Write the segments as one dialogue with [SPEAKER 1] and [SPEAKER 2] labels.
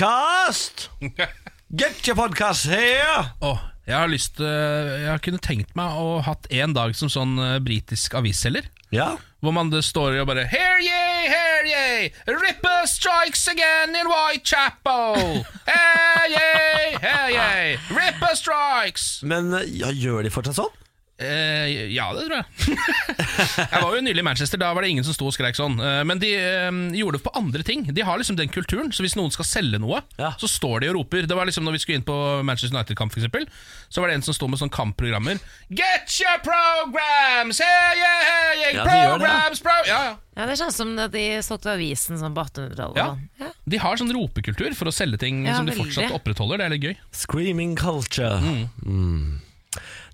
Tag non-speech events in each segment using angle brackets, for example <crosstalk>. [SPEAKER 1] podcast! Get your podcast here!
[SPEAKER 2] Åh, jeg har lyst til Jeg kunne tenkt meg å hatt en dag som sånn eh, britisk avisselger.
[SPEAKER 1] Ja,
[SPEAKER 2] Hvor man det står og bare Here ye, here ye, Ripper strikes again in Whitechapel. Here ye, here ye, Ripper strikes.
[SPEAKER 1] men eh, ja, gjør de fortsatt sånn?
[SPEAKER 2] Eh, ja, det tror jeg. <laughs> jeg var jo nylig i Manchester, da var det ingen som sto og skreik sånn. Eh, men de eh, gjorde det på andre ting. De har liksom den kulturen, så hvis noen skal selge noe,
[SPEAKER 1] Ja.
[SPEAKER 2] så står de og roper. Det var liksom når vi skulle inn på Manchester United-kamp, for eksempel, så var det en som sto med sånn kampprogrammer. Get your programs! Hey, yeah, hey, yeah,
[SPEAKER 1] Ja, de gjør det, ja.
[SPEAKER 2] programs, pro ja, ja.
[SPEAKER 3] Ja, Det kjennes som at de solgte avisen sånn på 1800-tallet.
[SPEAKER 2] Ja.
[SPEAKER 3] Ja.
[SPEAKER 2] De har sånn ropekultur for å selge ting
[SPEAKER 3] Ja,
[SPEAKER 2] som de
[SPEAKER 3] veldig.
[SPEAKER 2] fortsatt opprettholder. Det er litt gøy.
[SPEAKER 1] Screaming culture. Mm.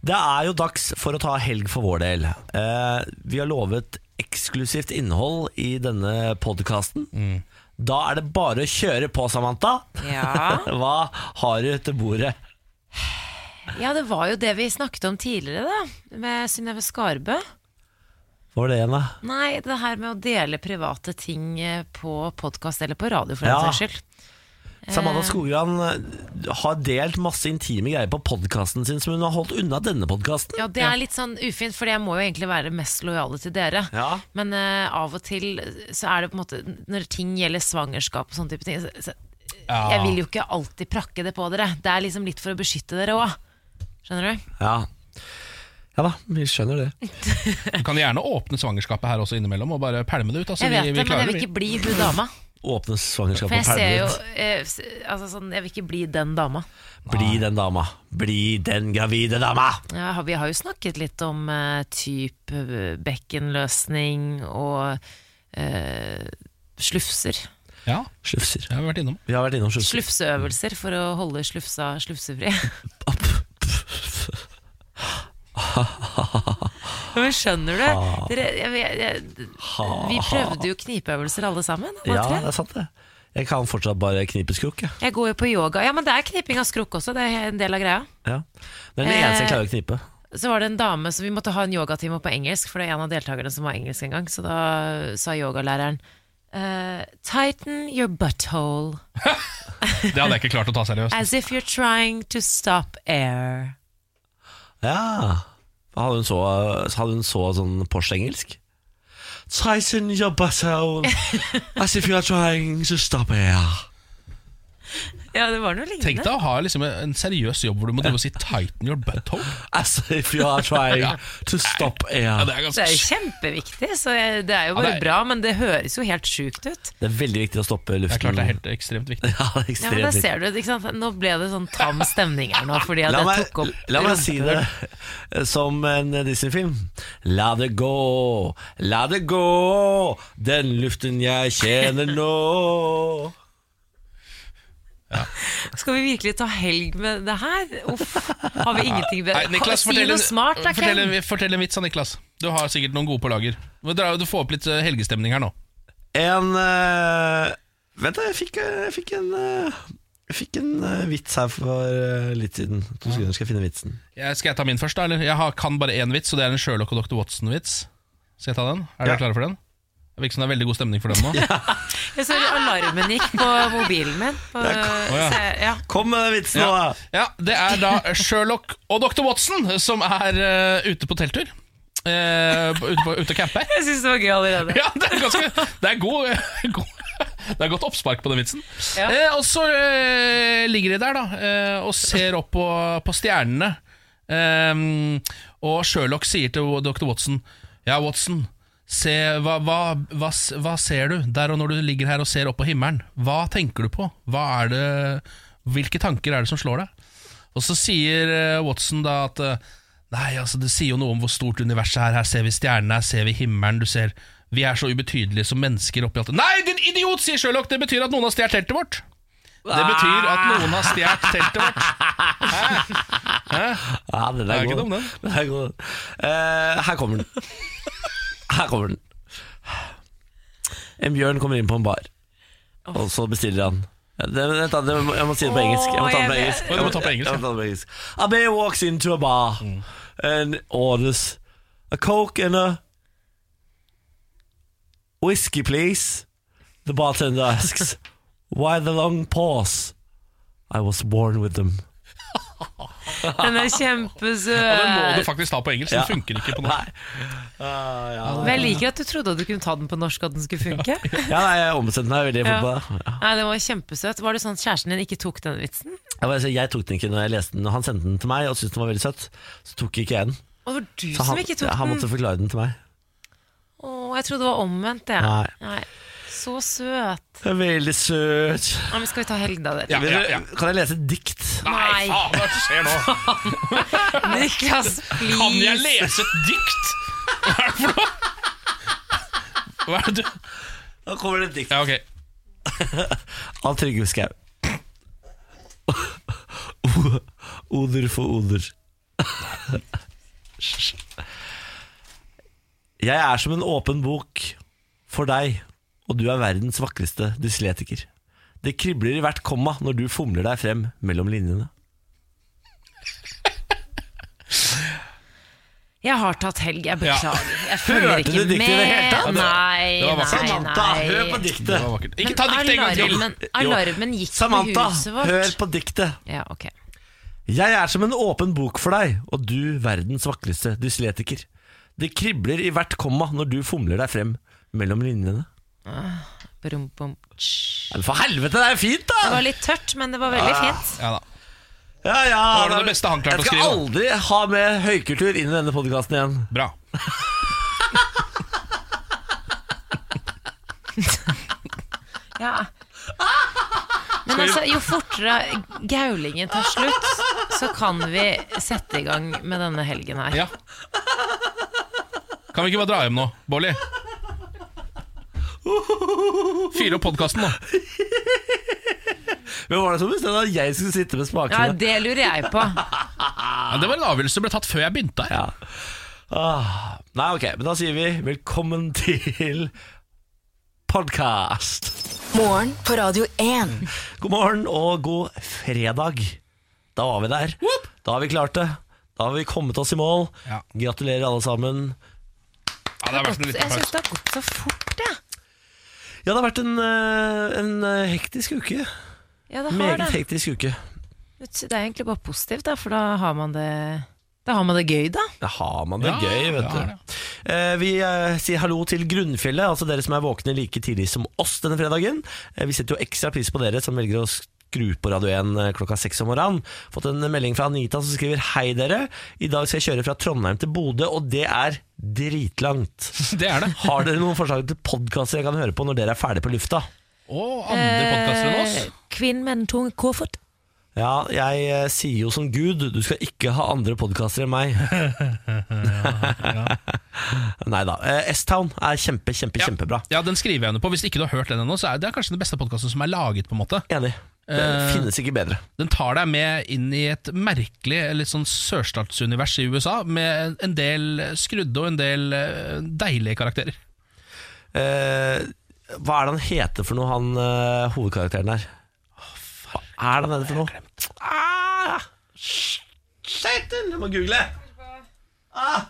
[SPEAKER 1] Det er jo dags for å ta helg for vår del. Eh, vi har lovet eksklusivt innhold i denne podkasten. Da er det bare å kjøre på, Samantha.
[SPEAKER 3] Ja.
[SPEAKER 1] <laughs> Hva har du til bordet?
[SPEAKER 3] ja, det var jo det vi snakket om tidligere, da. Med Synnøve Skarbø.
[SPEAKER 1] Hva var det igjen, da?
[SPEAKER 3] Nei, det her med å dele private ting eh, på podkast eller på radio, for
[SPEAKER 1] Ja.
[SPEAKER 3] den saks skyld.
[SPEAKER 1] Samantha Skogran eh, har delt masse intime greier på podkasten sin som hun har holdt unna denne podkasten.
[SPEAKER 3] Ja, det er litt sånn ufint, for jeg må jo egentlig være mest lojale til dere.
[SPEAKER 1] Ja.
[SPEAKER 3] Men eh, av og til så er det på en måte Når ting gjelder svangerskap og sånne type ting så, så,
[SPEAKER 2] Ja.
[SPEAKER 3] Jeg vil jo ikke alltid prakke det på dere. Det er liksom litt for å beskytte dere òg. Skjønner du?
[SPEAKER 1] Ja. ja da, vi skjønner det.
[SPEAKER 2] Du kan gjerne åpne svangerskapet her også innimellom og bare pælme det ut. Altså,
[SPEAKER 3] Jeg vet
[SPEAKER 2] vi, vi
[SPEAKER 3] det, men jeg
[SPEAKER 2] klarer
[SPEAKER 3] vil
[SPEAKER 2] det, vi.
[SPEAKER 3] ikke bli hun dama.
[SPEAKER 1] Åpne svangerskap og
[SPEAKER 3] For jeg ser jo
[SPEAKER 1] perledyr.
[SPEAKER 3] eh, s- altså, sånn, Jeg vil ikke bli den dama.
[SPEAKER 1] Bli den dama. Bli den gravide dama!
[SPEAKER 3] Ja, har- vi har jo snakket litt om eh, typ eh, bekkenløsning og eh, slufser.
[SPEAKER 2] Ja,
[SPEAKER 1] Slufser.
[SPEAKER 2] jeg har vært
[SPEAKER 1] <laughs>
[SPEAKER 2] innom.
[SPEAKER 1] Vi har vært innom slufser.
[SPEAKER 3] Slufseøvelser for å holde slufsa slufsefri. <laughs> Ja, Men skjønner du? Dere, jeg, jeg, jeg, vi prøvde jo knipeøvelser alle sammen.
[SPEAKER 1] Ja,
[SPEAKER 3] Var det
[SPEAKER 1] det
[SPEAKER 3] ikke det?
[SPEAKER 1] er sant det. Jeg kan fortsatt bare knipe skrukk, jeg.
[SPEAKER 3] Jeg går jo på yoga. Ja, men det er kniping av skrukk også. Det er en del av greia.
[SPEAKER 1] Ja. Det er den eneste jeg
[SPEAKER 3] Eh,
[SPEAKER 1] klarer å knipe.
[SPEAKER 3] Så var det en dame som vi måtte ha en yogatime på engelsk, for det er en av deltakerne som var engelsk en gang. Så da sa yogalæreren eh, Tighten your butthole
[SPEAKER 2] Det hadde jeg ikke klart å ta seriøst.
[SPEAKER 3] as if you're trying to stop air.
[SPEAKER 1] Ja. Hadde hun så, hadde hun så sånn Porsche-engelsk? Tyson your butthole As if you are trying to stop here.
[SPEAKER 3] Ja, det var noe
[SPEAKER 2] Tenk
[SPEAKER 3] lignende.
[SPEAKER 2] deg å ha liksom en seriøs jobb hvor du må drive og si 'tighten your butthole'.
[SPEAKER 1] As if you are trying
[SPEAKER 2] Ja.
[SPEAKER 1] to stop air.
[SPEAKER 2] Ja,
[SPEAKER 1] det, er...
[SPEAKER 2] det er
[SPEAKER 3] Det
[SPEAKER 2] ganske
[SPEAKER 3] er jo kjempeviktig, så jeg, det er jo
[SPEAKER 2] Ja,
[SPEAKER 3] bare
[SPEAKER 2] det er-
[SPEAKER 3] bra, men det høres jo helt sjukt ut.
[SPEAKER 1] veldig viktig å stoppe
[SPEAKER 2] Det er
[SPEAKER 1] luften.
[SPEAKER 2] klart det er helt ekstremt viktig.
[SPEAKER 1] <laughs> Ja, det er
[SPEAKER 3] Ja, men
[SPEAKER 1] ekstremt
[SPEAKER 3] der
[SPEAKER 1] viktig.
[SPEAKER 3] ser du, ikke sant? Nå ble det sånn tam stemning her nå, fordi at
[SPEAKER 1] La
[SPEAKER 3] jeg
[SPEAKER 1] meg,
[SPEAKER 3] tok opp
[SPEAKER 1] la meg si det eh, som en Disney-film. La det gå, la det gå, den luften jeg kjenner nå.
[SPEAKER 3] Skal vi virkelig ta helg med det her? Uff, har vi ingenting bedre?
[SPEAKER 2] Nei, Niklas,
[SPEAKER 3] si
[SPEAKER 2] fortell,
[SPEAKER 3] noe smart, da,
[SPEAKER 2] en,
[SPEAKER 3] Ken.
[SPEAKER 2] fortell, en, fortell en vits da, Niklas. Du har sikkert noen gode på lager. Men dra- Du får opp litt eh, helgestemning her nå.
[SPEAKER 1] En eh, Vent, da, jeg fikk, jeg fikk en eh, jeg fikk en eh, vits her for eh, litt siden. To sekunder skal jeg finne vitsen.
[SPEAKER 2] Jeg, skal jeg ta min først, da? Eller? Jeg har, kan bare én vits, og det er en Sherlock og Dr. Watson-vits. Skal jeg ta den? Er
[SPEAKER 1] Ja.
[SPEAKER 2] dere klare for den? Det virker som det er veldig god stemning for den nå.
[SPEAKER 3] Jeg så alarmen gikk på mobilen min. På,
[SPEAKER 2] ja.
[SPEAKER 3] se, ja.
[SPEAKER 1] Kom med den vitsen nå,
[SPEAKER 2] Ja.
[SPEAKER 1] da!
[SPEAKER 2] ja, det er da Sherlock og Dr. Watson som er eh, ute på telttur. Eh, ute, på, ute og camper.
[SPEAKER 3] Jeg syns det var gøy allerede.
[SPEAKER 2] Ja, det er ganske Det er god, eh, god det er godt oppspark på den vitsen.
[SPEAKER 3] Ja.
[SPEAKER 2] Eh, og så eh, ligger de der da eh, og ser opp på, på stjernene. Ehm, og Sherlock sier til dr. Watson Ja, Watson, se, hva, hva, hva, s- hva ser du der og når du ligger her og ser opp på himmelen? Hva tenker du på? Hva er det, hvilke tanker er det som slår deg? Og så sier eh, Watson da at eh, Nei, altså det sier jo noe om hvor stort universet er. Her ser vi stjernene, her ser vi himmelen. Du ser, Vi er så ubetydelige som mennesker oppi alt det Nei, din idiot, sier Sherlock. Det betyr at noen har stjålet teltet vårt. Det betyr at noen har stjålet teltet vårt.
[SPEAKER 1] Ja, den
[SPEAKER 2] Det
[SPEAKER 1] er,
[SPEAKER 2] er ikke
[SPEAKER 1] god.
[SPEAKER 2] dum, den.
[SPEAKER 1] Den er god. Eh, her kommer den. Her kommer den. En bjørn kommer inn på en bar, og så bestiller han Ja, det, vent da, det, må- jeg må si det på engelsk. Jeg må ta det på
[SPEAKER 3] jeg
[SPEAKER 1] engelsk.
[SPEAKER 3] vet-
[SPEAKER 2] Å, du må ta på engelsk, Mm.
[SPEAKER 1] Jeg må ta det på engelsk. A bear walks into a bar and orders a coke and a whiskey, please. The bartender asks, Why the long pause? I was born with them.
[SPEAKER 3] Den
[SPEAKER 2] Ja,
[SPEAKER 3] er
[SPEAKER 2] den må du
[SPEAKER 3] kjempesøt.
[SPEAKER 2] faktisk ta på engelsk. Den funker ikke på norsk.
[SPEAKER 1] Nei. Ah, ja.
[SPEAKER 3] Men jeg liker at du trodde at du kunne ta den på norsk og at den skulle funke.
[SPEAKER 1] ja, nei, jeg ombestemte meg veldig fort på
[SPEAKER 3] Ja.
[SPEAKER 1] det.
[SPEAKER 3] Nei, den var kjempesøt. Var det sånn at kjæresten din ikke tok den vitsen?
[SPEAKER 1] Jeg, bare, sier, jeg tok den ikke når jeg leste den. og Han sendte den til meg og syntes den var veldig søt. Så tok ikke jeg den.
[SPEAKER 3] Og det var du
[SPEAKER 1] Så
[SPEAKER 3] som
[SPEAKER 1] han,
[SPEAKER 3] ikke tok
[SPEAKER 1] han
[SPEAKER 3] den.
[SPEAKER 1] måtte forklare den til meg.
[SPEAKER 3] Å, jeg trodde det var omvendt, jeg.
[SPEAKER 1] Nei.
[SPEAKER 3] Nei. Så søt.
[SPEAKER 1] Veldig søt.
[SPEAKER 3] Ja, men skal vi ta helg, da, dere?
[SPEAKER 2] Ja, ja, ja.
[SPEAKER 1] Kan jeg lese et dikt?
[SPEAKER 2] Nei,
[SPEAKER 3] Nei.
[SPEAKER 2] faen, hva er det som skjer nå?
[SPEAKER 1] <laughs>
[SPEAKER 3] Niklas, please.
[SPEAKER 2] Kan jeg lese et dikt? Hva er det for noe? Hva er det du
[SPEAKER 1] Nå kommer det et dikt
[SPEAKER 2] Ja, ok.
[SPEAKER 1] av Trygve Skau. <laughs> Oder for oder. Jeg er som en åpen bok for deg, og du er verdens vakreste dysletiker. Det kribler i hvert komma når du fomler deg frem mellom linjene.
[SPEAKER 3] Jeg har tatt helg, jeg beklager. Jeg
[SPEAKER 1] Hørte
[SPEAKER 3] følger
[SPEAKER 1] du
[SPEAKER 3] ikke
[SPEAKER 1] diktet i
[SPEAKER 3] med.
[SPEAKER 1] det hele tatt?
[SPEAKER 3] Nei,
[SPEAKER 2] Det var vakkert.
[SPEAKER 3] nei,
[SPEAKER 1] Samantha, hør på
[SPEAKER 3] nei.
[SPEAKER 2] Det var
[SPEAKER 1] diktet!
[SPEAKER 2] vakkert. Ikke ta diktet en gang til!
[SPEAKER 3] alarmen, alarmen gikk
[SPEAKER 1] Samantha,
[SPEAKER 3] på huset vårt.
[SPEAKER 1] hør på diktet!
[SPEAKER 3] Ja, ok.
[SPEAKER 1] Jeg er som en åpen bok for deg, og du verdens vakreste dysletiker. Det kribler i hvert komma når du fomler deg frem mellom linjene.
[SPEAKER 3] Brum, bum, tsch.
[SPEAKER 1] Ja, men For helvete, det er jo fint,
[SPEAKER 3] Det
[SPEAKER 1] da!
[SPEAKER 3] var litt tørt, men det var
[SPEAKER 2] Ah.
[SPEAKER 3] veldig fint.
[SPEAKER 2] Ja da.
[SPEAKER 1] Ja, ja,
[SPEAKER 2] var det det beste han klarte
[SPEAKER 1] jeg
[SPEAKER 2] å
[SPEAKER 1] skal aldri ha med høykultur inn i denne podkasten igjen.
[SPEAKER 2] Bra.
[SPEAKER 3] Ja. Men altså, jo fortere gaulingen tar slutt, så kan vi sette i gang med denne helgen her.
[SPEAKER 2] Ja. Kan vi ikke bare dra hjem nå, Bolly? Fyr opp podkasten nå.
[SPEAKER 1] Hvem var det som bestemte at jeg skulle sitte med
[SPEAKER 3] Ja,
[SPEAKER 1] spakene?
[SPEAKER 3] det lurer jeg på.
[SPEAKER 2] Ja, det var en avgjørelse som ble tatt før jeg begynte her.
[SPEAKER 1] Ja. Ah, nei, ok, men da sier vi velkommen til podkast.
[SPEAKER 4] Morgen på Radio 1.
[SPEAKER 1] God morgen og god fredag. Da var vi der. Da har vi klart det. Da har vi kommet oss i mål.
[SPEAKER 2] Ja.
[SPEAKER 1] Gratulerer, alle sammen.
[SPEAKER 2] Ja, det har vært en
[SPEAKER 3] Jeg
[SPEAKER 2] liten
[SPEAKER 3] syns
[SPEAKER 2] applaus.
[SPEAKER 3] det har gått så fort, jeg.
[SPEAKER 1] Ja, det har vært en, eh, en eh, hektisk uke.
[SPEAKER 3] Ja, det har
[SPEAKER 1] Meget
[SPEAKER 3] det.
[SPEAKER 1] hektisk uke.
[SPEAKER 3] Det er egentlig bare positivt, da, for da har man det Da har man det gøy, da.
[SPEAKER 1] Da har man det
[SPEAKER 2] Ja,
[SPEAKER 1] gøy, vet
[SPEAKER 2] ja,
[SPEAKER 1] du. Eh, Vi eh, sier hallo til Grunnfjellet, altså dere som er våkne like tidlig som oss denne fredagen. Eh, Vi setter jo ekstra pris på dere som velger å skru på Radio 1 eh, klokka seks om morgenen. Fått en melding fra Anita som skriver Hei dere, i dag skal jeg kjøre fra Trondheim til Bodø, og det er dritlangt.
[SPEAKER 2] Det er det.
[SPEAKER 1] Har dere noen forslag til podkaster jeg kan høre på når dere er ferdig på lufta?
[SPEAKER 2] Og
[SPEAKER 3] Eh,
[SPEAKER 2] andre podkaster enn oss.
[SPEAKER 3] Kvinn med den tunge koffert.
[SPEAKER 1] Ja, jeg eh, sier jo som Gud, du skal ikke ha andre podkaster enn <laughs> meg. <laughs> Nei da. Eh, S-Town er kjempe, kjempe, kjempebra.
[SPEAKER 2] Ja, den skriver jeg under på. Hvis ikke du har hørt den ennå, så er det kanskje den beste podkasten som er laget. på en måte
[SPEAKER 1] Enig. Det
[SPEAKER 2] Eh,
[SPEAKER 1] finnes ikke bedre.
[SPEAKER 2] Den tar deg med inn i et merkelig litt sånn sørstatsunivers i USA, med en del skrudde og en del eh, deilige karakterer.
[SPEAKER 1] Eh, hva er det han heter for noe, han eh, hovedkarakteren her? Hva er det han heter for noe? Ah, sh- Satan! Jeg må google! Ah,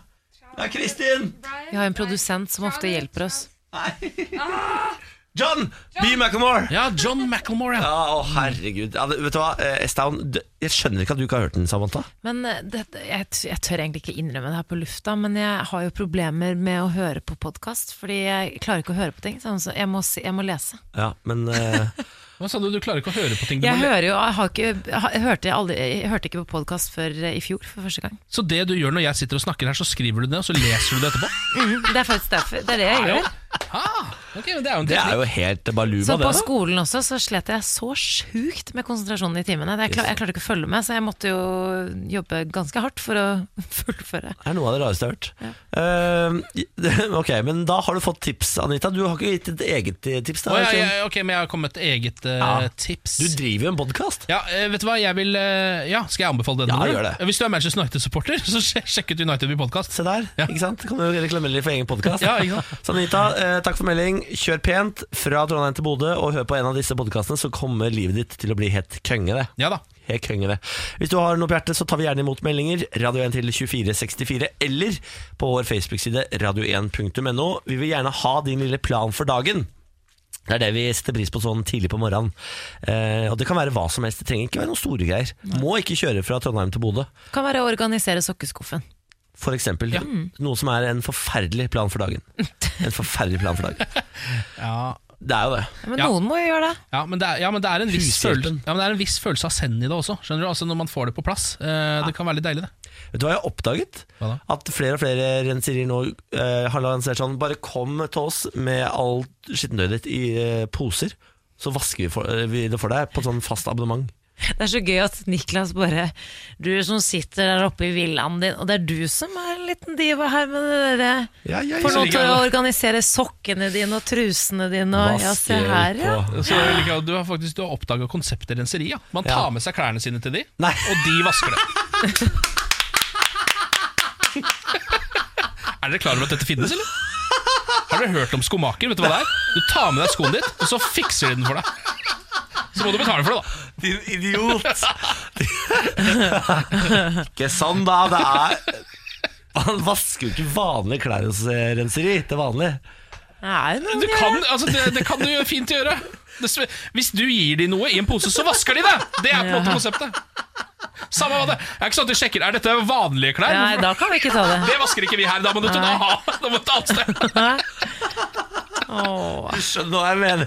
[SPEAKER 1] det er Kristin!
[SPEAKER 3] Vi har en produsent som ofte hjelper oss.
[SPEAKER 1] John! B. McAmore!
[SPEAKER 2] Ja, John McElmore, ja.
[SPEAKER 1] Ja, å herregud ja, det- Vet du hva, eh, Estown, d- jeg skjønner ikke at du ikke har hørt den, Samantha
[SPEAKER 3] Men eh, det, jeg, t- jeg tør egentlig ikke innrømme det her på lufta, men jeg har jo problemer med å høre på podkast, fordi jeg klarer ikke å høre på ting. Sånn, så jeg, må si, jeg må lese.
[SPEAKER 1] Ja, men <laughs> eh,
[SPEAKER 2] Hva sa du, du klarer ikke å høre på ting du
[SPEAKER 3] Jeg
[SPEAKER 2] må le-
[SPEAKER 3] hører jo Jeg, har ikke, jeg, har- jeg, hørte, aldri, jeg hørte ikke på podkast før eh, i fjor, for første gang.
[SPEAKER 2] Så det du gjør når jeg sitter og snakker her, så skriver du det, og så leser du det etterpå?
[SPEAKER 3] Det er faktisk derfor. Det er det jeg gjør.
[SPEAKER 2] Ah, ok, men det er jo en
[SPEAKER 1] det
[SPEAKER 2] teknikk.
[SPEAKER 1] er jo helt baluba
[SPEAKER 3] Så
[SPEAKER 1] det
[SPEAKER 3] på
[SPEAKER 1] da.
[SPEAKER 3] skolen også så slet jeg så sjukt med konsentrasjonen i timene. Jeg, klar, jeg klarte ikke å følge med, så jeg måtte jo jobbe ganske hardt for å <laughs> fullføre.
[SPEAKER 1] Det er noe av det rareste jeg har hørt Eh, <laughs> Ok, men da har du fått tips, Anita Du har ikke gitt et eget eh, tips da,
[SPEAKER 2] Å, ja,
[SPEAKER 1] ikke?
[SPEAKER 2] ja, ja, ok, men jeg har kommet med et eget eh,
[SPEAKER 1] Ja.
[SPEAKER 2] tips.
[SPEAKER 1] Du driver jo en podcast
[SPEAKER 2] Ja, eh, vet du hva, jeg vil eh, Ja, skal jeg anbefale denne?
[SPEAKER 1] Ja,
[SPEAKER 2] nå?
[SPEAKER 1] gjør det.
[SPEAKER 2] Hvis du er Manchester United-supporter, <laughs> så sj- sjekk ut United i podkast.
[SPEAKER 1] Se der,
[SPEAKER 2] Ja.
[SPEAKER 1] ikke sant? Kan du reklamere litt for egen podcast
[SPEAKER 2] Ja, ikke sant?
[SPEAKER 1] <laughs> Så Anita, eh, takk for melding Kjør pent fra Trondheim til Bodø Og hør på en av disse podcastene Så kommer livet ditt til å bli helt kønge det
[SPEAKER 2] Ja da.
[SPEAKER 1] Helt konge det. Hvis du har noe på hjertet, så tar vi gjerne imot meldinger. Radio 1 til 2464, eller på vår Facebook-side radio1.no. Vi vil gjerne ha din lille plan for dagen. Det er det vi setter pris på sånn tidlig på morgenen. Eh, og det kan være hva som helst. Det trenger ikke være noen store greier. Må ikke kjøre fra Trondheim til Bodø,
[SPEAKER 3] Kan være å organisere sokkeskuffen.
[SPEAKER 1] f.eks. Noe som er en forferdelig plan for dagen. En forferdelig plan for dagen.
[SPEAKER 2] Ja,
[SPEAKER 1] Det er jo det.
[SPEAKER 3] Ja, men
[SPEAKER 2] Ja.
[SPEAKER 3] noen må jo gjøre det.
[SPEAKER 2] Ja, men det er, ja, men det er en viss
[SPEAKER 1] Hushjelpen.
[SPEAKER 2] følelse, ja, men det er en viss følelse av send i det også. Skjønner du, altså Når man får det på plass. Eh, Det kan være litt deilig, det.
[SPEAKER 1] Vet du hva jeg har oppdaget?
[SPEAKER 2] Hva da?
[SPEAKER 1] At flere og flere renserier nå eh, har lansert sånn Bare kom til oss med alt skittentøyet ditt i eh, poser, så vasker vi, for, eh, vi det for deg på sånn fast abonnement.
[SPEAKER 3] Det er så gøy at Niklas bare Du som sitter der oppe i villaen din, og det er du som er en liten diva her med det derre
[SPEAKER 1] Ja, ja,
[SPEAKER 3] Får noen til å organisere sokkene dine og trusene dine og Ja, se her, ja.
[SPEAKER 2] Så jeg liker at du har faktisk du har oppdaga konseptet renseri. Ja. Man tar
[SPEAKER 1] Ja.
[SPEAKER 2] med seg klærne sine til de,
[SPEAKER 1] Nei.
[SPEAKER 2] og de
[SPEAKER 1] <laughs>
[SPEAKER 2] vasker det. er dere klar over at dette finnes, eller? Har dere hørt om skomaker? Vet Du hva det er? Du tar med deg skoen ditt, og så fikser de den for deg. Så må du betale for det, da.
[SPEAKER 1] Din idiot! <laughs> ikke sånn, da. Det er Man vasker jo ikke vanlige klær hos eh, renseri til vanlig.
[SPEAKER 3] Er det noen
[SPEAKER 2] Det kan, altså, det, det kan du jo fint gjøre. Det, sve- hvis du gir dem noe i en pose, så vasker de det! Det er på en måte konseptet. Samme hva det er. ikke sånn at du sjekker Er dette vanlige klær.
[SPEAKER 3] Nei,
[SPEAKER 2] Hvorfor-
[SPEAKER 3] da kan vi ikke ta det.
[SPEAKER 2] Det vasker ikke vi her. Da må du til
[SPEAKER 3] Nei.
[SPEAKER 2] <laughs> da, da må du ta et sted.
[SPEAKER 3] Åh.
[SPEAKER 1] Du skjønner hva jeg mener.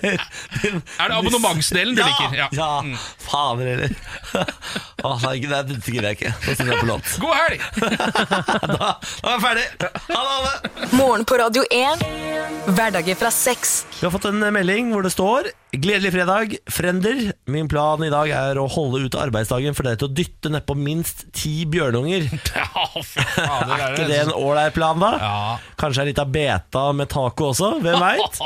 [SPEAKER 1] Din,
[SPEAKER 2] Er det abonnementsdelen du liker?
[SPEAKER 1] Ja! Mm.
[SPEAKER 2] Ja.
[SPEAKER 1] ja. Fader heller. <laughs> Åh, nei, det dette gidder jeg ikke. Nå sitter jeg på låt.
[SPEAKER 2] God helg!
[SPEAKER 1] <laughs> Da, da er jeg ferdig. Ha det, ha det.
[SPEAKER 4] Morgen på Radio 1. Hverdager fra seks.
[SPEAKER 1] Vi har fått en eh, melding hvor det står Gledelig fredag, frender. Min plan i dag er å holde ut arbeidsdagen for dere til å dytte nedpå minst ti <laughs> bjørnunger.
[SPEAKER 2] Ja, for faen,
[SPEAKER 1] Er ikke det en ålreit plan, da?
[SPEAKER 2] Ja.
[SPEAKER 1] Kanskje ei lita beta med taco også, <laughs> hvem veit?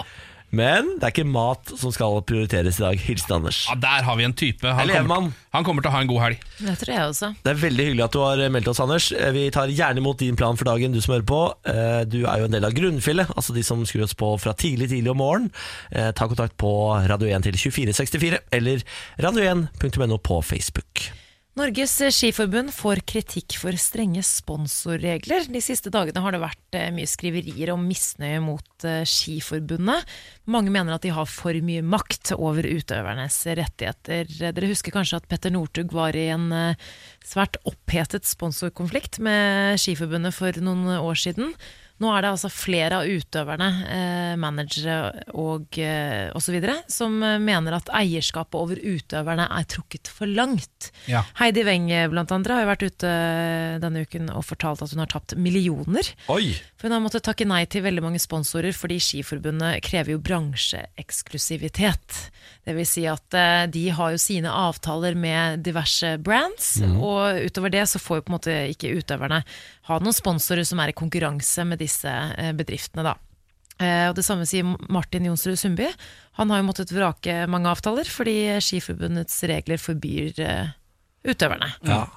[SPEAKER 1] Men det er ikke mat som skal prioriteres i dag. Hilsen Anders.
[SPEAKER 2] Ja, Der har vi en type. Han
[SPEAKER 1] Eller en
[SPEAKER 2] kommer,
[SPEAKER 1] mann.
[SPEAKER 2] han kommer til å ha en god helg.
[SPEAKER 3] Det tror jeg også.
[SPEAKER 1] Det er veldig hyggelig at du har meldt oss, Anders. Eh, Vi tar gjerne imot din plan for dagen, du som hører på. Eh, Du er jo en del av grunnfjellet, altså de som skrur oss på fra tidlig, tidlig om morgenen. Eh, Ta kontakt på Radio 1 til 2464, eller radio1.no på Facebook.
[SPEAKER 3] Norges Skiforbund får kritikk for strenge sponsorregler. De siste dagene har det vært eh, mye skriverier om misnøye mot eh, Skiforbundet. Mange mener at de har for mye makt over utøvernes rettigheter. Dere husker kanskje at Petter Northug var i en eh, svært opphetet sponsorkonflikt med Skiforbundet for noen år siden. Nå er det altså flere av utøverne, eh, managere og eh, osv., som eh, mener at eierskapet over utøverne er trukket for langt.
[SPEAKER 2] Ja.
[SPEAKER 3] Heidi Weng eh, blant andre har jo vært ute denne uken og fortalt at hun har tapt millioner.
[SPEAKER 1] Oi!
[SPEAKER 3] For hun har måttet takke nei til veldig mange sponsorer, fordi Skiforbundet krever jo bransjeeksklusivitet. Det vil si at eh, de har jo sine avtaler med diverse brands, og utover det så får jo på en måte ikke utøverne ha noen sponsorer som er i konkurranse med disse eh, bedriftene, da. Eh, Og det samme sier Martin Jonsrud Sundby. Han har jo måttet vrake mange avtaler fordi Skiforbundets regler forbyr eh, utøverne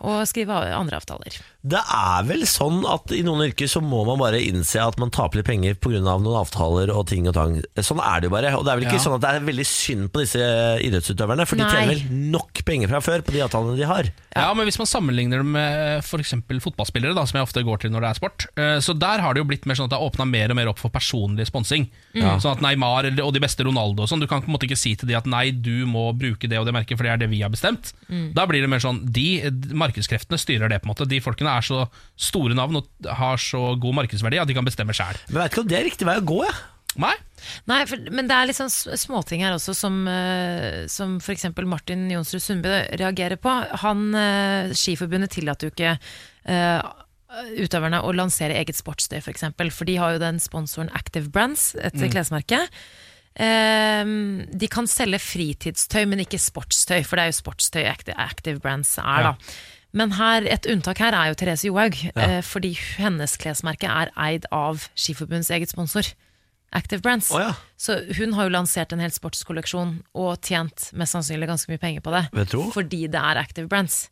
[SPEAKER 3] å skrive av- andre avtaler.
[SPEAKER 1] Det er vel sånn at i noen yrker så må man bare innse at man taper litt penger pga. av noen avtaler og ting og tang. Sånn er det jo bare. Og det er vel ikke
[SPEAKER 2] Ja.
[SPEAKER 1] sånn at det er veldig synd på disse idrettsutøverne, for de
[SPEAKER 3] Nei.
[SPEAKER 1] tjener vel nok penger fra før på de avtalene de har.
[SPEAKER 2] Ja, men Hvis man sammenligner det med f.eks. fotballspillere, da, som jeg ofte går til når det er sport, eh, så der har det jo blitt mer sånn at det har åpna mer og mer opp for personlig sponsing.
[SPEAKER 3] Mm.
[SPEAKER 2] Sånn at Neymar eller- og de beste Ronaldo og sånn, du kan på en måte ikke si til de at nei, du må bruke det og det merket, for det er det vi har bestemt.
[SPEAKER 3] Mm.
[SPEAKER 2] Da blir det mer sånn de markedskreftene styrer det, på en måte. De folkene er så store navn og har så god markedsverdi at de kan bestemme sjæl.
[SPEAKER 1] Men jeg vet ikke om det er riktig vei å gå, jeg.
[SPEAKER 2] Nei?
[SPEAKER 3] Nei, for, men det er litt sånn s- småting her også som, eh, som f.eks. Martin Jonsrud Sundby reagerer på. Han, eh, Skiforbundet tillater jo ikke eh, utøverne å lansere eget sportstøy, f.eks. For, eksempel, for de har jo den sponsoren Active Brands, et
[SPEAKER 1] Mm.
[SPEAKER 3] klesmerke. Eh, de kan selge fritidstøy, men ikke sportstøy, for det er jo sportstøy Active, Active Brands er,
[SPEAKER 2] Ja.
[SPEAKER 3] da. Men her, et unntak her er jo Therese Johaug, eh, fordi hennes klesmerke er eid av Skiforbundets eget sponsor. Active Brands.
[SPEAKER 1] Å ja.
[SPEAKER 3] Så hun har jo lansert en hel sportskolleksjon og tjent mest sannsynlig ganske mye penger på det.
[SPEAKER 1] Vil jeg tro.
[SPEAKER 3] Fordi det er Active Brands.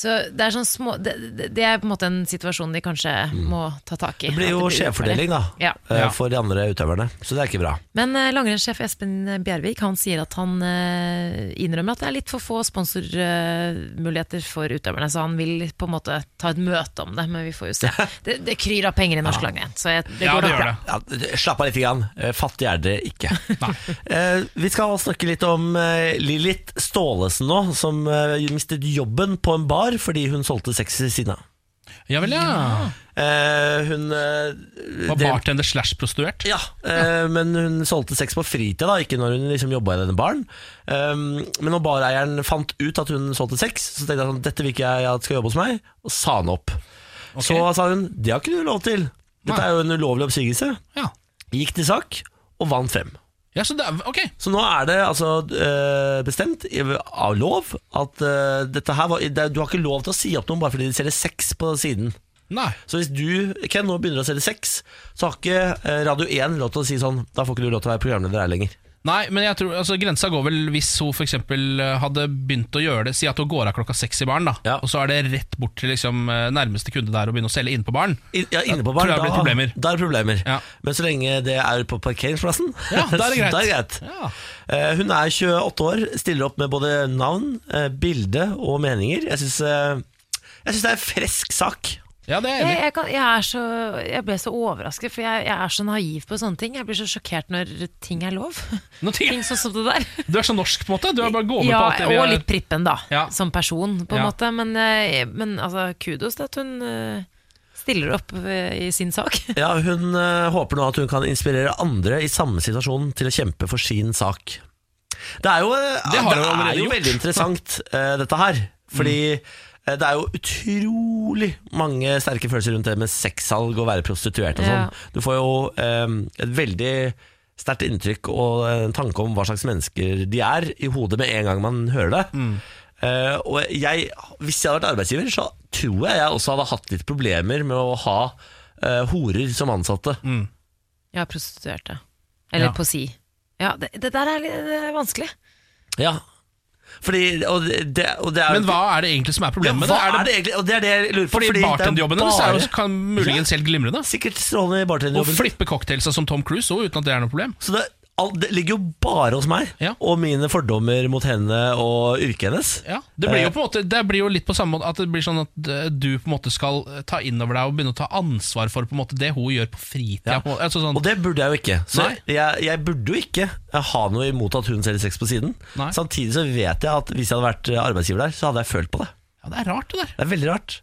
[SPEAKER 3] Så det er sånn små det, det- det er på en måte en situasjon de kanskje må ta tak i.
[SPEAKER 1] Mm. Det blir jo
[SPEAKER 3] At
[SPEAKER 1] skjevfordeling, da.
[SPEAKER 3] urettferdig. Ja.
[SPEAKER 1] eh,
[SPEAKER 2] Ja.
[SPEAKER 1] For de andre utøverne. Så det er ikke bra.
[SPEAKER 3] Men eh, langrennssjef Espen Bjervik han sier at han eh, innrømmer at det er litt for få sponsormuligheter for utøverne, så han vil på en måte ta et møte om det, men vi får jo
[SPEAKER 1] <laughs>
[SPEAKER 3] se. Det, det kryr av penger i norsk langrenn, så jeg, det
[SPEAKER 2] Ja,
[SPEAKER 3] går
[SPEAKER 2] det
[SPEAKER 3] nok
[SPEAKER 2] gjør
[SPEAKER 3] bra.
[SPEAKER 2] det.
[SPEAKER 1] Ja, slapp av litt. Grann. Eh, Fattig er det <laughs> ikke. Eh, vi skal snakke litt om eh, Lilith Staalesen nå, som eh, mistet jobben på en bar fordi hun solgte sex i Sina.
[SPEAKER 2] Ja vel, ja.
[SPEAKER 1] Eh, hun eh,
[SPEAKER 2] Var
[SPEAKER 1] drev-
[SPEAKER 2] bartender slash prostituert.
[SPEAKER 1] Ja, eh, men hun solgte sex på fritida, da, ikke når hun liksom jobba i denne baren. Um, men når bareieren fant ut at hun solgte sex, så tenkte jeg sånn Dette vil ikke jeg at skal jobbe hos meg, og sa han opp. Så sa hun det har ikke du lov til. Dette
[SPEAKER 2] Nei.
[SPEAKER 1] er jo en ulovlig oppsigelse.
[SPEAKER 2] Ja.
[SPEAKER 1] Gikk til sak og vant frem.
[SPEAKER 2] ja, så det er, ok.
[SPEAKER 1] Så nå er det altså eh, bestemt i- av lov at eh, dette her var, det, du har ikke lov til å si opp noen bare fordi de selger sex på siden.
[SPEAKER 2] Nei.
[SPEAKER 1] Så hvis du Ken, nå begynner å selge sex, så har ikke eh, Radio 1 lov til å si sånn Da får ikke du lov til å være programleder her lenger.
[SPEAKER 2] Nei, men jeg tror, altså, grensa går vel hvis hun for eksempel eh, hadde begynt å gjøre det Si at hun går av klokka seks i baren, da
[SPEAKER 1] Ja.
[SPEAKER 2] og så er det rett bort til liksom, eh, nærmeste kunde der og begynne å selge inne på baren.
[SPEAKER 1] I, ja, inne på
[SPEAKER 2] Da
[SPEAKER 1] baren,
[SPEAKER 2] tror jeg det blir problemer.
[SPEAKER 1] da er det problemer.
[SPEAKER 2] Ja.
[SPEAKER 1] Men så lenge det er på parkeringsplassen,
[SPEAKER 2] Ja,
[SPEAKER 1] <laughs>
[SPEAKER 2] da er det greit.
[SPEAKER 1] da greit.
[SPEAKER 2] Ja.
[SPEAKER 1] Eh, hun er 28 år, stiller opp med både navn, eh, bilde og meninger. Jeg syns det er en fresk sak.
[SPEAKER 2] Ja, det er jeg
[SPEAKER 3] Jeg,
[SPEAKER 2] enig i.
[SPEAKER 3] jeg, kan, jeg, er så, jeg ble så overrasket, for jeg, jeg er så naiv på sånne ting. Jeg blir så sjokkert når ting er
[SPEAKER 1] <laughs>
[SPEAKER 3] lov.
[SPEAKER 2] Nå tenker
[SPEAKER 3] Ting
[SPEAKER 2] jeg-
[SPEAKER 3] sånn som det der.
[SPEAKER 2] Du er så norsk, på en måte. Du er bare gående
[SPEAKER 3] Ja,
[SPEAKER 2] på alt det vi
[SPEAKER 3] og
[SPEAKER 2] har
[SPEAKER 3] litt prippen, da,
[SPEAKER 2] Ja.
[SPEAKER 3] som person, på en
[SPEAKER 2] Ja.
[SPEAKER 3] måte. Men, eh, men altså, kudos til at hun eh, stiller opp eh, i sin sak. <laughs>
[SPEAKER 1] Ja, hun eh, håper nå at hun kan inspirere andre i samme situasjon til å kjempe for sin sak. Det er jo, eh,
[SPEAKER 2] Det har hun
[SPEAKER 1] er
[SPEAKER 2] allerede
[SPEAKER 1] jo
[SPEAKER 2] gjort.
[SPEAKER 1] veldig interessant, eh, dette her. Fordi
[SPEAKER 2] Mm.
[SPEAKER 1] eh, det er jo utrolig mange sterke følelser rundt det med sexsalg og være prostituert og sånn.
[SPEAKER 3] Ja.
[SPEAKER 1] Du får jo eh, et veldig sterkt inntrykk og en tanke om hva slags mennesker de er, i hodet med en gang man hører det.
[SPEAKER 2] Mm.
[SPEAKER 1] Eh, og jeg, hvis jeg hadde vært arbeidsgiver, så tror jeg jeg også hadde hatt litt problemer med å ha eh, horer som ansatte.
[SPEAKER 2] Mm.
[SPEAKER 3] Ja, prostituerte. Eller
[SPEAKER 2] Ja.
[SPEAKER 3] på si. Ja, det, det der er litt det er vanskelig.
[SPEAKER 1] Ja. Fordi, og det, og det er
[SPEAKER 2] Men hva er det egentlig som er
[SPEAKER 1] Ja,
[SPEAKER 2] problemet med
[SPEAKER 1] hva
[SPEAKER 2] det?
[SPEAKER 1] er det egentlig? Og det er det jeg lurer på.
[SPEAKER 2] Fordi,
[SPEAKER 1] det er
[SPEAKER 2] bartenderjobben hennes er jo
[SPEAKER 1] bare-
[SPEAKER 2] kan muligens helt glimrende.
[SPEAKER 1] Sikkert strålende
[SPEAKER 2] Å
[SPEAKER 1] bartenderjobben.
[SPEAKER 2] flippe cocktails som Tom Cruise også, uten at det er noe problem.
[SPEAKER 1] Så det, all, det ligger jo bare hos meg,
[SPEAKER 2] Ja.
[SPEAKER 1] og mine fordommer mot henne og yrket hennes.
[SPEAKER 2] Ja, det blir jo
[SPEAKER 1] Eh,
[SPEAKER 2] på en måte Det blir jo litt på samme måte at det blir sånn at eh, du på en måte skal eh, ta innover deg og begynne å ta ansvar for på en måte det hun gjør på fritida.
[SPEAKER 1] Ja.
[SPEAKER 2] på en måte. Altså sånn,
[SPEAKER 1] Og det burde jeg jo ikke. Så
[SPEAKER 2] Nei.
[SPEAKER 1] jeg, jeg burde jo ikke ha noe imot at hun selger sex på siden.
[SPEAKER 2] Nei.
[SPEAKER 1] Samtidig så vet jeg at hvis jeg hadde vært eh, arbeidsgiver der, så hadde jeg følt på det.
[SPEAKER 2] ja, det er rart, det der.
[SPEAKER 1] Det er veldig rart.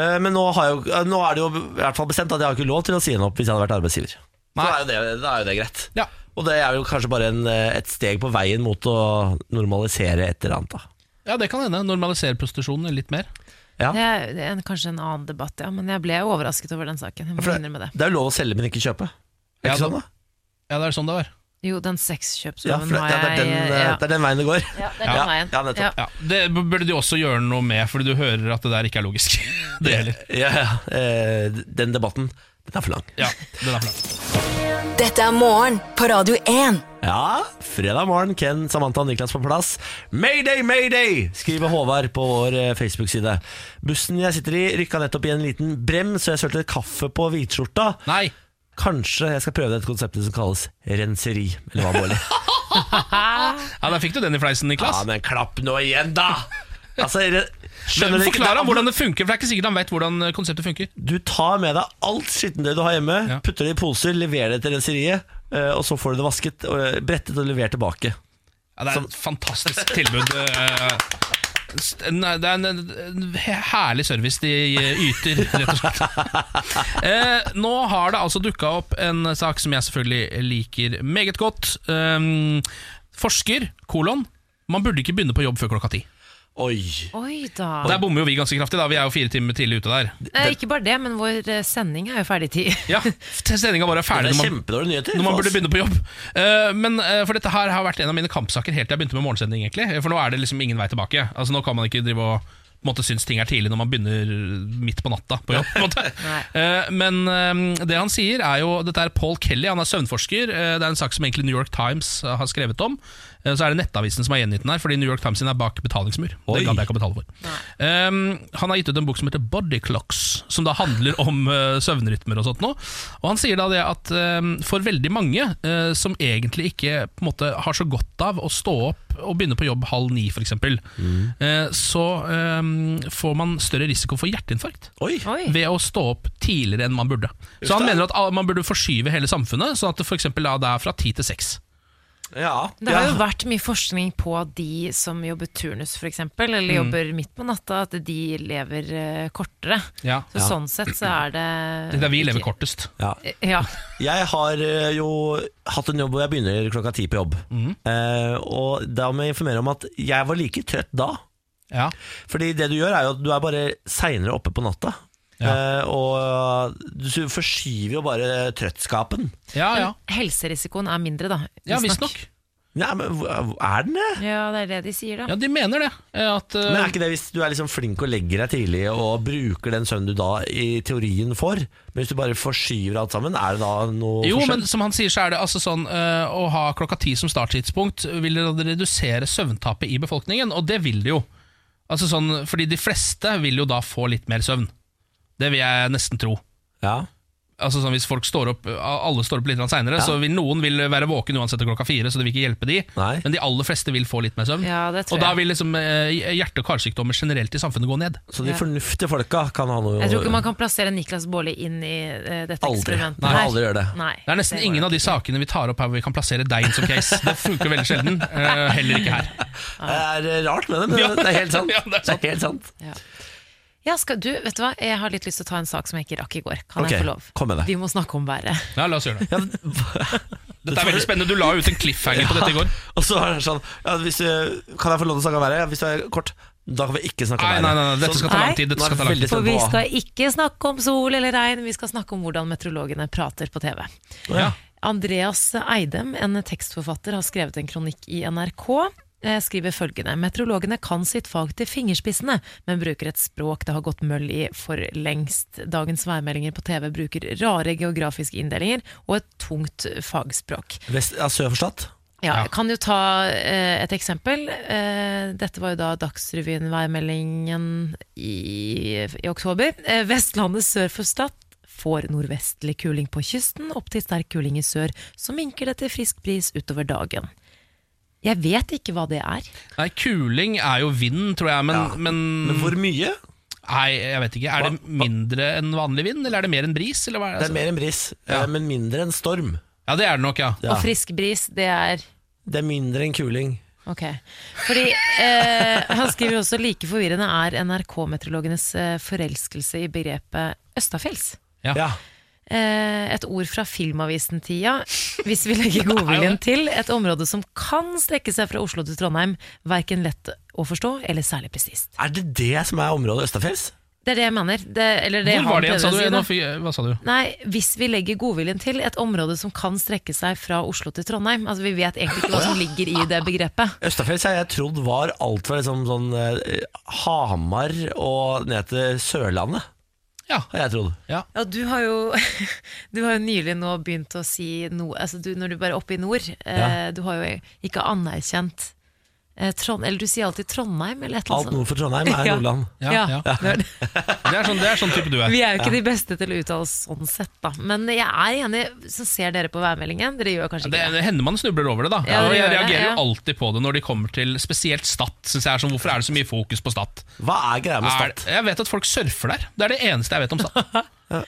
[SPEAKER 1] Eh, Men nå, har jeg, jo- eh, nå er det jo i hvert fall bestemt at jeg har ikke lov til å si henne opp hvis jeg hadde vært arbeidsgiver. Så
[SPEAKER 2] Nei.
[SPEAKER 1] er jo det, da er jo det greit.
[SPEAKER 2] Ja.
[SPEAKER 1] Og det er jo kanskje bare en, eh, et steg på veien mot å normalisere et eller annet. Da.
[SPEAKER 2] ja, det kan hende. Normalisere prostitusjonen litt mer.
[SPEAKER 1] Ja.
[SPEAKER 3] Det er, det er en, kanskje en annen debatt, ja. Men jeg ble overrasket over den saken. Jeg
[SPEAKER 1] For
[SPEAKER 3] må
[SPEAKER 1] det,
[SPEAKER 3] innrømme det.
[SPEAKER 1] det er jo lov å selge, men ikke kjøpe. Er
[SPEAKER 2] Ja,
[SPEAKER 1] ikke sånn, da?
[SPEAKER 2] Ja, det er sånn det var.
[SPEAKER 3] Jo, den
[SPEAKER 1] Ja, for
[SPEAKER 3] sexkjøpsloven
[SPEAKER 1] det,
[SPEAKER 3] har
[SPEAKER 1] ja, det, er den,
[SPEAKER 3] jeg
[SPEAKER 1] eh,
[SPEAKER 3] ja.
[SPEAKER 1] det er den veien det går.
[SPEAKER 3] Ja, det er
[SPEAKER 1] Ja,
[SPEAKER 3] den veien.
[SPEAKER 1] ja, nettopp.
[SPEAKER 2] Ja, Det b- burde de også gjøre noe med, fordi du hører at det der ikke er logisk. <laughs> det gjelder.
[SPEAKER 1] Ja, ja, eh, Den debatten, den er for lang.
[SPEAKER 2] Ja, den er for lang.
[SPEAKER 4] Dette er morgen på Radio 1.
[SPEAKER 1] Ja, fredag morgen, Ken, Samantha og Niklas på plass. Mayday, mayday, skriver Håvard på vår eh, Facebook-side. Bussen jeg sitter i rykka nettopp i en liten brems, så jeg sølte kaffe på hvitskjorta.
[SPEAKER 2] Nei,
[SPEAKER 1] Kanskje jeg skal prøve dette konseptet som kalles renseri, eller hva, Bårli? <laughs>
[SPEAKER 2] ja, der fikk du den i fleisen,
[SPEAKER 1] Ja,
[SPEAKER 2] Niklas.
[SPEAKER 1] men klapp nå igjen, da! Altså, re-
[SPEAKER 2] Men
[SPEAKER 1] skjønner dere
[SPEAKER 2] Forklar ham
[SPEAKER 1] ikke?
[SPEAKER 2] hvordan det funker, for det er ikke sikkert han vet hvordan eh, konseptet funker.
[SPEAKER 1] Du tar med deg alt skittentøy du har hjemme,
[SPEAKER 2] Ja.
[SPEAKER 1] putter det i poser, leverer det til renseriet, eh, og så får du det vasket, og- eh, brettet og levert tilbake.
[SPEAKER 2] Ja, det er et fantastisk tilbud. eh, s- nei, Det er en, en herlig service de yter, rett og
[SPEAKER 1] <laughs>
[SPEAKER 2] slett. Eh, nå har det altså dukka opp en sak som jeg selvfølgelig liker meget godt. Um, forsker, kolon, man burde ikke begynne på jobb før klokka ti.
[SPEAKER 1] Oi.
[SPEAKER 3] Oi da.
[SPEAKER 2] Der bommer jo vi ganske kraftig, da. Vi er jo fire timer tidlig ute der.
[SPEAKER 3] Eh, ikke bare det, men vår eh, sending er jo ferdig i tid.
[SPEAKER 1] <laughs>
[SPEAKER 2] Ja, Sendinga vår er
[SPEAKER 1] Det
[SPEAKER 2] ferdig
[SPEAKER 1] er
[SPEAKER 2] når man,
[SPEAKER 1] kjempedårlige nyheter.
[SPEAKER 2] når man
[SPEAKER 1] for
[SPEAKER 2] burde
[SPEAKER 1] oss.
[SPEAKER 2] begynne på jobb. Eh, men eh, For dette her har vært en av mine kampsaker helt til jeg begynte med morgensending, egentlig. For nå er det liksom ingen vei tilbake. Altså Nå kan man ikke drive og på en måte syns ting er tidlig når man begynner midt på natta på jobb. på en måte.
[SPEAKER 3] Nei.
[SPEAKER 2] Eh, Men eh, det han sier er jo Dette er Paul Kelly, han er søvnforsker. Eh, Det er en sak som egentlig New York Times har skrevet om. Eh, Så er det Nettavisen som har gjengitt den her, fordi New York Times sin er bak betalingsmur.
[SPEAKER 1] Oi.
[SPEAKER 2] Det gadd jeg ikke å betale for. Eh, han har gitt ut en bok som heter Body Clocks, som da handler om eh, søvnrytmer og sånt noe. Og han sier da det at eh, for veldig mange eh, som egentlig ikke på en måte har så godt av å stå opp og begynne på jobb halv ni, f.eks., eksempel eh, så eh, får man større risiko for hjerteinfarkt
[SPEAKER 1] Oi!
[SPEAKER 3] Oi.
[SPEAKER 2] ved å stå opp tidligere enn man burde. Så han mener at ah, man burde forskyve hele samfunnet, sånn at det for eksempel, ah, det er fra ti til seks.
[SPEAKER 1] Ja.
[SPEAKER 3] Det har jo vært mye forskning på at de som jobber turnus f.eks., eller jobber midt på natta, at de lever eh, kortere.
[SPEAKER 2] Ja.
[SPEAKER 3] Så sånn sett så er det
[SPEAKER 2] Det er der vi lever kortest.
[SPEAKER 1] Ja.
[SPEAKER 3] Ja.
[SPEAKER 1] Jeg har eh, jo hatt en jobb hvor jeg begynner klokka ti på jobb.
[SPEAKER 2] Mhm.
[SPEAKER 1] Eh, og da må jeg informere om at jeg var like trøtt da.
[SPEAKER 2] Ja.
[SPEAKER 1] Fordi det du gjør, er jo at du er bare seinere oppe på natta.
[SPEAKER 2] Ja.
[SPEAKER 1] Eh, og du forskyver jo bare trøttskapen.
[SPEAKER 2] Ja, ja.
[SPEAKER 3] Helserisikoen er mindre, da.
[SPEAKER 2] ja
[SPEAKER 3] visstnok.
[SPEAKER 2] Visstnok.
[SPEAKER 1] Nei, men hva- er den det?
[SPEAKER 3] Ja, det er det de sier, da.
[SPEAKER 2] Ja, de mener det. eh, At, eh,
[SPEAKER 1] Men er ikke det hvis du er liksom flink og legger deg tidlig og bruker den søvnen du da i teorien får, men hvis du bare forskyver alt sammen, er det da noe
[SPEAKER 2] jo,
[SPEAKER 1] forskjell?
[SPEAKER 2] men som han sier, så er det altså sånn eh, å ha klokka ti som starttidspunkt vil redusere søvntapet i befolkningen, og det vil det jo. Altså sånn, fordi de fleste vil jo da få litt mer søvn. Det vil jeg nesten tro.
[SPEAKER 1] Ja.
[SPEAKER 2] Altså sånn Hvis folk står opp alle står opp litt seinere,
[SPEAKER 1] Ja.
[SPEAKER 2] så vil noen vil være våken uansett til klokka fire, så det vil ikke hjelpe de.
[SPEAKER 1] Nei.
[SPEAKER 2] Men de aller fleste vil få litt mer søvn.
[SPEAKER 3] Ja, det tror
[SPEAKER 2] og da
[SPEAKER 3] jeg.
[SPEAKER 2] vil liksom eh, hjerte- og karsykdommer generelt i samfunnet gå ned.
[SPEAKER 1] Så de
[SPEAKER 3] Ja.
[SPEAKER 1] fornuftige folka kan ha noe
[SPEAKER 3] Jeg tror ikke man kan plassere Niklas Baarli inn i eh, dette
[SPEAKER 1] Aldri.
[SPEAKER 3] eksperimentet.
[SPEAKER 1] Nei,
[SPEAKER 3] her.
[SPEAKER 1] aldri gjør det.
[SPEAKER 3] Nei,
[SPEAKER 2] Det er nesten ingen av de sakene vi tar opp her hvor vi kan plassere deg inn som case. Det funker veldig sjelden. eh, heller ikke her.
[SPEAKER 1] Det er rart med det, men
[SPEAKER 2] Ja.
[SPEAKER 1] det er helt sant.
[SPEAKER 2] <laughs> Ja, det er sant.
[SPEAKER 1] helt sant.
[SPEAKER 3] Ja, skal du, vet du hva? Jeg har litt lyst til å ta en sak som jeg ikke rakk i går. Kan
[SPEAKER 1] Ok,
[SPEAKER 3] jeg få lov?
[SPEAKER 1] kom med det.
[SPEAKER 3] Vi må snakke om været.
[SPEAKER 2] Ja, la oss gjøre det.
[SPEAKER 1] Ja, men-
[SPEAKER 2] Dette er veldig spennende. Du la ut en cliffhanger på dette i går.
[SPEAKER 1] <laughs> Og så er det sånn ja, hvis, eh, Kan jeg få lov til å snakke om været? Ja, Hvis det er kort, da kan vi ikke snakke om
[SPEAKER 2] Nei,
[SPEAKER 1] været.
[SPEAKER 2] nei, nei, nei, dette
[SPEAKER 1] Sånn.
[SPEAKER 2] skal ta lang
[SPEAKER 3] Nei.
[SPEAKER 2] tid. Dette
[SPEAKER 1] Nå er
[SPEAKER 2] skal ta lang
[SPEAKER 1] veldig
[SPEAKER 2] tid.
[SPEAKER 1] spent
[SPEAKER 3] For vi
[SPEAKER 1] på hva-
[SPEAKER 3] skal ikke snakke om sol eller regn, vi skal snakke om hvordan meteorologene prater på TV.
[SPEAKER 2] Ja.
[SPEAKER 3] Andreas Eidem, en tekstforfatter, har skrevet en kronikk i NRK. eh, Skriver følgende Meteorologene kan sitt fag til fingerspissene, men bruker et språk det har gått møll i for lengst. Dagens værmeldinger på TV bruker rare geografiske inndelinger og et tungt fagspråk.
[SPEAKER 1] Vest, ja, Sør for Stad?
[SPEAKER 3] Ja,
[SPEAKER 2] Ja.
[SPEAKER 3] jeg kan jo ta eh, et eksempel. Eh, dette var jo da Dagsrevyen-værmeldingen i, i oktober. Eh, Vestlandet sør for Stad får nordvestlig kuling på kysten, opp til sterk kuling i sør. Så minker det til frisk bris utover dagen. Jeg vet ikke hva det er.
[SPEAKER 2] Nei, kuling er jo vind, tror jeg, men,
[SPEAKER 1] Ja. Men
[SPEAKER 2] men
[SPEAKER 1] hvor mye?
[SPEAKER 2] Nei, jeg vet ikke. Er
[SPEAKER 1] Hva-
[SPEAKER 2] det mindre enn vanlig vind, eller er det mer enn bris? Eller hva er
[SPEAKER 1] Det
[SPEAKER 2] det?
[SPEAKER 1] er mer enn bris, eh,
[SPEAKER 2] Altså- Ja.
[SPEAKER 1] men mindre enn storm.
[SPEAKER 2] Ja, det er det nok, ja.
[SPEAKER 1] Ja.
[SPEAKER 3] Og frisk bris, det er
[SPEAKER 1] Det er mindre enn kuling.
[SPEAKER 3] Ok, fordi eh, Han skriver også like forvirrende er NRK-meteorologenes eh, forelskelse i begrepet østafjells.
[SPEAKER 1] Ja.
[SPEAKER 3] Eh, et ord fra filmavisen-tida, hvis vi
[SPEAKER 2] <laughs>
[SPEAKER 3] legger godviljen til. Et område som kan strekke seg fra Oslo til Trondheim. Verken lett å forstå eller særlig presist.
[SPEAKER 1] Er det det som er området Østafjells?
[SPEAKER 3] Det er det jeg mener. Det, eller det
[SPEAKER 2] Hvor
[SPEAKER 3] han
[SPEAKER 2] var det igjen, sa du?
[SPEAKER 3] prøvde å si, da.
[SPEAKER 2] Nå fy- Hva sa du?
[SPEAKER 3] Nei, hvis vi legger godviljen til et område som kan strekke seg fra Oslo til Trondheim. Altså, vi vet egentlig ikke hva som ligger i det begrepet.
[SPEAKER 1] Østafjells har jeg trodd var alt fra liksom sånn eh, Hamar og ned til Sørlandet,
[SPEAKER 2] Ja.
[SPEAKER 1] har jeg trodd.
[SPEAKER 3] Ja, du har jo, <laughs> du har jo nylig nå begynt å si noe altså du, Når du bare er oppe i nord, eh, du har jo ikke anerkjent eh, Trond, Eller du sier alltid Trondheim, eller et eller annet
[SPEAKER 1] Alt
[SPEAKER 3] sånt.
[SPEAKER 1] nord for Trondheim er
[SPEAKER 3] <laughs> Ja.
[SPEAKER 1] Nordland.
[SPEAKER 2] Ja, ja.
[SPEAKER 3] det
[SPEAKER 1] <laughs>
[SPEAKER 3] er det.
[SPEAKER 2] Det, er sånn, det er sånn type du er.
[SPEAKER 3] Vi er jo ikke de beste til å uttale oss sånn sett, da. Men jeg er enig, så ser dere på værmeldingen. Dere gjør kanskje
[SPEAKER 2] Det,
[SPEAKER 3] ikke det.
[SPEAKER 2] det hender man snubler over det, da.
[SPEAKER 3] Ja, det
[SPEAKER 2] og jeg
[SPEAKER 3] gjør det,
[SPEAKER 2] reagerer
[SPEAKER 3] ja.
[SPEAKER 2] jo alltid på det når de kommer til spesielt Stad. Synes jeg er sånn, hvorfor er det så mye fokus på Stad?
[SPEAKER 1] Hva er greia med
[SPEAKER 2] Er,
[SPEAKER 1] Stad?
[SPEAKER 2] jeg vet at folk surfer der. Det er det eneste jeg vet om <laughs> Stad.
[SPEAKER 1] Ja,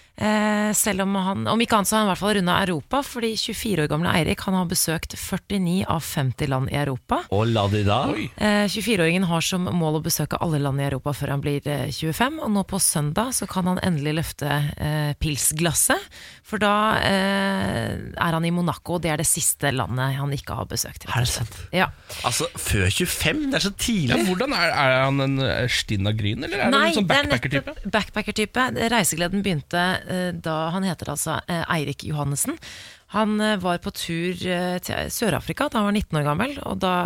[SPEAKER 3] Eh, selv om han, om ikke annet så har han i hvert fall runda Europa, fordi 24 år gamle Eirik han har besøkt 49 av 50 land i Europa.
[SPEAKER 1] Og la de da.
[SPEAKER 3] Eh, 24-åringen har som mål å besøke alle land i Europa før han blir eh, 25, og nå på søndag så kan han endelig løfte eh, pilsglasset, for da eh, er han i Monaco, og det er det siste landet han ikke har besøkt.
[SPEAKER 1] Er det sant?
[SPEAKER 3] Ja.
[SPEAKER 1] Altså, før 25? Det er så
[SPEAKER 2] Ja,
[SPEAKER 1] tidlig.
[SPEAKER 2] hvordan er, er han en eh, Stina Gryn, eller er
[SPEAKER 3] Nei,
[SPEAKER 2] han en sånn
[SPEAKER 3] det er
[SPEAKER 2] backpacker-type?
[SPEAKER 3] nettopp backpacker-type. Reisegleden begynte eh, da han heter altså eh, Eirik Johannessen. Han eh, var på tur eh, til Sør-Afrika da han var 19 år gammel, og da,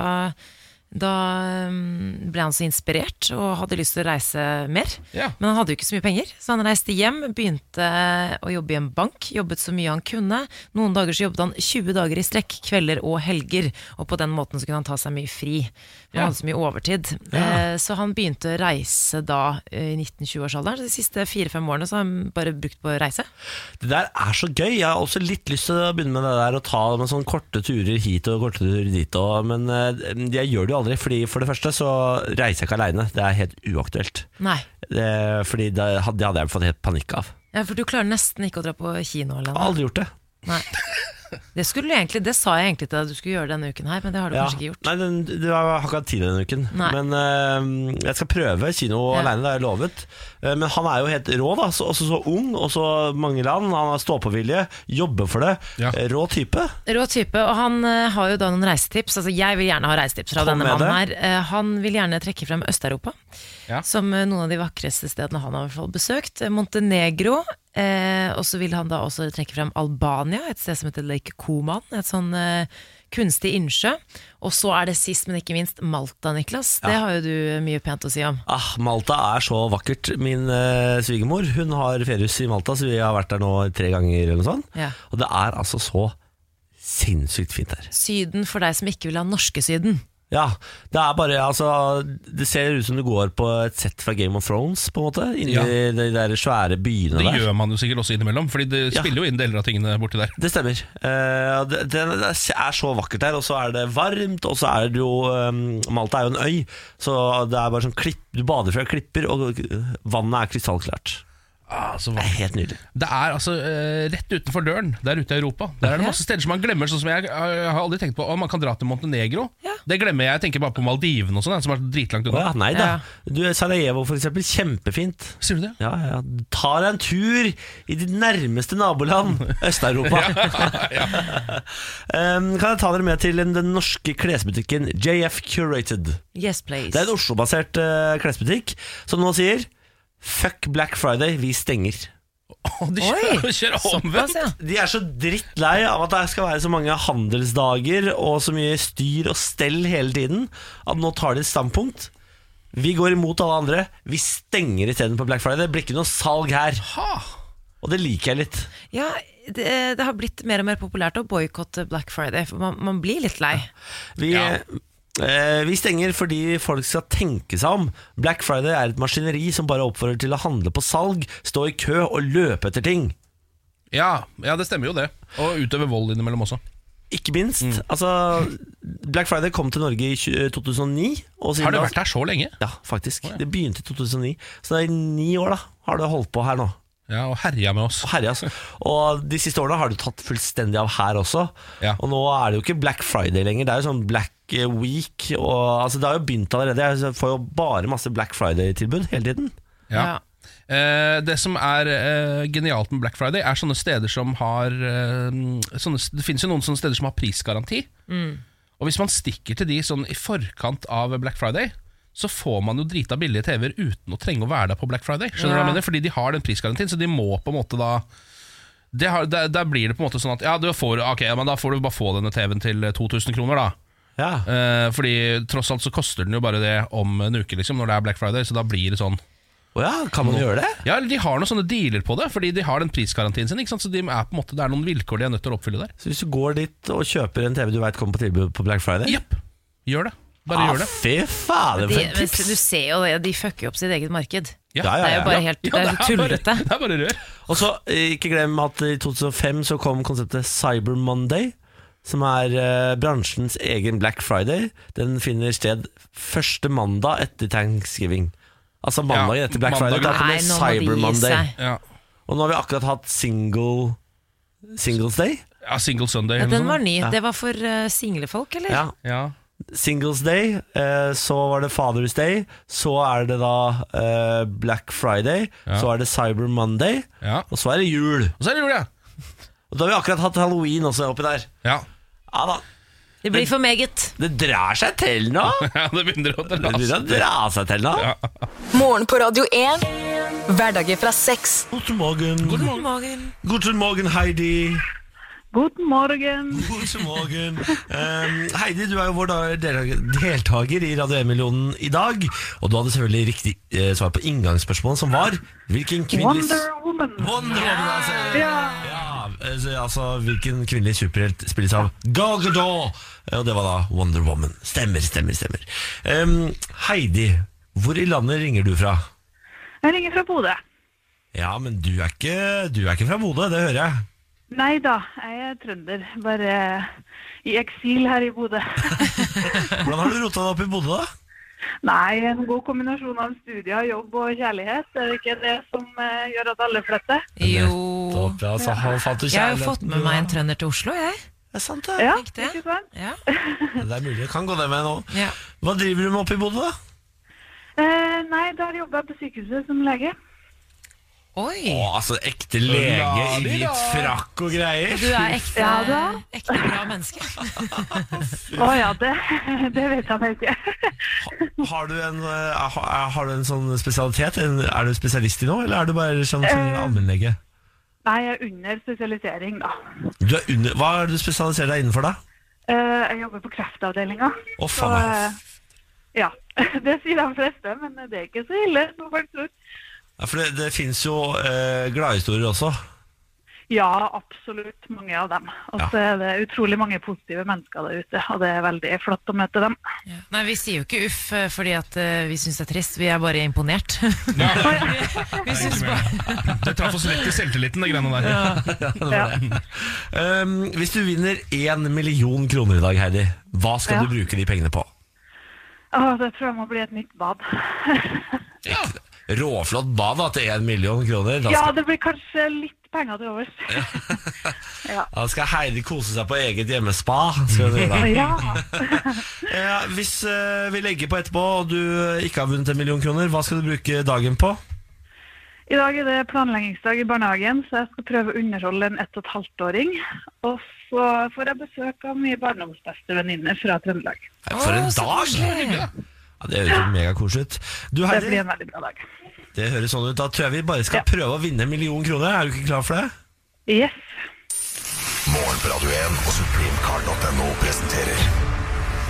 [SPEAKER 3] da eh, ble han så inspirert og hadde lyst til å reise mer.
[SPEAKER 2] Ja.
[SPEAKER 3] Men han hadde jo ikke så mye penger, så han reiste hjem, begynte å jobbe i en bank, jobbet så mye han kunne. Noen dager så jobbet han 20 dager i strekk, kvelder og helger, og på den måten så kunne han ta seg mye fri. Han hadde så mye overtid. Eh, Så han begynte å reise da eh, i 19-20-årsalderen. De siste fire-fem årene så har han bare brukt på å reise.
[SPEAKER 1] Det der er så gøy. Jeg har også litt lyst til å begynne med det der å ta med sånne korte turer hit og korte turer dit. Og, men eh, jeg gjør det jo aldri, fordi for det første så reiser jeg ikke aleine. Det er helt uaktuelt.
[SPEAKER 3] Nei.
[SPEAKER 1] Eh, Fordi det hadde det hadde jeg fått helt panikk av.
[SPEAKER 3] Ja, for du klarer nesten ikke å dra på kino
[SPEAKER 1] Jeg har
[SPEAKER 3] alene.
[SPEAKER 1] aldri gjort det.
[SPEAKER 3] Nei. Det, skulle du egentlig, det sa jeg egentlig til deg at du skulle gjøre denne uken her, men det har du
[SPEAKER 1] Ja.
[SPEAKER 3] kanskje ikke gjort.
[SPEAKER 1] Nei, den, du har har ikke hatt tid denne uken.
[SPEAKER 3] Nei.
[SPEAKER 1] Men eh, jeg skal prøve kino
[SPEAKER 3] Ja.
[SPEAKER 1] alene, det har jeg lovet. Eh, men han er jo helt rå, da. Så, også så ung, og så mange land. Han har ståpåvilje, jobber for det.
[SPEAKER 2] Ja.
[SPEAKER 1] Eh, Rå type.
[SPEAKER 3] Rå type, og han eh, har jo da noen reisetips. Altså, jeg vil gjerne ha reisetips fra
[SPEAKER 1] Kom
[SPEAKER 3] denne
[SPEAKER 1] med
[SPEAKER 3] mannen her. Eh, han vil gjerne trekke frem Øst-Europa,
[SPEAKER 2] Ja.
[SPEAKER 3] som eh, noen av de vakreste stedene han har i hvert fall besøkt. Eh, Montenegro, eh, og så vil han da også trekke frem Albania, et sted som heter Lake Koman, et sånn eh, kunstig innsjø. Og så er det sist, men ikke minst, Malta, Niklas. Det har jo du mye pent å si om.
[SPEAKER 1] Ah, Malta er så vakkert. Min eh, svigermor hun har feriehus i Malta, så vi har vært der nå tre ganger. eller noe sånt.
[SPEAKER 3] Ja.
[SPEAKER 1] Og det er altså så sinnssykt fint der.
[SPEAKER 3] Syden for deg som ikke vil ha norske Syden.
[SPEAKER 1] Ja, Det er bare, altså, det ser ut som du går på et sett fra Game of Thrones, på en måte. Inni
[SPEAKER 2] Ja.
[SPEAKER 1] de der svære byene
[SPEAKER 2] Det
[SPEAKER 1] der.
[SPEAKER 2] gjør man jo sikkert også innimellom, Fordi det
[SPEAKER 1] Ja.
[SPEAKER 2] spiller jo inn deler av tingene borti der.
[SPEAKER 1] Det stemmer. Eh, og det, det det er så vakkert der, og så er det varmt, og så er det jo eh, Malta er jo en øy, så det er bare sånn klipp, du bader fra klipper, og vannet er krystallklart.
[SPEAKER 2] Ah, så
[SPEAKER 1] Det
[SPEAKER 2] hva-
[SPEAKER 1] er helt nydelig.
[SPEAKER 2] Det er altså eh, rett utenfor døren, der ute i Europa. Der er det masse steder som man glemmer. Sånn som jeg, eh, har aldri tenkt på Å, man kan dra til Montenegro.
[SPEAKER 3] Ja.
[SPEAKER 2] Det glemmer jeg. Jeg tenker bare på Maldivene og sånn, som er dritlangt
[SPEAKER 1] Å
[SPEAKER 2] unna.
[SPEAKER 1] ja, nei da. Du, Sarajevo, for eksempel. Kjempefint.
[SPEAKER 2] Sier du det?
[SPEAKER 1] Ja, ja. Ta deg en tur i ditt nærmeste naboland, Øst-Europa. <laughs> um, kan jeg ta dere med til den, den norske klesbutikken JF Curated.
[SPEAKER 3] Yes, please.
[SPEAKER 1] Det er en Oslo-basert eh, klesbutikk som nå sier Fuck Black Friday, vi stenger.
[SPEAKER 2] Å, de
[SPEAKER 3] Oi,
[SPEAKER 2] kjører, <laughs> kjører
[SPEAKER 3] Såpass,
[SPEAKER 2] omvendt!
[SPEAKER 3] ja.
[SPEAKER 1] De er så drittlei av at det skal være så mange handelsdager og så mye styr og stell hele tiden, at nå tar de et standpunkt. Vi går imot alle andre. Vi stenger isteden på Black Friday. Det blir ikke noe salg her.
[SPEAKER 2] Ha!
[SPEAKER 1] Og det liker jeg litt.
[SPEAKER 3] Ja, det, det har blitt mer og mer populært å boikotte Black Friday, for man, man blir litt lei.
[SPEAKER 1] Vi,
[SPEAKER 2] Ja.
[SPEAKER 1] eh, vi stenger fordi folk skal tenke seg om. Black Friday er et maskineri som bare oppfordrer til å handle på salg, stå i kø og løpe etter ting.
[SPEAKER 2] Ja, ja, det stemmer jo det. Og utøve vold innimellom også.
[SPEAKER 1] Ikke minst.
[SPEAKER 2] Mm.
[SPEAKER 1] Altså, Black Friday kom til Norge i tjue- 2009. Og siden
[SPEAKER 2] Har det
[SPEAKER 1] da-
[SPEAKER 2] vært her så lenge?
[SPEAKER 1] Ja, faktisk. Det begynte i 2009. Så det er i ni år da har du holdt på her nå.
[SPEAKER 2] Ja, Og herja med oss.
[SPEAKER 1] Og herja, altså. Og de siste årene har du tatt fullstendig av her også.
[SPEAKER 2] Ja.
[SPEAKER 1] Og nå er det jo ikke Black Friday lenger, det er jo sånn Black Week. Og, altså, det har jo begynt allerede. Jeg får jo bare masse Black Friday-tilbud hele tiden.
[SPEAKER 2] Ja. Eh, det som er eh, genialt med Black Friday, er sånne steder som har eh, sånne, Det finnes jo noen sånne steder som har prisgaranti. Og hvis man stikker til de sånn i forkant av Black Friday, så får man jo drita billige TV-er uten å trenge å være der på Black Friday. Skjønner du hva
[SPEAKER 3] Ja.
[SPEAKER 2] jeg mener? Fordi de har den prisgarantien, så de må på en måte da det har, der, der blir det på en måte sånn at Ja, du får, ok, ja, men da får du bare få denne TV-en til 2000 kroner, da.
[SPEAKER 1] Ja.
[SPEAKER 2] Eh, fordi tross alt så koster den jo bare det om en uke, liksom, når det er Black Friday. Så da blir det sånn
[SPEAKER 1] Å ja, kan man gjøre det?
[SPEAKER 2] ja, eller De har noen sånne dealer på det, fordi de har den prisgarantien sin. ikke sant? Så de er på en måte, Det er noen vilkår de er nødt til å oppfylle der.
[SPEAKER 1] Så hvis du går dit og kjøper en TV du veit kommer på tilbud på Black Friday
[SPEAKER 2] Jepp, gjør det. Bare
[SPEAKER 1] Ah,
[SPEAKER 2] gjør det.
[SPEAKER 1] Fy fader, for
[SPEAKER 3] De,
[SPEAKER 1] et
[SPEAKER 3] men
[SPEAKER 1] tips!
[SPEAKER 3] du ser jo det, de fucker jo opp sitt eget marked.
[SPEAKER 2] Ja,
[SPEAKER 1] Ja, ja,
[SPEAKER 3] Det er jo
[SPEAKER 1] ja.
[SPEAKER 3] bare helt det er
[SPEAKER 2] bare-
[SPEAKER 3] tullete.
[SPEAKER 2] Det er bare rør.
[SPEAKER 1] Og så, eh, ikke glem at i 2005 så kom konseptet Cyber Monday, som er eh, bransjens egen Black Friday. Den finner sted første mandag etter Thanksgiving. Altså mandagen
[SPEAKER 2] Ja,
[SPEAKER 1] etter Black
[SPEAKER 2] mandagen.
[SPEAKER 1] Friday. Da
[SPEAKER 3] Nei,
[SPEAKER 1] kommer
[SPEAKER 3] nå må
[SPEAKER 1] Cyber
[SPEAKER 3] de gi
[SPEAKER 1] Monday.
[SPEAKER 3] seg.
[SPEAKER 2] Ja.
[SPEAKER 1] Og nå har vi akkurat hatt single Singles Day.
[SPEAKER 2] Ja, Single Sunday.
[SPEAKER 3] Ja,
[SPEAKER 2] eller
[SPEAKER 3] den
[SPEAKER 2] noe
[SPEAKER 3] var
[SPEAKER 2] sånt.
[SPEAKER 3] ny. Det var for eh, single folk, eller?
[SPEAKER 1] Ja.
[SPEAKER 2] ja.
[SPEAKER 1] Singles Day, eh, så var det Father's Day, så er det da eh, Black Friday,
[SPEAKER 2] Ja.
[SPEAKER 1] så er det Cyber Monday,
[SPEAKER 2] ja.
[SPEAKER 1] og så er det jul.
[SPEAKER 2] Og så er det jul, ja.
[SPEAKER 1] Og da har vi akkurat hatt halloween også oppi der.
[SPEAKER 2] Ja,
[SPEAKER 1] Ja da,
[SPEAKER 3] Det blir for meget.
[SPEAKER 1] det drar seg til nå.
[SPEAKER 2] ja det begynner å
[SPEAKER 1] Det begynner å dra seg til nå.
[SPEAKER 4] Morgen på Radio 1. Hverdager fra seks.
[SPEAKER 1] God morgen. God morgen.
[SPEAKER 3] Morgen.
[SPEAKER 1] Heidi.
[SPEAKER 5] God morgen.
[SPEAKER 1] God morgen. Um, Heidi, du er jo vår da- deltaker- deltaker i Radio 1-millionen i dag. Og du hadde selvfølgelig riktig eh, svar på inngangsspørsmålet, som var hvilken kvinnelig
[SPEAKER 5] Wonder Woman.
[SPEAKER 1] Wonder Woman, altså.
[SPEAKER 5] Ja.
[SPEAKER 1] Ja, eh, så, altså hvilken kvinnelig superhelt spilles av Gal Gadot? Eh, Og det var da Wonder Woman. Stemmer, stemmer, stemmer. Um, Heidi, hvor i landet ringer du fra?
[SPEAKER 5] Jeg ringer fra Bodø.
[SPEAKER 1] Ja, men du er ikke, du er ikke fra Bodø, det hører jeg.
[SPEAKER 5] Nei da, jeg er trønder. Bare i eksil her i Bodø.
[SPEAKER 1] Hvordan har du rota deg opp i Bodø, da?
[SPEAKER 5] Nei, en god kombinasjon av studier, jobb og kjærlighet. Er det ikke det som eh, gjør at alle flytter?
[SPEAKER 3] <laughs> Jo
[SPEAKER 1] Topp, ja, så har- fant du
[SPEAKER 3] Jeg har jo
[SPEAKER 1] kjærligheten
[SPEAKER 3] fått
[SPEAKER 1] du
[SPEAKER 3] med meg en
[SPEAKER 1] har.
[SPEAKER 3] trønder til Oslo, jeg.
[SPEAKER 1] Det er sant, det.
[SPEAKER 5] Ja,
[SPEAKER 3] Riktig.
[SPEAKER 5] ikke sant?
[SPEAKER 3] Ja.
[SPEAKER 1] Det er mulig. Jeg kan gå det med nå.
[SPEAKER 3] Ja.
[SPEAKER 1] Hva driver du med oppe i Bodø, da?
[SPEAKER 5] Eh, nei, der jobber jeg på sykehuset som lege.
[SPEAKER 3] Oi.
[SPEAKER 1] Å, altså ekte lege i
[SPEAKER 2] Lali, da.
[SPEAKER 1] hvit frakk og greier.
[SPEAKER 3] Du er ekte,
[SPEAKER 5] Ja da.
[SPEAKER 3] ekte bra menneske.
[SPEAKER 5] Å ja, det, <laughs> det vet jeg nå ikke. <laughs>
[SPEAKER 1] Har du en, eh, ha- har du en sånn spesialitet? En, er du spesialist i noe, eller er du bare sånn,
[SPEAKER 5] Eh.
[SPEAKER 1] sånn allmennlege?
[SPEAKER 5] Nei, jeg er under spesialisering, da.
[SPEAKER 1] Du er under, hva er det du spesialiserer deg innenfor, da?
[SPEAKER 5] Eh, jeg jobber på kreftavdelinga.
[SPEAKER 1] Å,
[SPEAKER 5] Så,
[SPEAKER 1] faen meg.
[SPEAKER 5] eh, ja. <laughs> Det sier de fleste, men det er ikke så ille som folk tror.
[SPEAKER 1] Ja, for det, det finnes jo eh, gladhistorier også.
[SPEAKER 5] Ja, absolutt. Mange av dem. Og så er det utrolig mange positive mennesker der ute, og det er veldig flott å møte dem.
[SPEAKER 3] Ja. Nei, vi sier jo ikke uff eh, fordi at eh, vi syns det er trist, vi er bare imponert. <laughs> vi syns bare
[SPEAKER 2] Det traff oss rett i selvtilliten, det greiene der.
[SPEAKER 5] Ja.
[SPEAKER 1] Um, hvis du vinner én million kroner i dag, Heidi, hva skal
[SPEAKER 5] Ja.
[SPEAKER 1] du bruke de pengene på?
[SPEAKER 5] Å, det tror jeg må bli et nytt bad.
[SPEAKER 1] Råflott bad da, til én million kroner. Da
[SPEAKER 5] Ja,
[SPEAKER 1] skal,
[SPEAKER 5] det blir kanskje litt penger til <laughs> overs.
[SPEAKER 1] da skal Heidi kose seg på eget hjemmespa. Skal hun gjøre da.
[SPEAKER 5] <laughs> Ja.
[SPEAKER 1] Ja, hvis eh, vi legger på etterpå og du eh, ikke har vunnet en million kroner, hva skal du bruke dagen på?
[SPEAKER 5] I dag er det planleggingsdag i barnehagen, så jeg skal prøve å underholde en ett og et halvt åring. Og så får jeg besøk av mye barndomsbeste venninner fra Trøndelag.
[SPEAKER 1] Nei, For en
[SPEAKER 3] Å, så
[SPEAKER 1] dag!
[SPEAKER 3] koselig.
[SPEAKER 1] Ja, det høres jo megakoselig ut. Du
[SPEAKER 5] Det
[SPEAKER 1] Heidi,
[SPEAKER 5] blir en veldig bra dag.
[SPEAKER 1] det høres sånn ut. Da tror jeg vi bare skal
[SPEAKER 5] Ja.
[SPEAKER 1] prøve å vinne en million kroner. Er du ikke klar for det?
[SPEAKER 5] Yes.
[SPEAKER 6] Morgen på Radio 1 og supremecard.no presenterer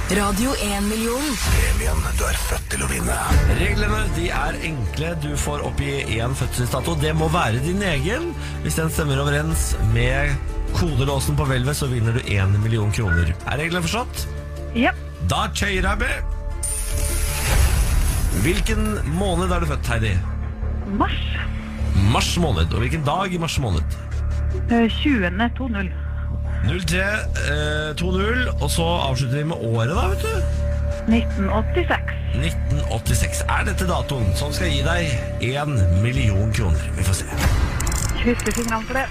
[SPEAKER 4] Radio 1-million.
[SPEAKER 6] premien du er født til å vinne.
[SPEAKER 1] Reglene de er enkle. Du får oppgi én fødselsdato. Det må være din egen. Hvis den stemmer overens med kodelåsen på hvelvet, så vinner du én million kroner. Er reglene forstått?
[SPEAKER 5] Ja.
[SPEAKER 1] Da kjører jeg med. Hvilken måned er du født, Heidi?
[SPEAKER 5] Mars
[SPEAKER 1] Mars måned. Og hvilken dag i mars måned?
[SPEAKER 5] eh, 20. 2.0.
[SPEAKER 1] 03, eh, 20, og så avslutter vi med året, da, vet du.
[SPEAKER 5] 1986.
[SPEAKER 1] 1986. Er dette datoen som skal gi deg én million kroner? Vi får se.
[SPEAKER 5] Krysser fingrene for det.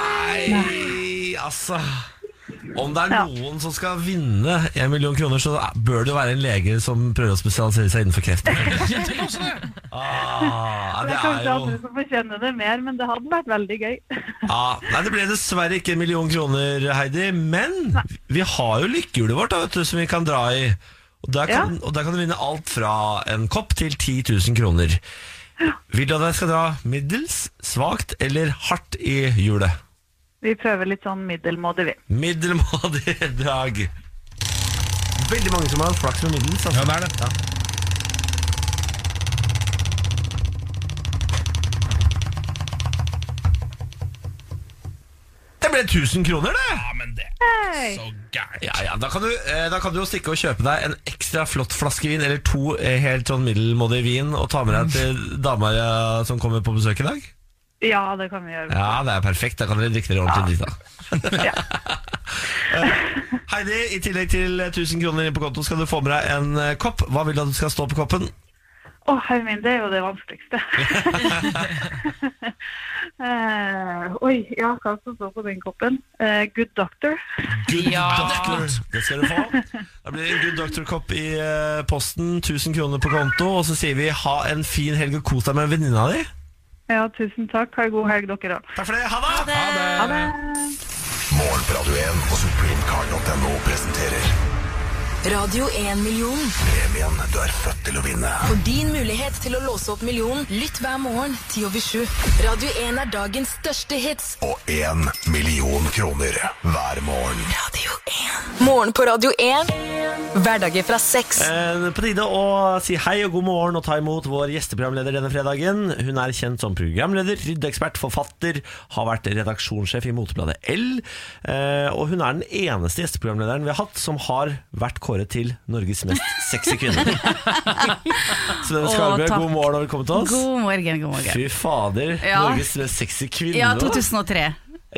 [SPEAKER 1] Nei, altså Om det er noen som skal vinne én million kroner, så bør det jo være en lege som prøver å spesialisere seg innenfor
[SPEAKER 2] <laughs>
[SPEAKER 1] kreft.
[SPEAKER 2] Jeg tenker også det.
[SPEAKER 1] Ah,
[SPEAKER 5] Det
[SPEAKER 1] det
[SPEAKER 5] er
[SPEAKER 1] er
[SPEAKER 5] kanskje
[SPEAKER 1] jo
[SPEAKER 5] andre som fortjener det mer, men det hadde vært veldig gøy. <laughs>
[SPEAKER 1] Ja, nei, Det ble dessverre ikke en million kroner, Heidi. Men vi har jo lykkehjulet vårt da, vet du, som vi kan dra i. Og der kan, og der kan du vinne alt fra en kopp til 10 000 kroner. Vil du at jeg skal dra middels, svakt eller hardt i hjulet?
[SPEAKER 5] Vi prøver litt sånn middelmådig, vi.
[SPEAKER 1] Middelmådig drag. Veldig mange som har hatt flaks med middels. Altså.
[SPEAKER 2] Ja, det er det.
[SPEAKER 1] Det ble 1000 kroner, det!
[SPEAKER 2] Ja, men det er så gærent.
[SPEAKER 1] Ja, ja, da kan, du, eh, da kan du jo stikke og kjøpe deg en ekstra flott flaske vin, eller to eh, helt sånn middelmådig vin, og ta med deg til dama eh, som kommer på besøk i dag.
[SPEAKER 5] Ja, det kan vi gjøre.
[SPEAKER 1] <laughs> Ja, det er perfekt. Da kan dere drikke dere ordentlig dritt. da.
[SPEAKER 5] Ja.
[SPEAKER 1] Eh, Heidi, i tillegg til 1000 kroner inn på konto skal du få med deg en eh, kopp. Hva vil du at du skal stå på koppen?
[SPEAKER 5] Å, herre min, det er jo det vanskeligste. Eh, oi, ja, hva som står på den koppen? Eh, good doctor.
[SPEAKER 1] Good
[SPEAKER 3] Ja.
[SPEAKER 1] doctor. Det skal du få. Da blir det en Good Doctor-kopp i eh, posten. 1000 kroner på konto. Og så sier vi ha en fin helg og kos deg med venninna di.
[SPEAKER 5] Ja, tusen takk. Ha en god helg, dere òg.
[SPEAKER 1] Takk for det. Ha det!
[SPEAKER 5] Ha det.
[SPEAKER 6] Morgen på Radio 1 og supremecard.no presenterer
[SPEAKER 4] Radio 1 million.
[SPEAKER 6] premien du er født til å vinne.
[SPEAKER 4] For din mulighet til å låse opp millionen, lytt hver morgen 10 over 7. Radio 1 er dagens største hits.
[SPEAKER 6] Og én million kroner hver morgen.
[SPEAKER 4] Radio 1. Morgen på Radio 1. Hverdager fra seks.
[SPEAKER 1] Eh, På tide å si hei og god morgen og ta imot vår gjesteprogramleder denne fredagen. Hun er kjent som programleder, ryddeekspert, forfatter, har vært redaksjonssjef i Motebladet L. eh, Og hun er den eneste gjesteprogramlederen vi har hatt som har vært kåret til Norges mest sexy kvinne. Så Denne
[SPEAKER 7] Å,
[SPEAKER 1] Skarbø,
[SPEAKER 7] takk.
[SPEAKER 1] god morgen og velkommen til oss.
[SPEAKER 7] God morgen, god morgen.
[SPEAKER 1] Fy fader,
[SPEAKER 7] Ja.
[SPEAKER 1] Norges mest sexy kvinne.
[SPEAKER 7] Ja,
[SPEAKER 1] da.
[SPEAKER 7] 2003.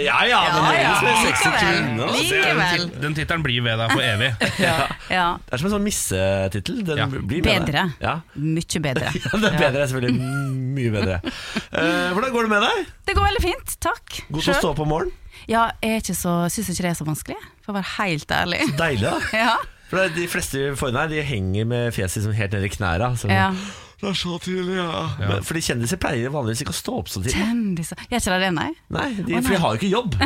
[SPEAKER 1] ja, ja, men
[SPEAKER 7] Ja, ja,
[SPEAKER 1] Norges mest sexy
[SPEAKER 7] likevel.
[SPEAKER 1] kvinne. da.
[SPEAKER 7] Likevel.
[SPEAKER 2] Den tittelen blir ved deg for evig.
[SPEAKER 7] Ja,
[SPEAKER 1] Det er som en sånn missetittel. Den
[SPEAKER 2] Ja.
[SPEAKER 1] blir med
[SPEAKER 7] bedre.
[SPEAKER 1] deg. Ja. <laughs>
[SPEAKER 7] Mye bedre.
[SPEAKER 1] Ja, det er bedre, selvfølgelig. Mm, Mye
[SPEAKER 7] <laughs>
[SPEAKER 1] bedre. Eh, hvordan går det med deg?
[SPEAKER 7] Det går veldig fint, takk.
[SPEAKER 1] God til å
[SPEAKER 7] Selv?
[SPEAKER 1] stå opp om morgenen?
[SPEAKER 7] Ja, jeg syns ikke det er så vanskelig, for å være helt ærlig.
[SPEAKER 1] Deilig, da.
[SPEAKER 7] <laughs> Ja,
[SPEAKER 1] For det er De fleste foran her de henger med fjeset liksom helt ned i knærne. Så.
[SPEAKER 7] ja.
[SPEAKER 1] Det er så tidlig, ja. Men, fordi kjendiser pleier vanligvis ikke å stå opp så tidlig.
[SPEAKER 7] Kjendiser Gjør ikke det det, nei?
[SPEAKER 1] Nei, de, For de har jo ikke jobb.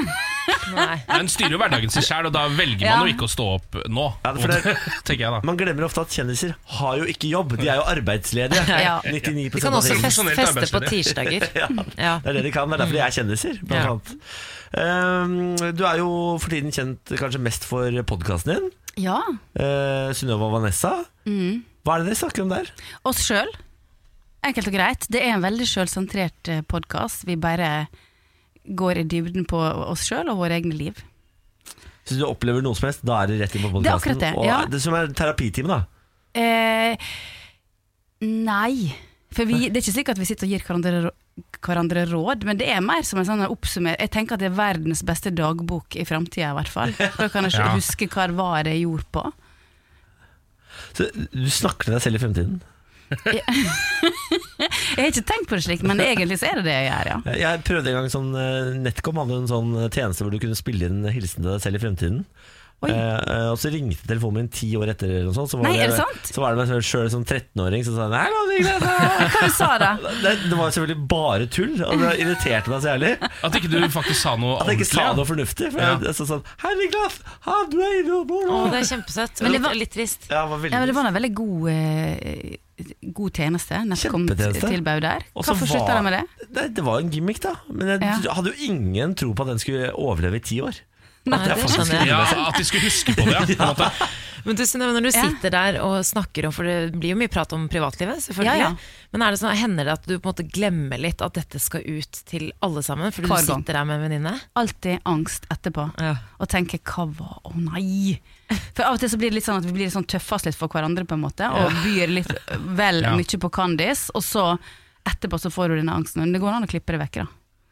[SPEAKER 3] Nei.
[SPEAKER 2] Den styrer jo hverdagen sin sjæl, og da velger
[SPEAKER 7] Ja.
[SPEAKER 2] man jo ikke å stå opp nå.
[SPEAKER 1] Ja, for det-
[SPEAKER 2] <laughs> tenker jeg da
[SPEAKER 1] Man glemmer ofte at kjendiser har jo ikke jobb,
[SPEAKER 7] <laughs>
[SPEAKER 1] de er jo arbeidsledige. <laughs>
[SPEAKER 7] Ja.
[SPEAKER 1] 99
[SPEAKER 3] De kan
[SPEAKER 1] av
[SPEAKER 3] også
[SPEAKER 1] tiden.
[SPEAKER 3] fest,
[SPEAKER 2] Profesjonelt
[SPEAKER 3] feste på
[SPEAKER 2] arbeidsledig.
[SPEAKER 3] tirsdager. <laughs> Ja.
[SPEAKER 1] Det er det de kan, det er derfor de
[SPEAKER 7] Mm.
[SPEAKER 1] er kjendiser, blant
[SPEAKER 3] Ja.
[SPEAKER 1] annet. Eh, du er jo for tiden kjent kanskje mest for podkasten din,
[SPEAKER 7] Ja.
[SPEAKER 1] uh, Synnøve og Vanessa.
[SPEAKER 7] Mm.
[SPEAKER 1] Hva er det dere snakker om der?
[SPEAKER 7] Oss sjøl. Enkelt og greit. Det er en veldig sjølsentrert podkast. Vi bare går i dybden på oss sjøl og våre egne liv.
[SPEAKER 1] Så du opplever noe som helst, da er det rett inn på
[SPEAKER 7] Det er
[SPEAKER 1] podkasten.
[SPEAKER 7] akkurat det, ja.
[SPEAKER 1] Og det som er terapitime, da.
[SPEAKER 7] Eh, nei. For vi, det er ikke slik at vi sitter og gir hverandre, rå- hverandre råd, men det er mer som en sånn oppsummer. Jeg tenker at det er verdens beste dagbok i framtida, i hvert
[SPEAKER 1] <laughs>
[SPEAKER 7] fall. Da kan jeg ikke
[SPEAKER 2] Ja.
[SPEAKER 7] huske hva det var jeg gjorde på.
[SPEAKER 1] Så du snakker til deg selv i fremtiden.
[SPEAKER 7] Jeg har ikke tenkt på det slik, men egentlig så er det det jeg
[SPEAKER 1] <laughs>
[SPEAKER 7] gjør, ja.
[SPEAKER 1] Jeg prøvde en gang sånn eh, Netcom hadde en sånn tjeneste hvor du kunne spille inn hilsen til deg selv i fremtiden.
[SPEAKER 7] Oi.
[SPEAKER 1] Eh, eh, og så ringte telefonen min ti år etter, eller noe sånt. Så var
[SPEAKER 7] Nei, er
[SPEAKER 1] det,
[SPEAKER 7] det sant?
[SPEAKER 1] Så var det meg sjøl som 13-åring som sa Nei, nå, det,
[SPEAKER 7] Hva du sa da?
[SPEAKER 1] det, det var selvfølgelig bare tull, og det irriterte meg så jævlig.
[SPEAKER 2] At ikke du faktisk sa noe
[SPEAKER 1] At jeg ikke
[SPEAKER 2] ordentlig.
[SPEAKER 1] sa
[SPEAKER 2] ja.
[SPEAKER 1] noe fornuftig. For
[SPEAKER 2] Ja.
[SPEAKER 1] jeg, jeg sa sånn Hei, Niklas! Ha, du er inne og bor
[SPEAKER 3] Å,
[SPEAKER 1] nå!
[SPEAKER 3] det er kjempesøtt.
[SPEAKER 1] Men
[SPEAKER 3] Men
[SPEAKER 1] det var-
[SPEAKER 3] litt trist.
[SPEAKER 1] Ja, det var
[SPEAKER 7] Ja, men
[SPEAKER 1] veldig
[SPEAKER 7] det var en veldig god, eh, god tjeneste. Netcom
[SPEAKER 1] Kjempetjeneste.
[SPEAKER 7] tilbød der.
[SPEAKER 1] Og så
[SPEAKER 7] Hvorfor slutta
[SPEAKER 1] var-
[SPEAKER 7] de med det?
[SPEAKER 1] Nei, det var en gimmick, da. Men jeg
[SPEAKER 7] Ja.
[SPEAKER 1] hadde jo ingen tro på at den skulle overleve i ti år.
[SPEAKER 3] Nei,
[SPEAKER 1] det er
[SPEAKER 3] det
[SPEAKER 1] faktisk
[SPEAKER 3] skjønner jeg.
[SPEAKER 2] Ja, At de skulle huske på
[SPEAKER 1] <laughs>
[SPEAKER 2] det. Ja, på en måte.
[SPEAKER 3] Men du, Synnøve, når du
[SPEAKER 7] Ja.
[SPEAKER 3] sitter der og snakker om For det blir jo mye prat om privatlivet, selvfølgelig.
[SPEAKER 7] Ja, ja.
[SPEAKER 3] Men er det sånn, hender det at du på en måte glemmer litt at dette skal ut til alle sammen? Fordi
[SPEAKER 7] Hver
[SPEAKER 3] du
[SPEAKER 7] gang.
[SPEAKER 3] sitter der med en venninne?
[SPEAKER 7] alltid angst etterpå
[SPEAKER 3] Ja.
[SPEAKER 7] og tenker 'hva var Å nei!' For av og til så blir det litt sånn at vi blir litt sånn tøffast litt for hverandre, på en måte, og byr litt vel
[SPEAKER 2] Ja.
[SPEAKER 7] mye på Candice, og så etterpå så får du denne angsten. Men det går an å klippe det vekk, da.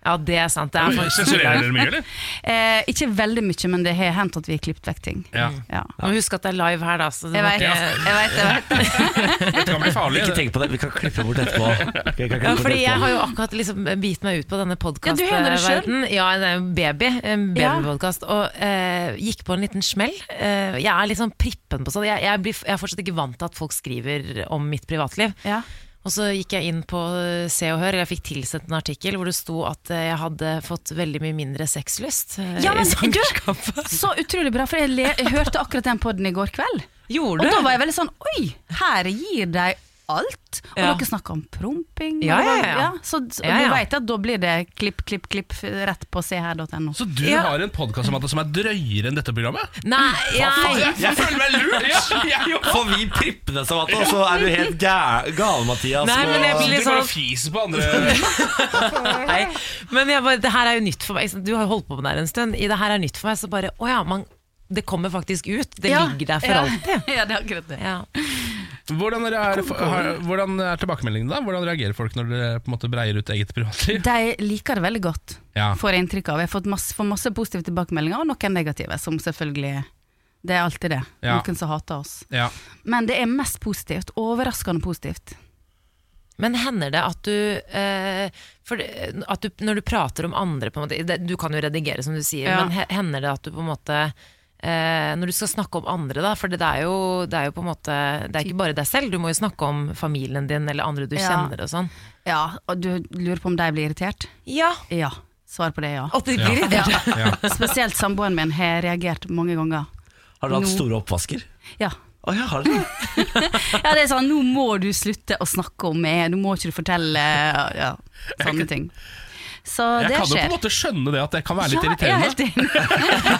[SPEAKER 3] Ja, det er sant. Det er faktisk
[SPEAKER 2] Sensurerer dere mye, eller?
[SPEAKER 7] Eh, ikke veldig mye, men det har hendt at vi har klippet vekk ting.
[SPEAKER 2] Ja.
[SPEAKER 7] Ja.
[SPEAKER 3] Må huske at det er live her, da. Så du
[SPEAKER 7] Jeg
[SPEAKER 3] må
[SPEAKER 7] veit,
[SPEAKER 3] ikke-
[SPEAKER 7] jeg vet, jeg vet.
[SPEAKER 2] Det kan bli farlig.
[SPEAKER 1] Ikke tenk på det, vi kan klippe bort etterpå. <laughs> Vi kan klippe
[SPEAKER 3] Ja,
[SPEAKER 1] bort
[SPEAKER 3] fordi jeg
[SPEAKER 1] etterpå.
[SPEAKER 3] har jo akkurat liksom bitt meg ut på denne
[SPEAKER 7] Ja, du hører det selv.
[SPEAKER 3] podkastverdenen. Ja, det er en baby. En
[SPEAKER 7] Ja.
[SPEAKER 3] babypodkast. Og eh, gikk på en liten smell. Eh, jeg er litt sånn prippen på sånn. Jeg, jeg, blir, jeg er fortsatt ikke vant til at folk skriver om mitt privatliv.
[SPEAKER 7] Ja.
[SPEAKER 3] Og så gikk jeg inn på eh, Se og Hør, eller jeg fikk tilsendt en artikkel hvor det sto at eh, jeg hadde fått veldig mye mindre sexlyst. eh,
[SPEAKER 7] Ja,
[SPEAKER 3] i
[SPEAKER 7] men du,
[SPEAKER 3] svangerskapet.
[SPEAKER 7] så utrolig bra, for jeg, le jeg hørte akkurat den podden i går kveld.
[SPEAKER 3] Gjorde
[SPEAKER 7] Og
[SPEAKER 3] du?
[SPEAKER 7] da var jeg veldig sånn Oi, her gir de alt. Og
[SPEAKER 3] Ja.
[SPEAKER 7] dere snakker om promping. og
[SPEAKER 3] Ja,
[SPEAKER 7] det var-
[SPEAKER 3] ja, ja.
[SPEAKER 7] så så
[SPEAKER 3] Ja, ja.
[SPEAKER 7] du veit at da blir det klipp, klipp, klipp rett på seher.no.
[SPEAKER 2] Så du
[SPEAKER 3] Ja.
[SPEAKER 2] har en podkast om at det som er drøyere enn dette programmet?
[SPEAKER 3] Nei, jeg,
[SPEAKER 2] Jeg føler meg lurt! Ja, jeg òg.
[SPEAKER 1] Får vi prippene som at Og så er du helt gæ- gal, Mathias.
[SPEAKER 3] Nei, men jeg
[SPEAKER 1] og-
[SPEAKER 3] blir
[SPEAKER 2] Du
[SPEAKER 3] litt
[SPEAKER 2] bare
[SPEAKER 3] sånn-
[SPEAKER 2] fiser på andre.
[SPEAKER 3] Nei, men jeg bare, det her er jo nytt for meg. ikke sant? Du har jo holdt på med det her en stund. I det her er nytt for meg, så
[SPEAKER 7] <laughs>
[SPEAKER 3] bare Å ja, man, det kommer faktisk ut. Det ligger der for alltid.
[SPEAKER 7] Ja, det er akkurat det.
[SPEAKER 3] Ja.
[SPEAKER 2] Hvordan er, har, hvordan er tilbakemeldingene da? Hvordan reagerer folk når dere på en måte breier ut eget privatliv?
[SPEAKER 7] De liker det veldig godt,
[SPEAKER 2] Ja.
[SPEAKER 7] får jeg inntrykk av. Jeg har fått masse, får masse positive tilbakemeldinger, og noen negative, som selvfølgelig Det er alltid det.
[SPEAKER 2] Ja.
[SPEAKER 7] Noen som hater oss.
[SPEAKER 2] Ja.
[SPEAKER 7] Men det er mest positivt. Overraskende positivt.
[SPEAKER 3] Men hender det at du, eh, for, det- at du Når du prater om andre på en måte, det, Du kan jo redigere, som du sier,
[SPEAKER 7] Ja.
[SPEAKER 3] men he- hender det at du på en måte eh, Når du skal snakke om andre, da for det er jo, det er jo på en måte Det er ikke bare deg selv, du må jo snakke om familien din eller andre du
[SPEAKER 7] Ja.
[SPEAKER 3] kjenner og sånn.
[SPEAKER 7] Ja, og du lurer på om de blir irritert?
[SPEAKER 3] Ja.
[SPEAKER 7] Ja. Svar på det er ja.
[SPEAKER 3] At de blir irritert.
[SPEAKER 7] ja. Spesielt samboeren min har reagert mange ganger.
[SPEAKER 1] Har dere hatt
[SPEAKER 7] Nå.
[SPEAKER 1] store oppvasker?
[SPEAKER 7] Ja.
[SPEAKER 1] Å ja, har dere?
[SPEAKER 7] ja, det er sånn Nå må du slutte å snakke om meg, nå må ikke du fortelle ja, sånne ting. Så
[SPEAKER 2] Jeg
[SPEAKER 7] det
[SPEAKER 2] kan jo på
[SPEAKER 7] skjer.
[SPEAKER 2] en måte skjønne det at det kan være litt
[SPEAKER 7] ja, jeg er
[SPEAKER 2] irriterende.
[SPEAKER 7] helt enig.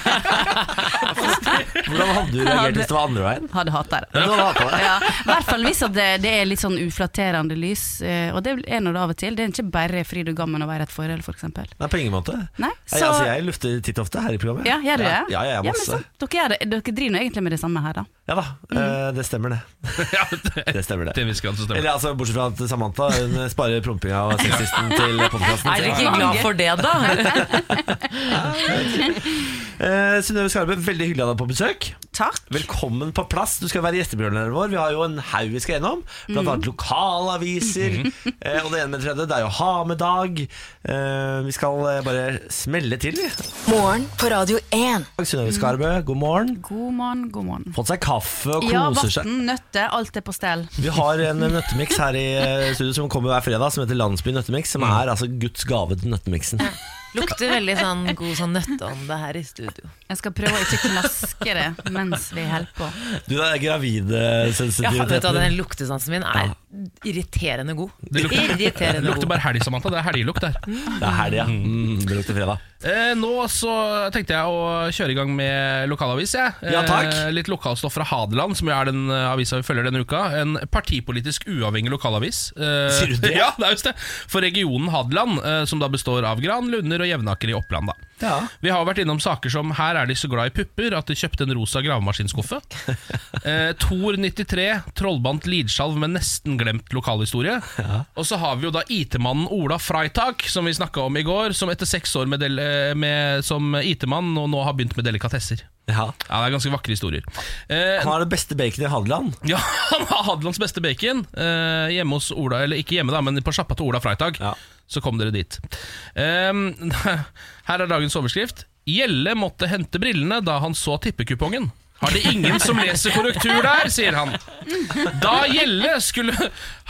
[SPEAKER 7] <laughs>
[SPEAKER 1] Hvordan hadde du reagert hvis det var andre veien?
[SPEAKER 7] Hadde hata det.
[SPEAKER 1] Du hadde hatet det.
[SPEAKER 7] <laughs> Ja, I hvert fall hvis at det, det er litt sånn uflatterende lys, eh, og det er nå det av og til. Det er ikke bare fryd og gammen å være i et forhold, f.eks.
[SPEAKER 1] Nei, på ingen måte.
[SPEAKER 7] Nei,
[SPEAKER 1] Nei,
[SPEAKER 7] så-
[SPEAKER 1] altså, jeg lufter titt ofte her i programmet.
[SPEAKER 7] Ja, gjør du det?
[SPEAKER 1] Ja, ja, ja,
[SPEAKER 7] men
[SPEAKER 1] masse.
[SPEAKER 7] sant, dere, gjør det, dere driver nå egentlig med det samme her, da.
[SPEAKER 1] Ja da,
[SPEAKER 7] Mhm.
[SPEAKER 1] eh, det stemmer det.
[SPEAKER 2] <laughs> Ja, det,
[SPEAKER 1] Det stemmer det.
[SPEAKER 2] til en viss grad så stemmer
[SPEAKER 1] Eller
[SPEAKER 2] det.
[SPEAKER 1] altså, Bortsett fra at Samantha hun sparer prompinga
[SPEAKER 7] <laughs>
[SPEAKER 1] og sexisten til podkasten.
[SPEAKER 3] Er dere ikke glad for det, da?
[SPEAKER 1] Eh, Synnøve Skarbe, veldig hyggelig å ha deg på besøk.
[SPEAKER 7] Takk.
[SPEAKER 1] Velkommen på plass. Du skal være gjesteprogramleder vår. Vi har jo en haug vi skal gjennom.
[SPEAKER 7] Mhm.
[SPEAKER 1] Blant annet lokalaviser. eh, og det ene med det tredje. Det er jo ha-med-dag. Eh, vi skal eh, bare smelle til.
[SPEAKER 4] Morgen på Radio 1.
[SPEAKER 1] Synnøve Skarbø, god morgen.
[SPEAKER 7] God morgen, god morgen.
[SPEAKER 1] Fått seg kaffe og
[SPEAKER 7] Ja,
[SPEAKER 1] koser seg.
[SPEAKER 7] vann, nøtter, alt er på stell.
[SPEAKER 1] Vi har en nøttemiks her i eh, studio som kommer hver fredag, som heter Landsby nøttemiks.
[SPEAKER 3] Mm.
[SPEAKER 1] Som er altså Guds gave til nøttemiksen.
[SPEAKER 3] <laughs> Lukter veldig sånn god sånn nøtteånde her i studio.
[SPEAKER 7] Jeg skal prøve å ikke knaske det mens vi holder på.
[SPEAKER 1] Du, det er
[SPEAKER 3] Ja, vet du, hva,
[SPEAKER 1] gravidesensitiviteten.
[SPEAKER 3] Den luktesansen min er irriterende god.
[SPEAKER 2] Det lukter, <laughs> det
[SPEAKER 3] Irriterende
[SPEAKER 2] lukter
[SPEAKER 3] god.
[SPEAKER 2] bare helg, Samantha. Det er helgelukt der.
[SPEAKER 1] Det er helg, ja. Mm, det lukter fredag.
[SPEAKER 2] Eh, nå så tenkte jeg å kjøre i gang med lokalavis. Jeg.
[SPEAKER 1] Ja, takk.
[SPEAKER 2] Eh, litt lokalstoff fra Hadeland, som jo er den eh, avisa vi følger denne uka. En partipolitisk uavhengig lokalavis. Eh,
[SPEAKER 1] Sier du det?
[SPEAKER 2] <laughs> Ja, det er just det. For regionen Hadeland, eh, som da består av Gran, Lunder og Jevnaker i Oppland. da.
[SPEAKER 1] Ja.
[SPEAKER 2] Vi har vært innom saker som Her er de så glad i pupper at de kjøpte en rosa gravemaskinskuffe. Eh, Tor 93, trollbandt Lidskjalv med nesten glemt lokalhistorie. Og så har vi jo da IT-mannen Ola Freitag, som vi snakka om i går, som etter seks år med del eh, med, som IT-mann og nå har begynt med delikatesser.
[SPEAKER 1] ja.
[SPEAKER 2] Ja, Det er ganske vakre historier. Eh,
[SPEAKER 1] Han har det beste baconet i Hadeland.
[SPEAKER 2] <laughs> ja, han har Hadelands beste bacon. Eh, hjemme hos Ola, eller ikke hjemme da, men på sjappa til Ola Freitag.
[SPEAKER 1] Ja.
[SPEAKER 2] Så kom dere dit. Ehm, <laughs> her er dagens overskrift. Gjelle måtte hente brillene da han så tippekupongen. Har det ingen som leser korrektur der, sier han. Da Gjelle skulle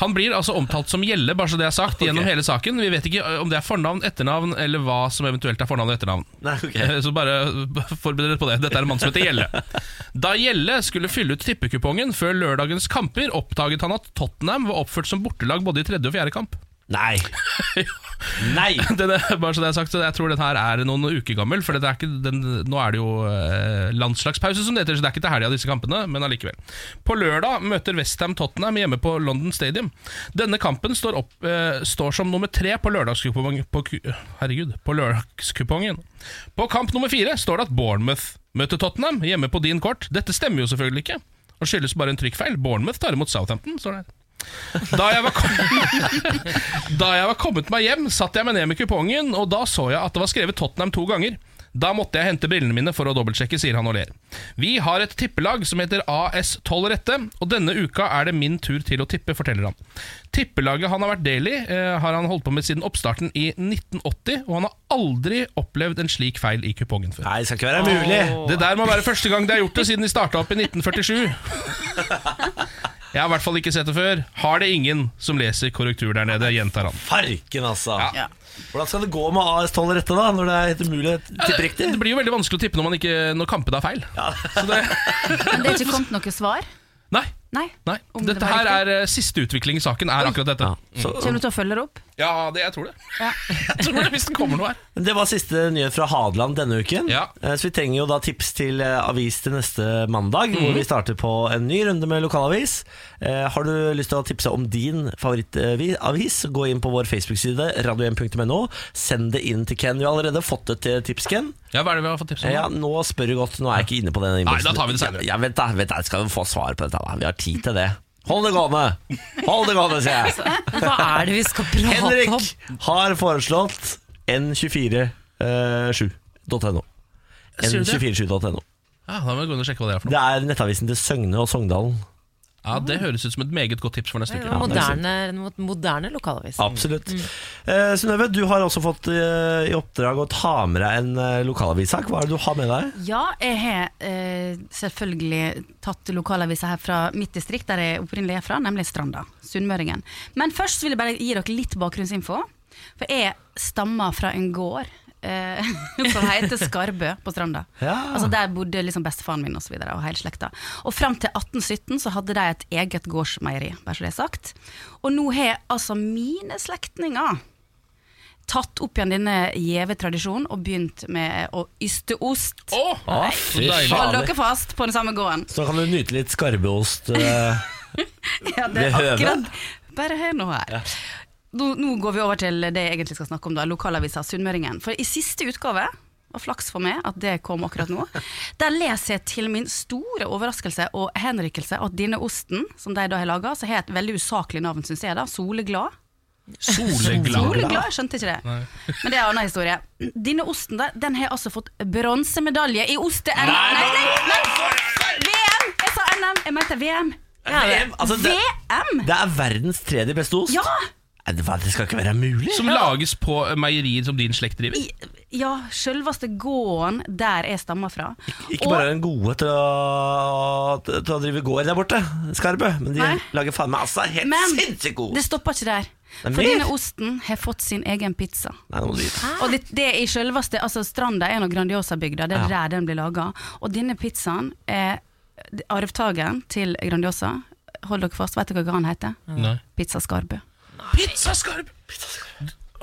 [SPEAKER 2] Han blir altså omtalt som Gjelle, bare så det er sagt, gjennom hele saken. Vi vet ikke eh, om det er fornavn, etternavn, eller hva som eventuelt er fornavn og etternavn.
[SPEAKER 1] Nei, ok.
[SPEAKER 2] Eh, Så bare eh, forbered dere på det. Dette er en mann som heter Gjelle. Da Gjelle skulle fylle ut tippekupongen før lørdagens kamper, oppdaget han at Tottenham var oppført som bortelag både i tredje og fjerde kamp.
[SPEAKER 3] <laughs>
[SPEAKER 1] Nei. Nei.
[SPEAKER 2] Den er, bare så <laughs> det er sagt, så jeg tror den her er noen uker gammel, for dette er ikke, den, nå er det jo eh, landslagspause som det heter, så det er ikke til helga disse kampene, men allikevel. På lørdag møter Westham Tottenham hjemme på London Stadium. Denne kampen står, opp, eh, står som nummer tre på lørdagskupongen på, ku- Herregud, på lørdagskupongen. På kamp nummer fire står det at Bournemouth møter Tottenham hjemme på din kort. Dette stemmer jo selvfølgelig ikke, og skyldes bare en trykkfeil. Bournemouth tar imot Southampton, står det her. Da jeg, var kommet, <laughs> da jeg var kommet meg hjem, satt jeg meg ned med kupongen, og da så jeg at det var skrevet Tottenham to ganger. Da måtte jeg hente brillene mine for å dobbeltsjekke, sier han og ler. Vi har et tippelag som heter AS12 Rette, og denne uka er det min tur til å tippe, forteller han. Tippelaget han har vært del i, eh, har han holdt på med siden oppstarten i 1980, og han har aldri opplevd en slik feil i kupongen før.
[SPEAKER 1] Nei, det skal ikke være mulig.
[SPEAKER 2] Det der må være første gang de har gjort det siden de starta opp i 1947. Jeg har i hvert fall ikke sett det før. Har det ingen som leser korrektur der nede, gjentar han.
[SPEAKER 1] Farken, altså.
[SPEAKER 2] Ja.
[SPEAKER 1] Hvordan skal det gå med AS12 rette, da, når det er helt umulig å tippe riktig?
[SPEAKER 2] Det blir jo veldig vanskelig å tippe når, man ikke, når kampene er feil. Så det,
[SPEAKER 7] Men det er ikke kommet noe svar?
[SPEAKER 2] nei,
[SPEAKER 7] Nei?
[SPEAKER 2] nei.
[SPEAKER 7] Om det
[SPEAKER 2] Dette her
[SPEAKER 7] var riktig?
[SPEAKER 2] er eh, siste utvikling i saken, er akkurat dette.
[SPEAKER 1] Ja, så,
[SPEAKER 7] Kommer du til å følge det opp?
[SPEAKER 2] Ja, det, jeg tror det. Jeg tror det Hvis det kommer noe her.
[SPEAKER 1] det var siste nyhet fra Hadeland denne uken.
[SPEAKER 2] Ja.
[SPEAKER 1] Eh, Så vi trenger jo da tips til eh, avis til neste mandag,
[SPEAKER 2] Mhm.
[SPEAKER 1] hvor vi starter på en ny runde med lokalavis. Eh, Har du lyst til å tipse om din favorittavis, gå inn på vår Facebook-side, radio1.no. Send det inn til Ken. Vi har allerede fått et eh, tips, Ken.
[SPEAKER 2] Ja, hva er det vi har fått tips
[SPEAKER 1] Eh,
[SPEAKER 2] om?
[SPEAKER 1] Ja,
[SPEAKER 2] da?
[SPEAKER 1] nå spør du godt. Nå er jeg ikke inne på den innboksen.
[SPEAKER 2] Nei, da tar vi det senere.
[SPEAKER 1] Ja, ja, vent da, vent da, skal vi få svar på dette? da? Vi har tid til det. Hold det gående! Hold det gående, sier jeg.
[SPEAKER 3] Hva er det vi skal prate om?
[SPEAKER 1] Henrik har foreslått eh, n247.no.
[SPEAKER 2] Sier du det?
[SPEAKER 1] n247.no.
[SPEAKER 2] Ja, da må vi gå inn og sjekke hva det er for noe.
[SPEAKER 1] Det er nettavisen til Søgne og Sogndalen.
[SPEAKER 2] Ja, Det høres ut som et meget godt tips for neste uke.
[SPEAKER 3] En moderne, en mo- moderne lokalavis.
[SPEAKER 1] Absolutt. Eh, Synnøve, du har også fått eh, i oppdrag å ta med deg en eh, lokalavissak. Hva er det du har med deg?
[SPEAKER 7] Ja, jeg har eh, selvfølgelig tatt lokalaviser her fra mitt distrikt, der jeg opprinnelig er fra, nemlig Stranda. Sunnmøringen. Men først vil jeg bare gi dere litt bakgrunnsinfo. For jeg stammer fra en gård eh, <laughs> som heter Skarbø på Stranda.
[SPEAKER 1] Ja.
[SPEAKER 7] Altså Der bodde liksom bestefaren min og, så videre, og hele slekta. Og fram til 1817 så hadde de et eget gårdsmeieri, bare så det er sagt. Og nå har altså mine slektninger tatt opp igjen denne gjeve tradisjonen og begynt med å yste ost.
[SPEAKER 2] Å,
[SPEAKER 1] Å,
[SPEAKER 2] så
[SPEAKER 1] fy
[SPEAKER 2] deilig.
[SPEAKER 1] faen.
[SPEAKER 7] Hold dere fast på den samme gården.
[SPEAKER 1] Så da kan du nyte litt skarbeost. eh,
[SPEAKER 7] Ja,
[SPEAKER 1] Ved høvet.
[SPEAKER 7] Bare hør nå her. Nå, nå går vi over til det jeg egentlig skal snakke om, da, lokalavisa Sunnmøringen. For i siste utgave, og flaks for meg at det kom akkurat nå, der leser jeg til min store overraskelse og henrykkelse at denne osten, som de da har laga, som har et veldig usaklig navn, syns jeg, da, Soleglad.
[SPEAKER 2] Soleglad.
[SPEAKER 7] Soleglad, jeg skjønte ikke det. Men det er en annen historie. Denne osten der, den har altså fått bronsemedalje i oste-NM. Nei, nei, nei, VM! Jeg sa NM, jeg mente VM.
[SPEAKER 1] VM, altså det-
[SPEAKER 7] VM!
[SPEAKER 1] Det er verdens tredje beste ost.
[SPEAKER 7] Ja!
[SPEAKER 1] Nei, Det det skal ikke være mulig.
[SPEAKER 2] Som lages på meierier som din slekt driver.
[SPEAKER 7] I, ja, sjølveste gården der jeg stammer fra.
[SPEAKER 1] Ikke bare er den gode til å, til å drive gård der borte, Skarbø, men de
[SPEAKER 7] Nei.
[SPEAKER 1] lager faen meg altså helt
[SPEAKER 7] Men
[SPEAKER 1] sinnssykt god
[SPEAKER 7] det
[SPEAKER 1] ost.
[SPEAKER 7] stopper ikke der.
[SPEAKER 1] Det er
[SPEAKER 7] For
[SPEAKER 1] mer.
[SPEAKER 7] denne osten har fått sin egen pizza.
[SPEAKER 1] Nei, nå må du gi deg.
[SPEAKER 7] Og det, det er i sjølveste altså Stranda er nå Grandiosa-bygda, det er der den blir laga. Og denne pizzaen er arvtakeren til Grandiosa. Hold dere fast, vet dere hva han heter?
[SPEAKER 2] Nei.
[SPEAKER 7] Pizza Skarbø.
[SPEAKER 2] Pizzaskarp!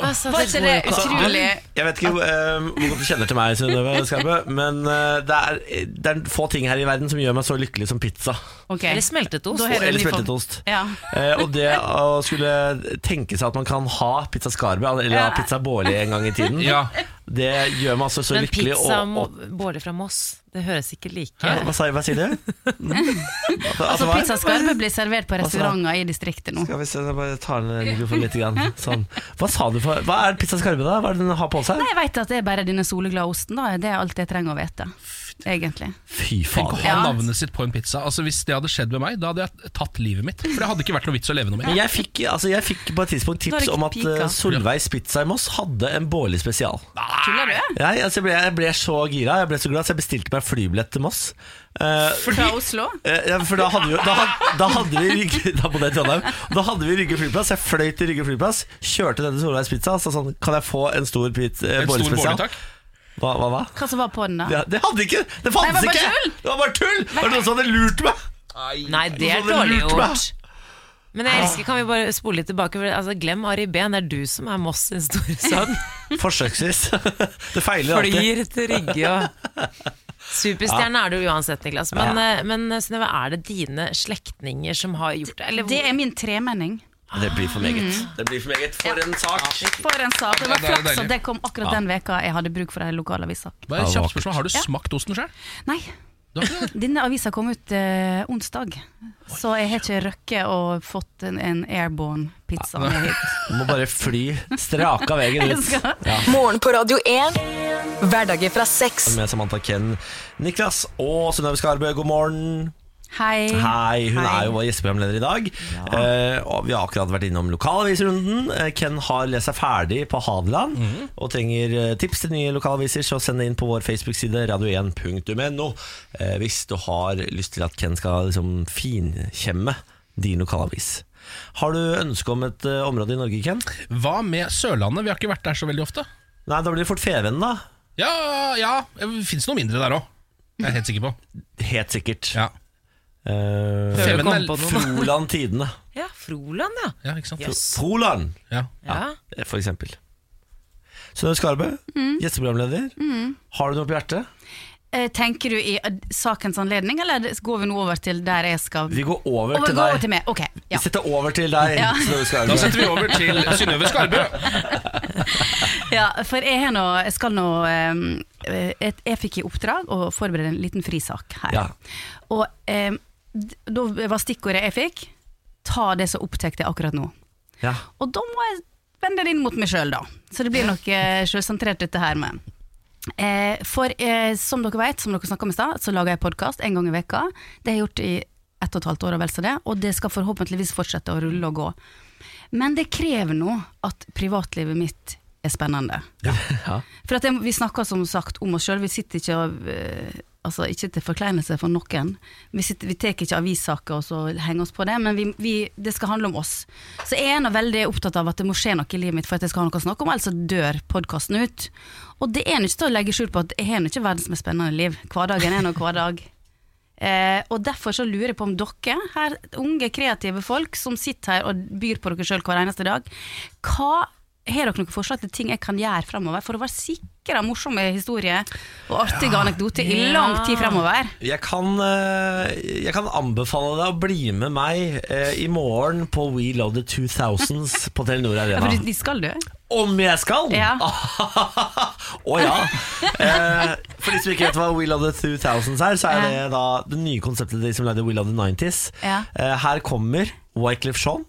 [SPEAKER 3] Altså,
[SPEAKER 7] Var
[SPEAKER 3] det går
[SPEAKER 7] ikke det
[SPEAKER 3] jo ikke an.
[SPEAKER 7] utrolig?
[SPEAKER 1] Jeg vet ikke eh, hvor godt du kjenner til meg, Synnøve Skarbø, men eh, det, er, det er få ting her i verden som gjør meg så lykkelig som pizza.
[SPEAKER 7] Ok.
[SPEAKER 3] Eller smeltet ost.
[SPEAKER 7] Da
[SPEAKER 1] Og
[SPEAKER 7] hører
[SPEAKER 1] eller
[SPEAKER 7] vi på-
[SPEAKER 1] smeltetost.
[SPEAKER 7] Ja.
[SPEAKER 1] Eh, og det å skulle tenke seg at man kan ha pizza Skarbø, eller ha
[SPEAKER 7] Ja.
[SPEAKER 1] pizza Bårli en gang i tiden,
[SPEAKER 2] Ja.
[SPEAKER 1] det gjør meg altså så
[SPEAKER 3] Men
[SPEAKER 1] lykkelig.
[SPEAKER 3] pizza
[SPEAKER 1] og- og-
[SPEAKER 3] Mo- Bårli fra Moss, det høres ikke like
[SPEAKER 1] Hæ? Hva, sa- hva sier
[SPEAKER 7] <laughs>
[SPEAKER 1] du?
[SPEAKER 7] Altså,
[SPEAKER 1] hva?
[SPEAKER 7] pizza Skarbø blir servert på restauranter i distriktet nå.
[SPEAKER 1] Skal vi se, jeg bare tar ned mikrofonen litt. Grann. Sånn. Hva sa du for Hva er pizza skarpe, da? Hva er det den har på seg?
[SPEAKER 7] Nei, jeg veit at det er bare denne soleglade osten, da. Det er alt jeg trenger å vite, egentlig.
[SPEAKER 1] Fy
[SPEAKER 2] Tenk å
[SPEAKER 1] faen.
[SPEAKER 2] ha
[SPEAKER 7] Ja.
[SPEAKER 2] navnet sitt på en pizza. Altså Hvis det hadde skjedd med meg, da hadde jeg tatt livet mitt. For det hadde ikke vært noe vits å leve noe
[SPEAKER 1] Men
[SPEAKER 2] mer.
[SPEAKER 1] jeg fikk, altså jeg fikk på et tidspunkt
[SPEAKER 7] Da er
[SPEAKER 1] tips
[SPEAKER 7] det ikke
[SPEAKER 1] om at
[SPEAKER 7] pika.
[SPEAKER 1] eh, Solveigs Pizza i Moss hadde en Bårli spesial.
[SPEAKER 7] Tuller du?
[SPEAKER 1] Nei, altså jeg, ble, jeg ble så gira, jeg ble så glad, så jeg bestilte meg flybillett til Moss. Eh,
[SPEAKER 7] Fra Oslo?
[SPEAKER 1] eh, ja, for da hadde, vi jo, da, had- da hadde vi Rygge <laughs> Da bodde jeg i Trondheim. Da hadde vi Rygge flyplass. Jeg fløy til Rygge flyplass, kjørte ned til Solveigs Pizza og sa sånn Kan jeg få en stor pizza, eh,
[SPEAKER 2] En
[SPEAKER 1] Bårli
[SPEAKER 2] stor
[SPEAKER 1] spesial?
[SPEAKER 2] bolle, takk.
[SPEAKER 1] Hva, hva, hva?
[SPEAKER 7] Hva som var på den, da?
[SPEAKER 1] Det, det hadde ikke Det fantes
[SPEAKER 7] Nei, det var bare
[SPEAKER 1] ikke!
[SPEAKER 7] tull.
[SPEAKER 1] Det var bare tull! Det var noen som hadde lurt meg!
[SPEAKER 3] Nei, det
[SPEAKER 1] Hvorfor
[SPEAKER 3] er
[SPEAKER 1] hadde du
[SPEAKER 3] dårlig
[SPEAKER 1] lurt meg?
[SPEAKER 3] gjort. Men jeg elsker, kan vi bare spole litt tilbake? For, altså, glem Ari Behn, det er du som er Moss sin store
[SPEAKER 1] <laughs>
[SPEAKER 3] sønn.
[SPEAKER 1] Forsøksvis. <laughs> Det feiler alltid.
[SPEAKER 3] Flyr til Rygge og Superstjerne er du uansett, Niklas. Men, eh, men Synnøve, er det dine slektninger som har gjort det? Eller,
[SPEAKER 7] Det er min tremenning.
[SPEAKER 1] Det blir for
[SPEAKER 7] Mhm.
[SPEAKER 1] meget. Det blir for meget. For en sak.
[SPEAKER 7] For en sak.
[SPEAKER 2] Ja,
[SPEAKER 7] Det var
[SPEAKER 2] det er
[SPEAKER 7] flaks
[SPEAKER 2] deilig.
[SPEAKER 7] at det kom akkurat den veka jeg hadde bruk for ei lokalavisa.
[SPEAKER 2] Bare
[SPEAKER 1] Ja,
[SPEAKER 2] et
[SPEAKER 1] det var
[SPEAKER 2] kjapt spørsmål Har du smakt osten sjøl?
[SPEAKER 7] Nei, denne avisa kom ut eh, onsdag, så jeg har ikke røkket å fått en, en airborne pizza med hit.
[SPEAKER 1] Du må bare fly straka veien
[SPEAKER 7] <laughs> Jeg
[SPEAKER 1] ut.
[SPEAKER 7] skal-
[SPEAKER 4] Morgen på Radio 1. Hverdager fra seks.
[SPEAKER 1] Med Samantha Ken, Niklas og Synnøve Skarbø, god morgen.
[SPEAKER 7] Hei.
[SPEAKER 1] Hei, hun
[SPEAKER 7] Hei.
[SPEAKER 1] er jo vår gjesteprogramleder i dag. Eh, og vi har akkurat vært innom lokalavisrunden. Eh, Ken har lest seg ferdig på Hadeland
[SPEAKER 2] Mhm.
[SPEAKER 1] og trenger eh, tips til nye lokalaviser, så send det inn på vår Facebook-side radio1.no eh, hvis du har lyst til at Ken skal liksom finkjemme din lokalavis. Har du ønske om et eh, område i Norge, Ken?
[SPEAKER 2] Hva med Sørlandet? Vi har ikke vært der så veldig ofte.
[SPEAKER 1] Nei, da blir det fort Fevennen, da.
[SPEAKER 2] Ja, ja. Fins noe mindre der òg. Jeg er helt sikker på.
[SPEAKER 1] Helt sikkert.
[SPEAKER 2] Ja,
[SPEAKER 1] Eh,
[SPEAKER 3] Før du
[SPEAKER 2] Fevennen
[SPEAKER 3] kom
[SPEAKER 2] er
[SPEAKER 3] på noe.
[SPEAKER 1] Froland
[SPEAKER 2] <laughs>
[SPEAKER 1] Tidene.
[SPEAKER 3] Ja, Froland, ja.
[SPEAKER 2] ja ikke sant?
[SPEAKER 3] Jøss.
[SPEAKER 1] Froland!
[SPEAKER 2] Ja.
[SPEAKER 3] ja.
[SPEAKER 1] For eksempel. Synnøve Skarbø,
[SPEAKER 7] Mm.
[SPEAKER 1] gjesteprogramleder. Har du noe på hjertet?
[SPEAKER 7] Eh, Tenker du i eh, sakens anledning, eller går vi nå over til der jeg skal
[SPEAKER 1] Vi går over
[SPEAKER 7] Over,
[SPEAKER 1] til
[SPEAKER 7] gå over
[SPEAKER 1] deg.
[SPEAKER 7] til meg. Ok. Ja.
[SPEAKER 1] Vi setter over til deg, <laughs>
[SPEAKER 7] Ja.
[SPEAKER 1] Synnøve
[SPEAKER 2] Da
[SPEAKER 1] Skarbø.
[SPEAKER 2] setter vi over til Synnøve Skarbø.
[SPEAKER 1] <laughs>
[SPEAKER 7] ja, for jeg, har nå, jeg skal nå ehm, eh, et, Jeg fikk i oppdrag å forberede en liten frisak her.
[SPEAKER 1] Ja.
[SPEAKER 7] Og ehm, d- da var stikkordet jeg fikk ta det som opptar deg akkurat nå.
[SPEAKER 1] Ja.
[SPEAKER 7] Og da må jeg vende det inn mot meg sjøl, da. Så det blir nok eh, sjølsentrert, dette her med. Eh, for eh, som dere vet, som dere snakka om i stad, så lager jeg podkast en gang i veka. Det har jeg gjort i ett og et halvt år og vel så det, og det skal forhåpentligvis fortsette å rulle og gå. Men det krever nå at privatlivet mitt er spennende.
[SPEAKER 1] Ja.
[SPEAKER 7] For at det, vi snakker som sagt om oss sjøl, vi sitter ikke og eh, Altså ikke til forkleinelse for noen. Vi, sitter, vi tar ikke avissaker og så henger oss på det, men vi, vi, det skal handle om oss. Så jeg er nå veldig opptatt av at det må skje noe i livet mitt for at jeg skal ha noe å snakke om, ellers så dør podkasten ut. Og det er nå ikke til å legge skjul på at jeg har nå ikke verdens mest spennende liv. Hverdagen er nå hver dag. Eh, og derfor så lurer jeg på om dere, her, unge kreative folk som sitter her og byr på dere sjøl hver eneste dag, hva har dere noen forslag til ting jeg kan gjøre fremover for å være sikra morsomme historier og artige anekdoter i lang tid fremover?
[SPEAKER 1] Jeg kan, eh, jeg kan anbefale deg å bli med meg eh, i morgen på We Love the 2000s på Telenor
[SPEAKER 7] Ja, for
[SPEAKER 1] Arena.
[SPEAKER 7] de, de skal dø.
[SPEAKER 1] Om jeg skal?
[SPEAKER 7] Ja.
[SPEAKER 1] <laughs> Å ja. Eh, for de som ikke vet hva We Love the 2000s er, så er det da det nye konseptet de som lagde We Love the 90s.
[SPEAKER 7] Ja.
[SPEAKER 1] Eh, her kommer Wyclef Jean.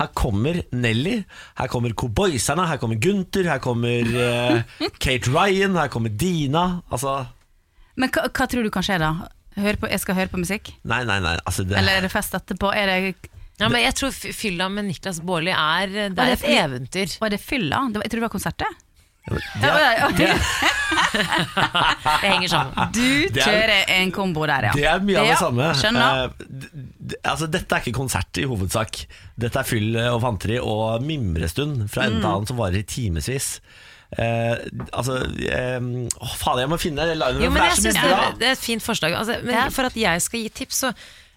[SPEAKER 1] Her kommer Nelly, her kommer Cowboyserne, her kommer Gunther, her kommer eh,
[SPEAKER 7] <laughs>
[SPEAKER 1] Kate Ryan, her kommer Dina. Altså
[SPEAKER 7] Men hva, hva tror du kan skje da? Hør på, jeg skal høre på musikk?
[SPEAKER 1] Nei, nei, nei. Altså, det,
[SPEAKER 7] Eller er det fest etterpå? Er det,
[SPEAKER 3] Ja, men jeg tror fy- fylla med Niklas Baarli er, eh, det er
[SPEAKER 7] det
[SPEAKER 3] et
[SPEAKER 7] fordi-
[SPEAKER 3] eventyr.
[SPEAKER 7] og er det fylla? Det var- Jeg tror det var konsertet.
[SPEAKER 1] det, er, det, er,
[SPEAKER 3] Det henger sammen.
[SPEAKER 7] Du
[SPEAKER 1] <laughs> Det er-
[SPEAKER 7] kjører en kombo der, ja.
[SPEAKER 1] det er mye av det
[SPEAKER 7] Ja,
[SPEAKER 1] samme.
[SPEAKER 7] Skjønner.
[SPEAKER 1] Eh, d- d- altså, dette er ikke konsert i hovedsak. Dette er fyll og fanteri og mimrestund fra
[SPEAKER 3] Mm.
[SPEAKER 1] ende til annen som varer i timevis. Eh, altså eh, Å, faen, jeg må finne det live,
[SPEAKER 3] Jo,
[SPEAKER 1] for
[SPEAKER 3] men
[SPEAKER 1] det
[SPEAKER 3] jeg
[SPEAKER 1] er så
[SPEAKER 3] synes
[SPEAKER 1] mye
[SPEAKER 3] det,
[SPEAKER 1] bra.
[SPEAKER 3] er- det er et fint forslag. Altså, men
[SPEAKER 7] Ja.
[SPEAKER 3] for at jeg skal gi tips, så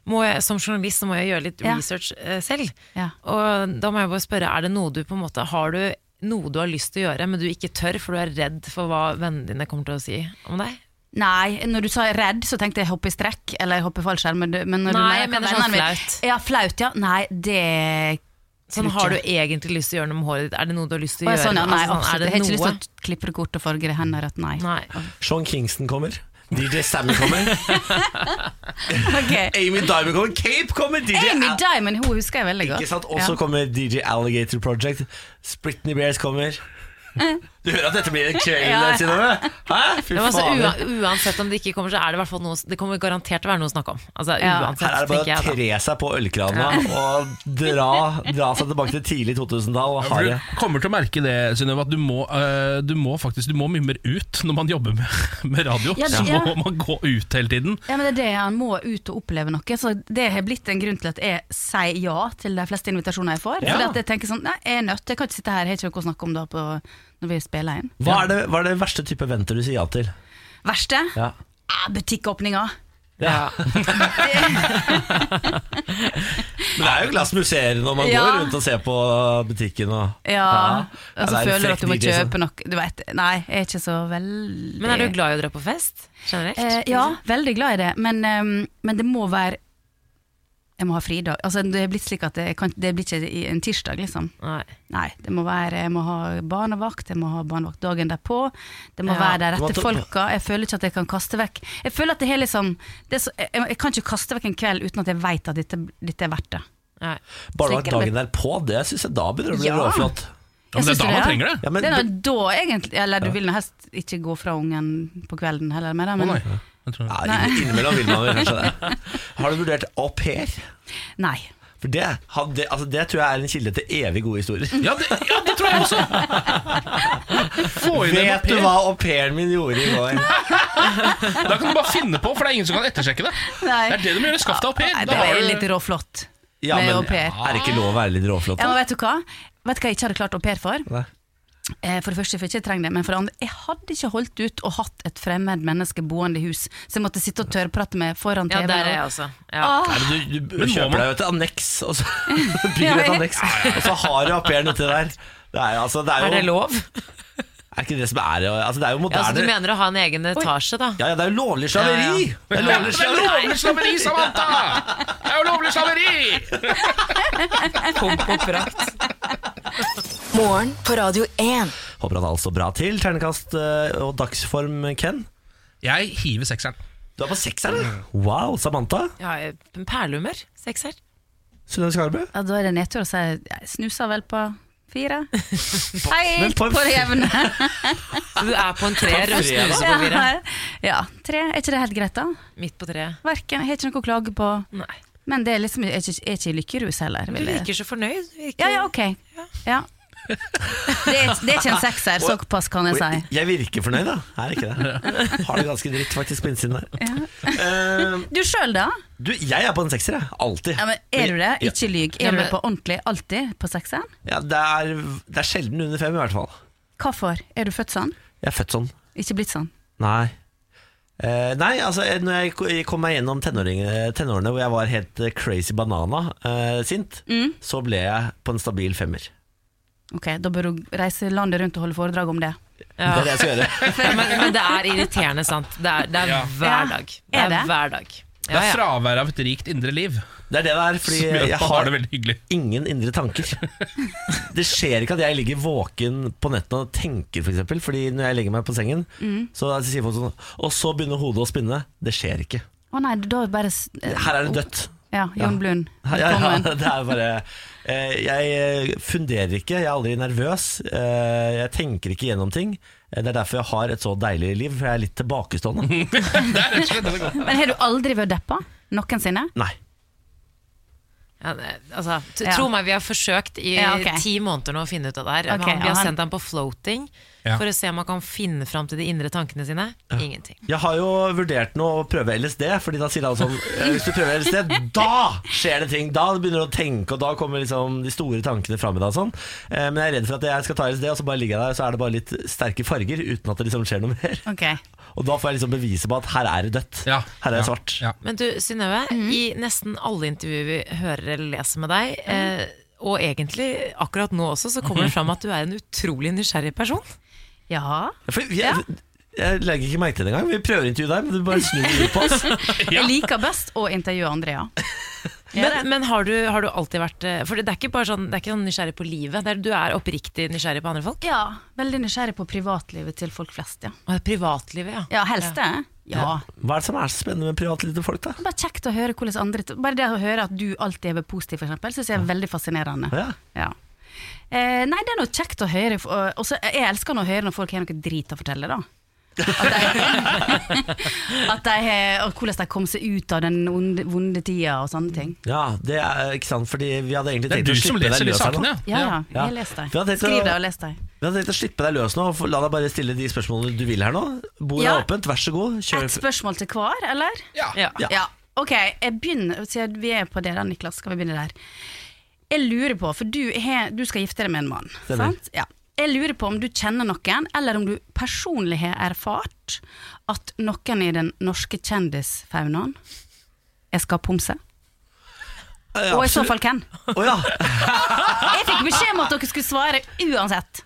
[SPEAKER 3] må jeg, som journalist så må jeg gjøre litt
[SPEAKER 7] Ja.
[SPEAKER 3] research eh, selv.
[SPEAKER 7] Ja.
[SPEAKER 3] Og da må jeg bare spørre, er det noe du på en måte Har du noe du har lyst til å gjøre, men du ikke tør, for du er redd for hva vennene dine kommer til å si om deg?
[SPEAKER 7] Nei, når du sa redd, så tenkte jeg hoppe i strekk eller hoppe i fallskjerm. Men, du- men når
[SPEAKER 3] Nei,
[SPEAKER 7] du
[SPEAKER 3] jeg mener
[SPEAKER 7] hva
[SPEAKER 3] sånn
[SPEAKER 7] mener du?
[SPEAKER 3] flaut.
[SPEAKER 7] Ja, flaut, ja. Nei, det
[SPEAKER 3] Sånn, har du egentlig lyst til å gjøre noe med håret ditt? Er det noe du har lyst til
[SPEAKER 7] Å,
[SPEAKER 3] å
[SPEAKER 7] jeg,
[SPEAKER 3] gjøre?
[SPEAKER 7] sånn, ja, nei,
[SPEAKER 3] Altså, sånn,
[SPEAKER 7] absolutt.
[SPEAKER 3] er
[SPEAKER 7] jeg har ikke
[SPEAKER 3] det
[SPEAKER 7] lyst
[SPEAKER 3] noe?
[SPEAKER 7] til å klippe det kort og farge det hender at nei.
[SPEAKER 3] Nei.
[SPEAKER 1] Sean Kingston kommer. DJ Sammy kommer.
[SPEAKER 7] <laughs>
[SPEAKER 3] <laughs>
[SPEAKER 7] Ok.
[SPEAKER 1] Amy Diamond kommer. Cape kommer. DJ
[SPEAKER 7] Amy
[SPEAKER 1] Al-
[SPEAKER 7] Diamond hun husker jeg veldig godt.
[SPEAKER 1] Ikke sant? Og så
[SPEAKER 7] Ja.
[SPEAKER 1] kommer DJ Alligator Project. Britney Bears kommer. Du hører at dette blir en kveld,
[SPEAKER 7] Ja.
[SPEAKER 1] Synnøve? Hæ? Fy
[SPEAKER 3] Eh. Det var altså,
[SPEAKER 1] faen.
[SPEAKER 3] ua- uansett om det ikke kommer, så er det i hvert fall noe Det kommer garantert til å være noe å snakke om. Altså,
[SPEAKER 7] Ja.
[SPEAKER 3] uansett,
[SPEAKER 1] Her er det
[SPEAKER 3] tenker
[SPEAKER 1] bare å
[SPEAKER 3] jeg da.
[SPEAKER 1] tre seg på ølkrana og dra, dra seg tilbake til tidlig 2000-tall. og ha
[SPEAKER 2] For
[SPEAKER 1] det.
[SPEAKER 2] du kommer til å merke det, Synnøve, at du må, eh, du må faktisk Du må mimre ut når man jobber med, med radio.
[SPEAKER 7] Ja,
[SPEAKER 2] så
[SPEAKER 7] ja.
[SPEAKER 2] må man gå ut hele tiden.
[SPEAKER 7] Ja, men det er det Han må ut og oppleve noe. Så Det har blitt en grunn til at jeg sier ja til de fleste invitasjoner jeg får. Fordi at jeg tenker sånn, nei, jeg er nødt, jeg kan ikke sitte her, jeg har ikke noe å snakke om da på, når vi spiller inn.
[SPEAKER 1] Hva er det, hva er det verste type venter du sier ja til?
[SPEAKER 7] Verste?
[SPEAKER 1] Ja.
[SPEAKER 7] Ah, Butikkåpninger.
[SPEAKER 1] Men det er jo glass museer når man
[SPEAKER 7] Ja.
[SPEAKER 1] går rundt og ser på butikken. Og,
[SPEAKER 7] Ja, Altså, og så
[SPEAKER 1] det er
[SPEAKER 7] føler du
[SPEAKER 1] frekk
[SPEAKER 7] at du må
[SPEAKER 1] DJ som-
[SPEAKER 7] kjøpe noe Du vet, nei, jeg er ikke så veldig
[SPEAKER 3] Men er du liksom? glad i å dra på fest? Generelt?
[SPEAKER 7] Eh, ja, veldig glad i det, men, ehm, men det må være Jeg må ha fridag. Altså, det er blitt slik at det, kan, det blir ikke i en tirsdag, liksom.
[SPEAKER 3] Nei.
[SPEAKER 7] Nei, det må være Jeg må ha barnevakt, jeg må ha barnevakt dagen derpå. Det må
[SPEAKER 3] Ja.
[SPEAKER 7] være de
[SPEAKER 1] Du må ta-
[SPEAKER 7] rette folka. Jeg føler ikke at jeg kan kaste vekk Jeg føler at det er liksom det er så, jeg, jeg kan ikke kaste vekk en kveld uten at jeg vet at dette, dette er verdt det.
[SPEAKER 3] Nei.
[SPEAKER 1] Bare
[SPEAKER 7] Slikker
[SPEAKER 1] at dagen derpå, det syns jeg da begynner å bli
[SPEAKER 7] Ja.
[SPEAKER 1] råflott.
[SPEAKER 2] Ja, men det er
[SPEAKER 7] Jeg syns
[SPEAKER 2] da
[SPEAKER 7] det,
[SPEAKER 2] man
[SPEAKER 7] ja.
[SPEAKER 2] trenger det.
[SPEAKER 1] Ja, men
[SPEAKER 7] det er
[SPEAKER 1] det-
[SPEAKER 7] nå da, egentlig. Eller du vil nå helst ikke gå fra ungen på kvelden heller, med det,
[SPEAKER 2] Å,
[SPEAKER 7] men
[SPEAKER 2] nei. Jeg tror-
[SPEAKER 1] Ja, inn- <laughs> innimellom vil man vel kanskje det. Har du vurdert au pair?
[SPEAKER 7] nei.
[SPEAKER 1] For det, han- det, altså det tror jeg er en kilde til evig gode historier.
[SPEAKER 7] <laughs>
[SPEAKER 2] Ja, det, ja, det tror jeg også! Få inn en au
[SPEAKER 1] Vet du
[SPEAKER 2] pair.
[SPEAKER 1] hva au pairen min gjorde i går?
[SPEAKER 2] Da kan du bare finne på, for det er ingen som kan ettersjekke det.
[SPEAKER 7] Nei.
[SPEAKER 2] Det er det de må gjøre. Skaff deg au pair.
[SPEAKER 7] Nei,
[SPEAKER 2] Da
[SPEAKER 7] Det
[SPEAKER 2] har
[SPEAKER 7] er
[SPEAKER 2] du-
[SPEAKER 7] litt råflott
[SPEAKER 1] Ja,
[SPEAKER 7] med
[SPEAKER 1] men
[SPEAKER 7] au pair.
[SPEAKER 1] Er det ikke lov å være litt råflott?
[SPEAKER 7] Ja, men vet du hva? Vet du hva jeg ikke hadde klart au pair for?
[SPEAKER 1] Nei.
[SPEAKER 7] Eh, For det første, for jeg ikke trenger det, men for det andre, jeg hadde ikke holdt ut og hatt et fremmed menneske boende i hus, så jeg måtte sitte og tørrprate med foran
[SPEAKER 3] Ja,
[SPEAKER 7] TV.
[SPEAKER 3] der er jeg også. Ja.
[SPEAKER 7] Ah.
[SPEAKER 1] Nei, men du, du
[SPEAKER 2] Men må
[SPEAKER 1] kjøper
[SPEAKER 2] man?
[SPEAKER 1] deg jo et anneks, og så bygger du et anneks, og så har du au pairen uti der. Det er, jo- altså, det er,
[SPEAKER 3] Er
[SPEAKER 1] jo,
[SPEAKER 3] det lov?
[SPEAKER 1] er ikke det som er altså, Det er jo
[SPEAKER 3] Ja, så du
[SPEAKER 1] moderne
[SPEAKER 3] mener å ha en egen etasje, da?
[SPEAKER 1] ja, ja, det er jo lovlig slaveri! Det er
[SPEAKER 2] Det
[SPEAKER 1] lovlig
[SPEAKER 2] er
[SPEAKER 1] slaveri.
[SPEAKER 2] lovlig slaveri, Samantha! Det er jo lovlig slaveri!
[SPEAKER 3] Pomp og prakt. <laughs>
[SPEAKER 4] Morgen på Radio 1.
[SPEAKER 1] Håper at alt står bra til. Ternekast eh, og dagsform, Ken.
[SPEAKER 2] Jeg hiver sekseren.
[SPEAKER 1] Du er på sekseren. Wow, Samantha.
[SPEAKER 3] Ja, en perlehumør. Sekser.
[SPEAKER 1] Sunnøve Skarbø?
[SPEAKER 7] Ja, da er det nedtur å si jeg snuser vel på fire.
[SPEAKER 2] <laughs>
[SPEAKER 1] Men
[SPEAKER 7] Helt
[SPEAKER 1] på
[SPEAKER 7] på
[SPEAKER 1] en
[SPEAKER 7] det jevne.
[SPEAKER 1] <laughs>
[SPEAKER 3] Du er på en treer og
[SPEAKER 1] fredag.
[SPEAKER 3] snuser på fire.
[SPEAKER 7] Ja, ja, tre. Er ikke det helt greit, da?
[SPEAKER 3] Midt på treet.
[SPEAKER 7] Verken, jeg har ikke noe å klage på.
[SPEAKER 3] Nei.
[SPEAKER 7] Men det er liksom, jeg er ikke, jeg er ikke i lykkerus heller.
[SPEAKER 3] Du
[SPEAKER 7] Vil jeg.
[SPEAKER 3] virker så fornøyd. Du virker-
[SPEAKER 7] Ja, ja, ok. Ja. Det, er, det er ikke en sekser, såpass kan jeg si.
[SPEAKER 1] Jeg, jeg virker fornøyd, da. Jeg er ikke det. Har det ganske dritt faktisk på innsiden der. Eh,
[SPEAKER 7] Du sjøl, da?
[SPEAKER 1] du, jeg er på en sekser, jeg. Alltid.
[SPEAKER 7] Ja, men er du det? Ikke lyg.
[SPEAKER 3] Ja,
[SPEAKER 7] Er du
[SPEAKER 3] men-
[SPEAKER 7] på ordentlig alltid på sekseren?
[SPEAKER 1] Ja, det, er, det er sjelden under fem, i hvert fall.
[SPEAKER 7] Hvorfor? Er du født sånn?
[SPEAKER 1] Jeg er født sånn.
[SPEAKER 7] Ikke blitt sånn?
[SPEAKER 1] Nei. Eh, nei, altså eh, når jeg ko- kom meg gjennom tenåringene- tenårene hvor jeg var helt eh, crazy banana eh, sint, så ble jeg på en stabil femmer.
[SPEAKER 7] Ok, da bør du reise landet rundt og holde foredrag om det.
[SPEAKER 1] Det
[SPEAKER 3] Ja.
[SPEAKER 1] er det jeg skal gjøre.
[SPEAKER 3] Men, men det er irriterende, sant. Det er, det er
[SPEAKER 2] Ja.
[SPEAKER 3] hver
[SPEAKER 7] Ja.
[SPEAKER 3] dag. Det
[SPEAKER 7] Er
[SPEAKER 3] er,
[SPEAKER 7] det?
[SPEAKER 3] hver dag.
[SPEAKER 2] Det
[SPEAKER 3] Ja,
[SPEAKER 2] er
[SPEAKER 3] ja.
[SPEAKER 2] fravær av et rikt indre liv
[SPEAKER 1] Det er det det er,
[SPEAKER 2] <laughs>
[SPEAKER 1] fordi
[SPEAKER 2] som gjør
[SPEAKER 1] jeg
[SPEAKER 2] at man har
[SPEAKER 1] har
[SPEAKER 2] det veldig hyggelig.
[SPEAKER 1] ingen indre tanker. Det skjer ikke at jeg ligger våken på nettene og tenker, f.eks. For eksempel, fordi når jeg legger meg på sengen, så sier folk sånn Og så begynner hodet å spinne. Det skjer ikke.
[SPEAKER 7] Å nei, da er det bare s-
[SPEAKER 1] Her er det dødt.
[SPEAKER 7] Ja, Jon Blund.
[SPEAKER 1] Ja, ja, ja,
[SPEAKER 7] Velkommen.
[SPEAKER 1] <laughs> det er bare eh, Jeg eh, funderer ikke, jeg er aldri nervøs. Eh, jeg tenker ikke gjennom ting. Eh, Det er derfor jeg har et så deilig liv, for jeg er litt tilbakestående.
[SPEAKER 2] <laughs> Det er rett og slett det det går.
[SPEAKER 7] Men har du aldri vært deppa? Noensinne?
[SPEAKER 1] Nei.
[SPEAKER 3] Ja, det- altså, t-
[SPEAKER 7] Ja.
[SPEAKER 3] Tro meg, vi har forsøkt i
[SPEAKER 7] Ja, ok.
[SPEAKER 3] ti måneder nå å finne ut av det her.
[SPEAKER 7] Ok,
[SPEAKER 3] Han- vi
[SPEAKER 7] ja,
[SPEAKER 3] har
[SPEAKER 7] han-
[SPEAKER 3] sendt ham på floating
[SPEAKER 2] Ja.
[SPEAKER 3] for å se om han kan finne fram til de indre tankene sine. Ingenting.
[SPEAKER 1] Jeg har jo vurdert nå å prøve LSD, Fordi da sier alle
[SPEAKER 2] <laughs>
[SPEAKER 1] sånn eh, Hvis du prøver LSD, da skjer det ting! Da begynner du å tenke, og da kommer liksom de store tankene fram i deg. og Sånn. Eh, men jeg er redd for at jeg skal ta LSD, og så bare ligger jeg der, og så er det bare litt sterke farger, uten at det liksom skjer noe mer. <laughs>
[SPEAKER 7] Ok.
[SPEAKER 1] Og da får jeg liksom beviset på at her er det dødt.
[SPEAKER 2] Ja,
[SPEAKER 1] Her er det
[SPEAKER 2] ja,
[SPEAKER 1] svart.
[SPEAKER 2] ja.
[SPEAKER 3] Men du, Synnøve,
[SPEAKER 7] Mhm.
[SPEAKER 3] i nesten alle intervjuer vi hører eller leser med deg, eh, og egentlig akkurat nå også, så
[SPEAKER 2] Mhm.
[SPEAKER 3] kommer det fram at du er en utrolig nysgjerrig person.
[SPEAKER 7] Ja.
[SPEAKER 1] For vi, jeg, jeg legger ikke merke til det engang. Vi prøver å intervjue deg, men du bare snur
[SPEAKER 7] <laughs>
[SPEAKER 1] deg på oss.
[SPEAKER 7] Jeg liker best å intervjue andre, ja.
[SPEAKER 3] Men, men har, du, har du alltid vært eh, For det er ikke bare sånn, det er ikke sånn nysgjerrig på livet. Det er, du er oppriktig nysgjerrig på andre folk.
[SPEAKER 7] Ja, Veldig nysgjerrig på privatlivet til folk flest, ja.
[SPEAKER 3] Og privatlivet, ja.
[SPEAKER 7] Ja, helst det. Ja.
[SPEAKER 1] Hva er det som er så spennende med privatlivet til folk, da?
[SPEAKER 7] Bare kjekt å høre hvordan andre Bare det å høre at du alltid er positiv, for eksempel, syns jeg er veldig fascinerende.
[SPEAKER 1] Ja.
[SPEAKER 7] Ja. Eh, nei, det er noe kjekt å høre. Og så eh, jeg elsker nå å høre når folk har noe drit å fortelle, da. At de, at de, <laughs> har- og hvordan de kom seg ut av den onde, vonde tida og sånne ting.
[SPEAKER 1] Ja, det er ikke sant, fordi vi hadde egentlig
[SPEAKER 2] Det er
[SPEAKER 1] tenkt
[SPEAKER 2] du
[SPEAKER 1] å
[SPEAKER 2] som
[SPEAKER 1] slippe deg
[SPEAKER 2] leser de
[SPEAKER 1] løs her nå.
[SPEAKER 2] sakene,
[SPEAKER 7] Ja, ja, jeg
[SPEAKER 1] Ja.
[SPEAKER 7] har lest dem.
[SPEAKER 1] Vi har tenkt å-
[SPEAKER 7] Skriv det og les dem.
[SPEAKER 1] Vi hadde tenkt å slippe deg løs nå, og la deg bare stille de spørsmålene du vil her nå. Bordet
[SPEAKER 7] Ja.
[SPEAKER 1] er åpent, vær så god. Kjør.
[SPEAKER 7] Ett spørsmål til hver, eller?
[SPEAKER 2] Ja.
[SPEAKER 3] Ja.
[SPEAKER 1] Ja.
[SPEAKER 7] Ja, ok, jeg begynner Siden vi er på det der, Niklas, skal vi begynne der Jeg lurer på, for du, har- du skal gifte deg med en mann
[SPEAKER 1] Stemmer.
[SPEAKER 7] sant? Ja. Jeg lurer på om du kjenner noen Eller om du personlig har erfart At noen i den norske kjendisfaunaen Jeg skal pomse
[SPEAKER 1] Ja,
[SPEAKER 7] Og i så
[SPEAKER 1] absolutt.
[SPEAKER 7] fall hvem
[SPEAKER 1] Å ja. <laughs>
[SPEAKER 7] Jeg fikk beskjed om at dere skulle svare uansett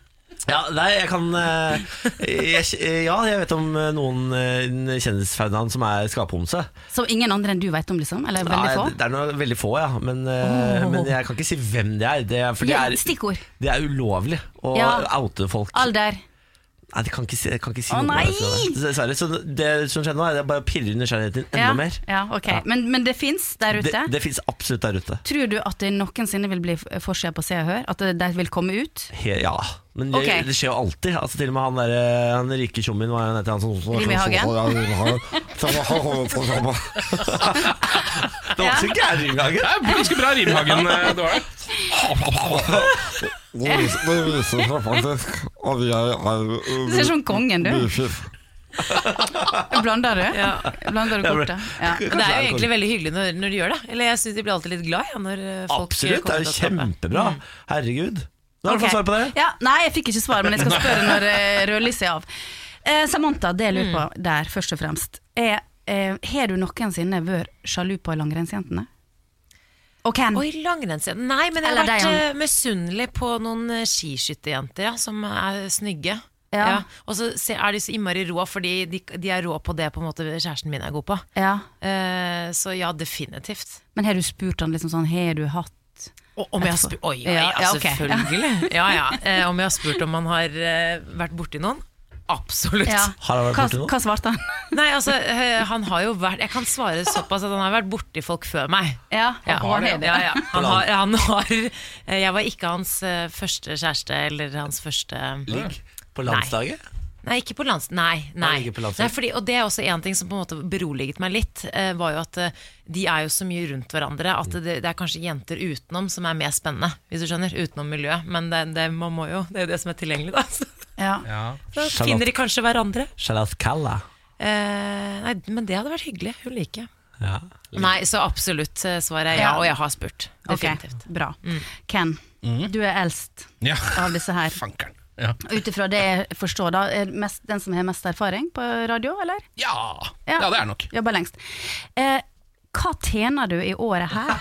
[SPEAKER 1] ja. Nei, jeg kan eh, jeg, Ja, jeg vet om eh, noen eh, kjendisfaunaen som er skaphomse.
[SPEAKER 7] Som ingen andre enn du vet om liksom Eller
[SPEAKER 1] Nei,
[SPEAKER 7] veldig få Oh.
[SPEAKER 1] Det er noe, veldig få, ja. Men, eh, men jeg kan ikke si hvem det er. Det er, for det
[SPEAKER 7] ja,
[SPEAKER 1] er
[SPEAKER 7] Stikkord,
[SPEAKER 1] Det er ulovlig å
[SPEAKER 7] Ja.
[SPEAKER 1] oute folk.
[SPEAKER 7] alder
[SPEAKER 1] Nei, det kan ikke si, jeg kan ikke si
[SPEAKER 7] Å,
[SPEAKER 1] noe.
[SPEAKER 7] nei!
[SPEAKER 1] om det, Dessverre. Så det som skjer nå, er det bare å pirre nysgjerrigheten din enda
[SPEAKER 7] ja,
[SPEAKER 1] mer.
[SPEAKER 7] ja, ok. Men, men det finnes der ute
[SPEAKER 1] Det, det fins absolutt der ute.
[SPEAKER 7] Tror du at det noensinne vil bli f- forsida på Se og Hør? At det- de vil komme ut?
[SPEAKER 1] He, ja. Men det,
[SPEAKER 7] Ok.
[SPEAKER 1] det skjer jo alltid. Altså, til og med han, der, han rike tjommien var jo nettopp han som
[SPEAKER 7] Rimi Hagen? <laughs>
[SPEAKER 1] Det var ikke gæren engang.
[SPEAKER 2] Det er ganske bra Rimhagen. eh, Det var det.
[SPEAKER 8] Det viser, det viser seg faktisk at jeg er
[SPEAKER 7] Du ser ut som kongen, du.
[SPEAKER 8] Bififf.
[SPEAKER 7] <laughs> Blander du? Blander du
[SPEAKER 1] Ja, men-
[SPEAKER 7] kortet? Ja.
[SPEAKER 1] Kanskje det
[SPEAKER 3] Det er jo
[SPEAKER 1] kommer.
[SPEAKER 3] egentlig veldig hyggelig når, når de gjør det. Eller jeg syns de blir alltid litt glad ja, når eh, folk
[SPEAKER 1] Absolutt. Det
[SPEAKER 3] kommer
[SPEAKER 1] er jo
[SPEAKER 3] til å tape.
[SPEAKER 1] kjempebra. Herregud. Nå har du
[SPEAKER 7] Mm. Ok.
[SPEAKER 1] fått svar på det.
[SPEAKER 7] Ja, nei, jeg fikk ikke svar, men jeg skal spørre når eh, rødlyset er av. Eh, Samantha, det jeg lurer på
[SPEAKER 3] Mm.
[SPEAKER 7] der, først og fremst, er eh, Har du noensinne vært sjalu på langrennsjentene? Og hvem?
[SPEAKER 3] Oi, langrennsjente. Nei, men jeg har
[SPEAKER 7] Eller
[SPEAKER 3] vært
[SPEAKER 7] deg,
[SPEAKER 3] eh, misunnelig på noen eh, skiskytterjenter ja, som er snygge.
[SPEAKER 7] Ja.
[SPEAKER 3] Og så se- er de så innmari rå, fordi de, de er rå på det på en måte kjæresten min er god på.
[SPEAKER 7] Ja.
[SPEAKER 3] Eh, så ja, definitivt.
[SPEAKER 7] Men har du spurt han liksom sånn Har du hatt
[SPEAKER 3] Og om jeg har spurt Oi, ja, ja,
[SPEAKER 7] Ja, ja, ok.
[SPEAKER 3] selvfølgelig. Ja, ja. Eh, om jeg har spurt om man har eh, vært borti noen? Absolutt.
[SPEAKER 7] Ja.
[SPEAKER 1] Har han vært
[SPEAKER 7] Hva,
[SPEAKER 1] borti noe?
[SPEAKER 7] hva svarte han?
[SPEAKER 3] <laughs>
[SPEAKER 7] <laughs>
[SPEAKER 3] Nei, altså, eh, han har jo vært Jeg kan svare såpass at han har vært borti folk før meg.
[SPEAKER 7] Ja,
[SPEAKER 3] Ja,
[SPEAKER 7] han var det,
[SPEAKER 3] ja, ja. Han har, han har eh, Jeg var ikke hans eh, første kjæreste eller hans første
[SPEAKER 1] Ligg på landslaget?
[SPEAKER 3] Nei, ikke på lands... Nei.
[SPEAKER 1] Nei,
[SPEAKER 3] nei.
[SPEAKER 1] ikke på landslaget.
[SPEAKER 3] nei fordi, og det er også en ting som på en måte beroliget meg litt, eh, var jo at eh, de er jo så mye rundt hverandre at
[SPEAKER 1] Mm.
[SPEAKER 3] det, det er kanskje jenter utenom som er mer spennende, hvis du skjønner. Utenom miljøet. Men det, det, man må jo, det er jo det som er tilgjengelig, da. <laughs> Så,
[SPEAKER 7] Ja.
[SPEAKER 2] Ja.
[SPEAKER 3] da
[SPEAKER 1] Charlotte.
[SPEAKER 3] finner de kanskje hverandre.
[SPEAKER 1] Charlotte Calla.
[SPEAKER 3] Eh, nei, men det hadde vært hyggelig. Hun liker jeg.
[SPEAKER 1] Ja.
[SPEAKER 3] Nei, så absolutt eh, svaret er ja,
[SPEAKER 7] Ja.
[SPEAKER 3] og jeg har spurt.
[SPEAKER 7] Ok,
[SPEAKER 3] Definitivt.
[SPEAKER 7] bra. Ken, du er eldst
[SPEAKER 2] ja.
[SPEAKER 7] av disse her.
[SPEAKER 2] Fankeren. Ja.
[SPEAKER 7] Ut ifra det jeg forstår, da, er mest, den som har mest erfaring på radio, eller?
[SPEAKER 2] Ja. ja, det er nok.
[SPEAKER 7] Jobber lengst. Eh, hva tjener du i året her?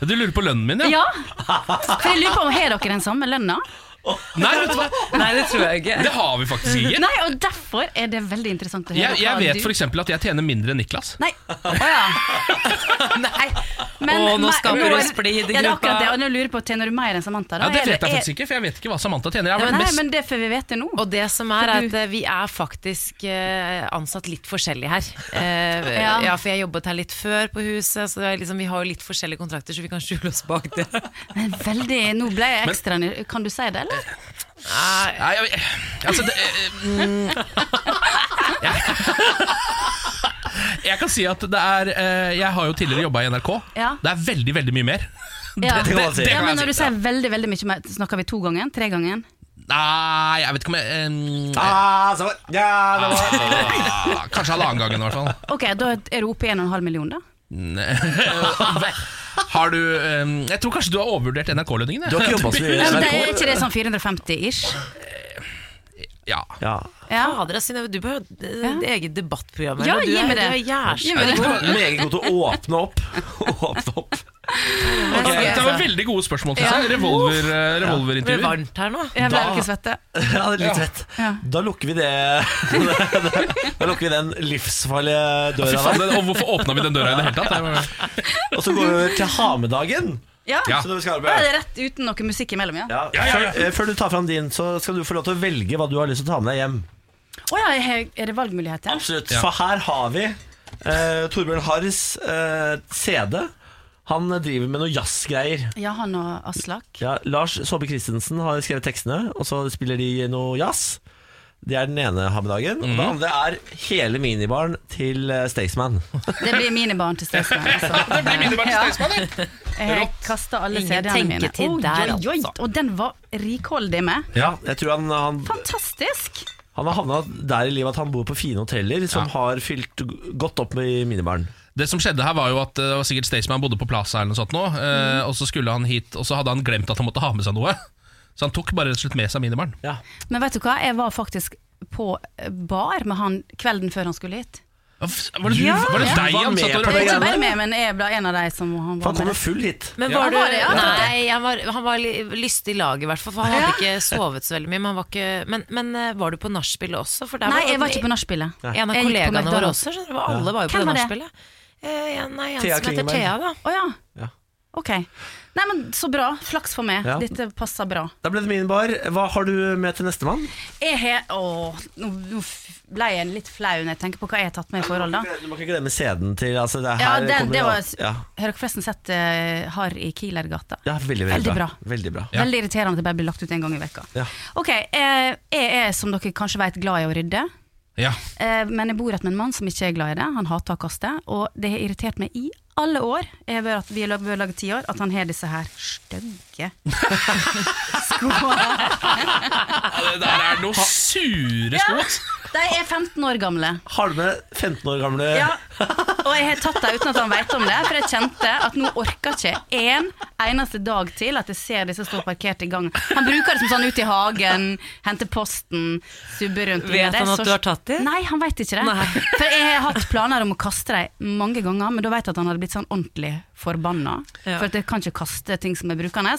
[SPEAKER 2] Du lurer på lønnen min, ja?
[SPEAKER 7] ja! For jeg lurer på om har dere den samme lønna?
[SPEAKER 2] Nei, vet du hva?
[SPEAKER 3] Nei, det tror jeg <laughs> ikke.
[SPEAKER 2] Det har vi faktisk ikke.
[SPEAKER 7] Nei, og derfor er det veldig interessant å høre
[SPEAKER 2] Jeg, jeg vet
[SPEAKER 7] du
[SPEAKER 2] f.eks. at jeg tjener mindre enn Niklas.
[SPEAKER 7] Nei, å ja. Nei.
[SPEAKER 3] Å, nå
[SPEAKER 7] me-
[SPEAKER 3] skaper
[SPEAKER 7] nå er-
[SPEAKER 3] det splid i
[SPEAKER 7] Ja, det er
[SPEAKER 3] gruppa.
[SPEAKER 7] akkurat det, og nå lurer jeg på, tjener du mer enn Samantha? Da?
[SPEAKER 2] Ja, det
[SPEAKER 7] Er
[SPEAKER 2] vet jeg faktisk ikke, for jeg vet ikke hva Samantha tjener. Jeg
[SPEAKER 7] er-
[SPEAKER 2] var den
[SPEAKER 7] Nei,
[SPEAKER 2] best.
[SPEAKER 7] men det får vi vite nå.
[SPEAKER 3] Og det som er, er
[SPEAKER 7] For
[SPEAKER 3] at eh, vi er faktisk eh, ansatt litt forskjellig her. Eh, ja.
[SPEAKER 7] Ja.
[SPEAKER 3] For jeg jobbet her litt før på huset, så det er liksom, vi har jo litt forskjellige kontrakter, så vi kan skjule oss bak det.
[SPEAKER 7] Men veldig, nå ble jeg ekstra nysgjerrig. Kan du si det, eller?
[SPEAKER 2] Nei, jeg, altså, det, eh, mm, jeg, <laughs> jeg kan si at det er eh, Jeg har jo tidligere jobba i NRK.
[SPEAKER 7] Ja.
[SPEAKER 2] Det er veldig, veldig mye mer.
[SPEAKER 7] Ja.
[SPEAKER 1] Det kan man si.
[SPEAKER 7] Ja,
[SPEAKER 2] kan
[SPEAKER 7] men
[SPEAKER 2] jeg
[SPEAKER 7] når du
[SPEAKER 2] si.
[SPEAKER 7] sier veldig, veldig mye mer, snakker vi to ganger? Tre ganger?
[SPEAKER 2] Nei, jeg vet ikke om jeg eh,
[SPEAKER 1] Ah, så, ja, det
[SPEAKER 7] <laughs>
[SPEAKER 1] var
[SPEAKER 2] ah, Kanskje halvannen gangen, i hvert fall.
[SPEAKER 7] Ok, da er du oppe i 1,5 million, da?
[SPEAKER 2] Har du eh, Jeg tror kanskje du har overvurdert NRK-lønningen.
[SPEAKER 1] Du har ikke jobba så mye
[SPEAKER 7] Ja,
[SPEAKER 1] i
[SPEAKER 7] men det er
[SPEAKER 1] NRK?
[SPEAKER 7] ikke det sånn 450-ish?
[SPEAKER 2] Ja.
[SPEAKER 1] Ja.
[SPEAKER 7] <laughs> Ja.
[SPEAKER 3] Fader, Synnøve, du bør ha et eget debattprogram.
[SPEAKER 7] Ja,
[SPEAKER 3] eller? du,
[SPEAKER 7] gi
[SPEAKER 3] er-
[SPEAKER 7] meg det.
[SPEAKER 3] Du er jævlig
[SPEAKER 7] Gi meg det.
[SPEAKER 1] Meget god til å åpne opp. åpne opp.
[SPEAKER 2] Det var veldig gode spørsmål til seg. Revolver, eh,
[SPEAKER 3] Det blir
[SPEAKER 2] revolverintervjuer.
[SPEAKER 3] varmt her nå.
[SPEAKER 7] Jeg ble
[SPEAKER 1] Da-
[SPEAKER 7] ikke svette.
[SPEAKER 1] Ja, det er litt rett. Da lukker vi det <laughs> Da lukker vi den livsfarlige
[SPEAKER 2] Fy
[SPEAKER 1] døra
[SPEAKER 2] faen,
[SPEAKER 1] der.
[SPEAKER 2] det- og hvorfor åpna vi den døra i det hele tatt? Det var-
[SPEAKER 1] Og så går vi over til hamedagen.
[SPEAKER 7] Ja.
[SPEAKER 2] Ja.
[SPEAKER 1] Så når vi skal
[SPEAKER 7] Da er
[SPEAKER 1] arbeide.
[SPEAKER 7] det rett uten noe musikk imellom, ja. Å
[SPEAKER 1] Ja.
[SPEAKER 2] Ja, ja, ja.
[SPEAKER 1] Før, eh, før du tar fram din, så skal du få lov til å velge hva du har lyst til å ta med deg hjem.
[SPEAKER 7] ja, jeg har- er det valgmuligheter?
[SPEAKER 1] Absolutt.
[SPEAKER 2] Ja.
[SPEAKER 1] For her har vi eh, Torbjørn Harrs eh, CD. Han driver med noe jazzgreier.
[SPEAKER 7] Ja, han og Aslak.
[SPEAKER 1] Ja, Lars Saabye Christensen har skrevet tekstene, og så spiller de noe jazz. Det er den ene hammedagen. Og
[SPEAKER 7] Mhm.
[SPEAKER 1] det andre er hele minibaren til eh, Staysman. <laughs>
[SPEAKER 7] Det blir mine barn til Staysman. altså.
[SPEAKER 2] Det blir minibar til Staysman, det.
[SPEAKER 7] Jeg kaster alle
[SPEAKER 3] Ingen
[SPEAKER 7] CD-ene mine.
[SPEAKER 3] tenketid
[SPEAKER 7] Oi,
[SPEAKER 3] der,
[SPEAKER 7] oi, oi.
[SPEAKER 3] altså.
[SPEAKER 7] Og den var rikholdig med.
[SPEAKER 2] Ja.
[SPEAKER 1] Jeg tror han, han,
[SPEAKER 7] Fantastisk!
[SPEAKER 1] han har havna der i livet at han bor på fine hoteller som har fylt g- godt opp med minibaren.
[SPEAKER 2] Det som skjedde her var jo at eh, det var sikkert Staysman bodde på Plaza eller noe sånt nå,
[SPEAKER 7] Mm.
[SPEAKER 2] eh, og så skulle han hit, og så hadde han glemt at han måtte ha med seg noe. Så han tok bare rett og slett med seg minibaren.
[SPEAKER 1] Ja.
[SPEAKER 7] Men vet du hva, jeg var faktisk på bar med han kvelden før han skulle hit.
[SPEAKER 2] Hva f- Var det, du, var det
[SPEAKER 1] Ja.
[SPEAKER 2] deg
[SPEAKER 1] Du var
[SPEAKER 2] han
[SPEAKER 1] med på
[SPEAKER 2] satt og
[SPEAKER 7] Jeg
[SPEAKER 1] det
[SPEAKER 7] er
[SPEAKER 2] rørte
[SPEAKER 7] ikke
[SPEAKER 1] greiene
[SPEAKER 7] bare
[SPEAKER 1] der?
[SPEAKER 7] med, men jeg ble en av de som han
[SPEAKER 1] For
[SPEAKER 7] var
[SPEAKER 1] han kommer
[SPEAKER 7] med.
[SPEAKER 1] full hit.
[SPEAKER 3] Men
[SPEAKER 2] Ja.
[SPEAKER 3] var du,
[SPEAKER 7] Han var det, ja.
[SPEAKER 3] Nei, han var, han var li- lystig i laget i hvert fall, for han hadde ikke sovet så veldig mye. Men, han var, ikke, men, men eh, var du på nachspielet også? For der
[SPEAKER 7] Nei, jeg var ikke på nachspielet.
[SPEAKER 3] En av
[SPEAKER 7] Jeg gikk på
[SPEAKER 3] kollegaene våre
[SPEAKER 7] McDonald's.
[SPEAKER 3] også, skjønner du. Alle var jo på
[SPEAKER 7] Hvem
[SPEAKER 3] det
[SPEAKER 7] var det?
[SPEAKER 3] nachspielet. Eh, ja, nei, han
[SPEAKER 1] Thea
[SPEAKER 3] som heter
[SPEAKER 1] Klingeberg.
[SPEAKER 3] Thea, da.
[SPEAKER 7] Å ja.
[SPEAKER 1] Ja.
[SPEAKER 7] Ok. Nei, men så bra. Flaks for meg.
[SPEAKER 1] Ja.
[SPEAKER 7] Dette passer bra.
[SPEAKER 1] Da ble det minibar. Hva har du med til nestemann?
[SPEAKER 7] Jeg har Åh, nå nå f- ble jeg litt flau når jeg tenker på hva jeg har tatt med i forhold, da.
[SPEAKER 1] Du må ikke glemme CD-en til altså, det er
[SPEAKER 7] Ja,
[SPEAKER 1] her
[SPEAKER 7] den,
[SPEAKER 1] kommer
[SPEAKER 7] det
[SPEAKER 1] jo-
[SPEAKER 7] var
[SPEAKER 1] ja.
[SPEAKER 7] Har dere forresten sett eh, Harr i Kielergata?
[SPEAKER 1] ja, veldig, veldig, bra.
[SPEAKER 7] Veldig bra.
[SPEAKER 1] Veldig bra.
[SPEAKER 2] Ja.
[SPEAKER 7] Veldig irriterende at det bare blir lagt ut en gang i vekka.
[SPEAKER 1] Ja.
[SPEAKER 7] Ok, eh, jeg er som dere kanskje vet glad i å rydde,
[SPEAKER 2] <laughs> Ja.
[SPEAKER 7] eh, men jeg bor rett med en mann som ikke er glad i det. Han hater å kaste, og det har irritert meg i alle år, jeg har vært- vi har lag- vi har laget ti år, at han har disse her stygge skoene.
[SPEAKER 2] Det der er noen sure sko.
[SPEAKER 7] Ja,
[SPEAKER 2] ass.
[SPEAKER 7] de er 15 år gamle.
[SPEAKER 1] Har du med 15 år gamle
[SPEAKER 7] Ja, og jeg har tatt det uten at han vet om det, for jeg kjente at nå orker ikke en eneste dag til at jeg ser disse stå parkert i gangen. Han bruker det som sånn ut i hagen, hente posten, subbe rundt. i
[SPEAKER 3] Vet
[SPEAKER 7] det.
[SPEAKER 3] han
[SPEAKER 7] Det er
[SPEAKER 3] at du har tatt de?
[SPEAKER 7] Nei, han vet ikke det.
[SPEAKER 3] Nei.
[SPEAKER 7] For jeg har hatt planer om å kaste dem mange ganger, men da vet jeg at han hadde blitt sånn ordentlig forbanna.
[SPEAKER 3] Ja.
[SPEAKER 7] For at jeg kan ikke kaste ting som er brukende.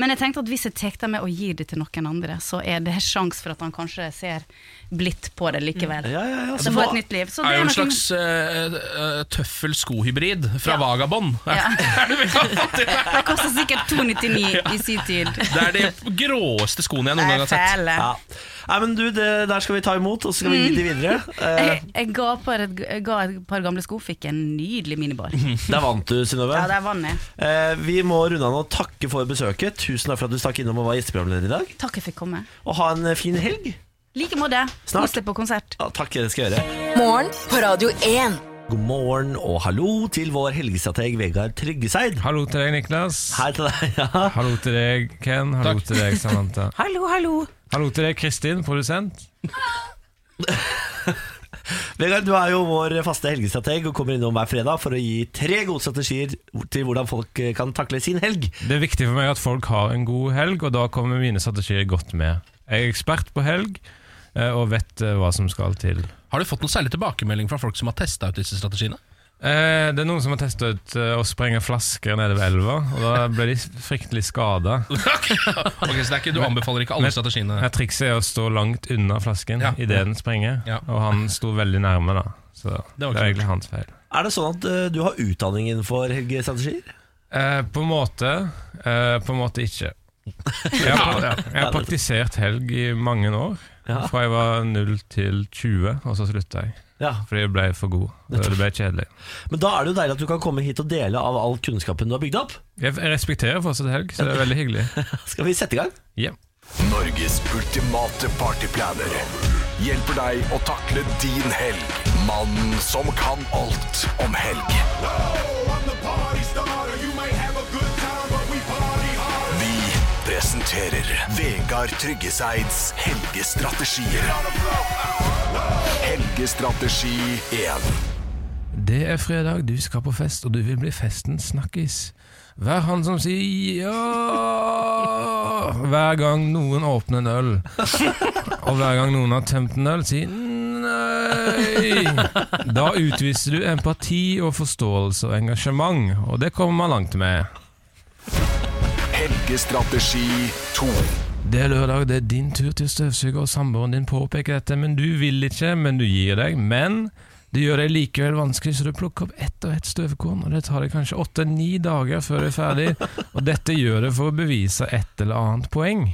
[SPEAKER 7] Men jeg tenkte at hvis jeg tar det med og gir det til noen andre, så er det sjanse for at han kanskje ser blidt på det likevel.
[SPEAKER 1] ja, ja, ja.
[SPEAKER 3] Altså,
[SPEAKER 7] Så får jeg et nytt liv. Så
[SPEAKER 2] Det er jo
[SPEAKER 7] noe-
[SPEAKER 2] en slags eh, eh, eh, tøffel skohybrid fra
[SPEAKER 7] Ja.
[SPEAKER 2] Vagabond.
[SPEAKER 7] Ja.
[SPEAKER 2] <laughs> Er du vel fant i det?
[SPEAKER 7] Det koster sikkert
[SPEAKER 2] <laughs>
[SPEAKER 7] 299 i sin tid.
[SPEAKER 2] Det er de gråeste skoene jeg noen gang har sett.
[SPEAKER 7] Fæle.
[SPEAKER 1] Ja. Nei, men du, det der skal vi ta imot, og så skal vi
[SPEAKER 7] Mm.
[SPEAKER 1] gi de videre. Eh,
[SPEAKER 7] <laughs> Jeg, jeg ga, på et, jeg ga et par gamle sko, fikk en nydelig minibar.
[SPEAKER 1] der vant du, Synnøve.
[SPEAKER 7] Ja, der vant jeg.
[SPEAKER 1] Eh, vi må runde av og takke for besøket. Tusen takk for at du stakk innom og var gjesteprogramleder i dag.
[SPEAKER 7] Takk jeg fikk komme.
[SPEAKER 1] Og ha en eh, fin helg.
[SPEAKER 7] Like måte.
[SPEAKER 1] Snart.
[SPEAKER 7] Kos deg på konsert.
[SPEAKER 1] Ja, takk, det skal jeg gjøre.
[SPEAKER 4] Morgen på Radio 1.
[SPEAKER 1] God morgen og hallo til vår helgestrateg Vegard Tryggeseid.
[SPEAKER 9] Hallo til deg, Niklas.
[SPEAKER 1] Hei til deg. <laughs> Ja.
[SPEAKER 9] Hallo til deg, Ken. Hallo
[SPEAKER 2] Takk.
[SPEAKER 9] til deg, Samantha.
[SPEAKER 7] Hallo, hallo.
[SPEAKER 9] Hallo til deg, Kristin, produsent.
[SPEAKER 1] Vegard, du er jo vår faste helgestrateg og kommer innom hver fredag for å gi tre gode strategier til hvordan folk eh, kan takle sin helg.
[SPEAKER 9] Det er viktig for meg at folk har en god helg, og da kommer mine strategier godt med. Jeg er ekspert på helg, eh, og vet eh, hva som skal til.
[SPEAKER 2] Har du fått noen særlig tilbakemelding fra folk som har testa ut disse strategiene?
[SPEAKER 9] Eh, Det er noen som har testa ut eh, å sprenge flasker nede ved elva, og da ble de fryktelig skada.
[SPEAKER 2] Ok, Ok, så det er ikke, Du anbefaler ikke alle strategiene?
[SPEAKER 9] Her Trikset er å stå langt unna flasken
[SPEAKER 2] Ja.
[SPEAKER 9] idet den sprenger,
[SPEAKER 2] Ja.
[SPEAKER 9] og han sto veldig nærme, da. Så det
[SPEAKER 2] var
[SPEAKER 9] var
[SPEAKER 2] kult.
[SPEAKER 9] egentlig hans feil.
[SPEAKER 1] Er det sånn at eh, du har utdanning innenfor helgestrategier?
[SPEAKER 9] Eh, på en måte, eh, på en måte ikke. Jeg har, jeg har praktisert helg i mange år.
[SPEAKER 1] Ja.
[SPEAKER 9] Fra jeg var 0 til 20, og så slutta jeg.
[SPEAKER 1] Ja.
[SPEAKER 9] Fordi jeg ble for god. og Det ble kjedelig.
[SPEAKER 1] Men da er det jo deilig at du kan komme hit og dele av all kunnskapen du har bygd opp. <laughs>
[SPEAKER 9] Jeg jeg respekterer fortsatt helg, så det er veldig hyggelig.
[SPEAKER 1] Skal vi sette i gang?
[SPEAKER 9] Ja.
[SPEAKER 6] Norges ultimate partyplaner hjelper deg å takle din helg. Mannen som kan alt om helg. Vi presenterer Vegard Tryggeseids helgestrategier. Helgestrategi 1.
[SPEAKER 9] Det er fredag, du skal på fest, og du vil bli festens snakkis. Vær han som sier ja hver gang noen åpner en øl. Og hver gang noen har tømt en øl, si nei. Da utviser du empati og forståelse og engasjement, og det kommer man langt med.
[SPEAKER 6] Helgestrategi 2.
[SPEAKER 9] Det er lørdag, det er din tur til å støvsuge, og samboeren din påpeker dette, men du vil ikke, men du gir deg. Men det gjør det likevel vanskelig, så du plukker opp ett og ett støvkorn, og det tar deg kanskje åtte-ni dager før du er ferdig, og dette gjør det for å bevise et eller annet poeng.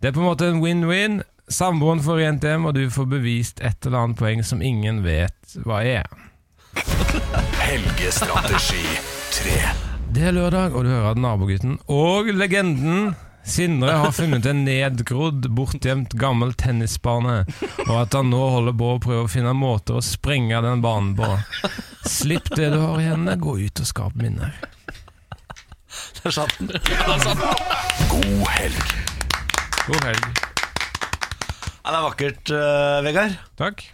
[SPEAKER 9] Det er på en måte en win-win. Samboeren får rent hjem, og du får bevist et eller annet poeng som ingen vet hva er.
[SPEAKER 6] Helgestrategi 3.
[SPEAKER 9] Det er lørdag, og du hører at nabogutten og legenden Sindre har funnet en nedgrodd, bortgjemt gammel tennisbane, og at han nå holder på å prøve å finne måter å sprenge den banen på. Slipp det du har i hendene, gå ut og skap minner.
[SPEAKER 1] Der satt den.
[SPEAKER 6] God helg.
[SPEAKER 9] God helg.
[SPEAKER 1] Ja, det er vakkert, eh, Vegard.
[SPEAKER 9] Takk.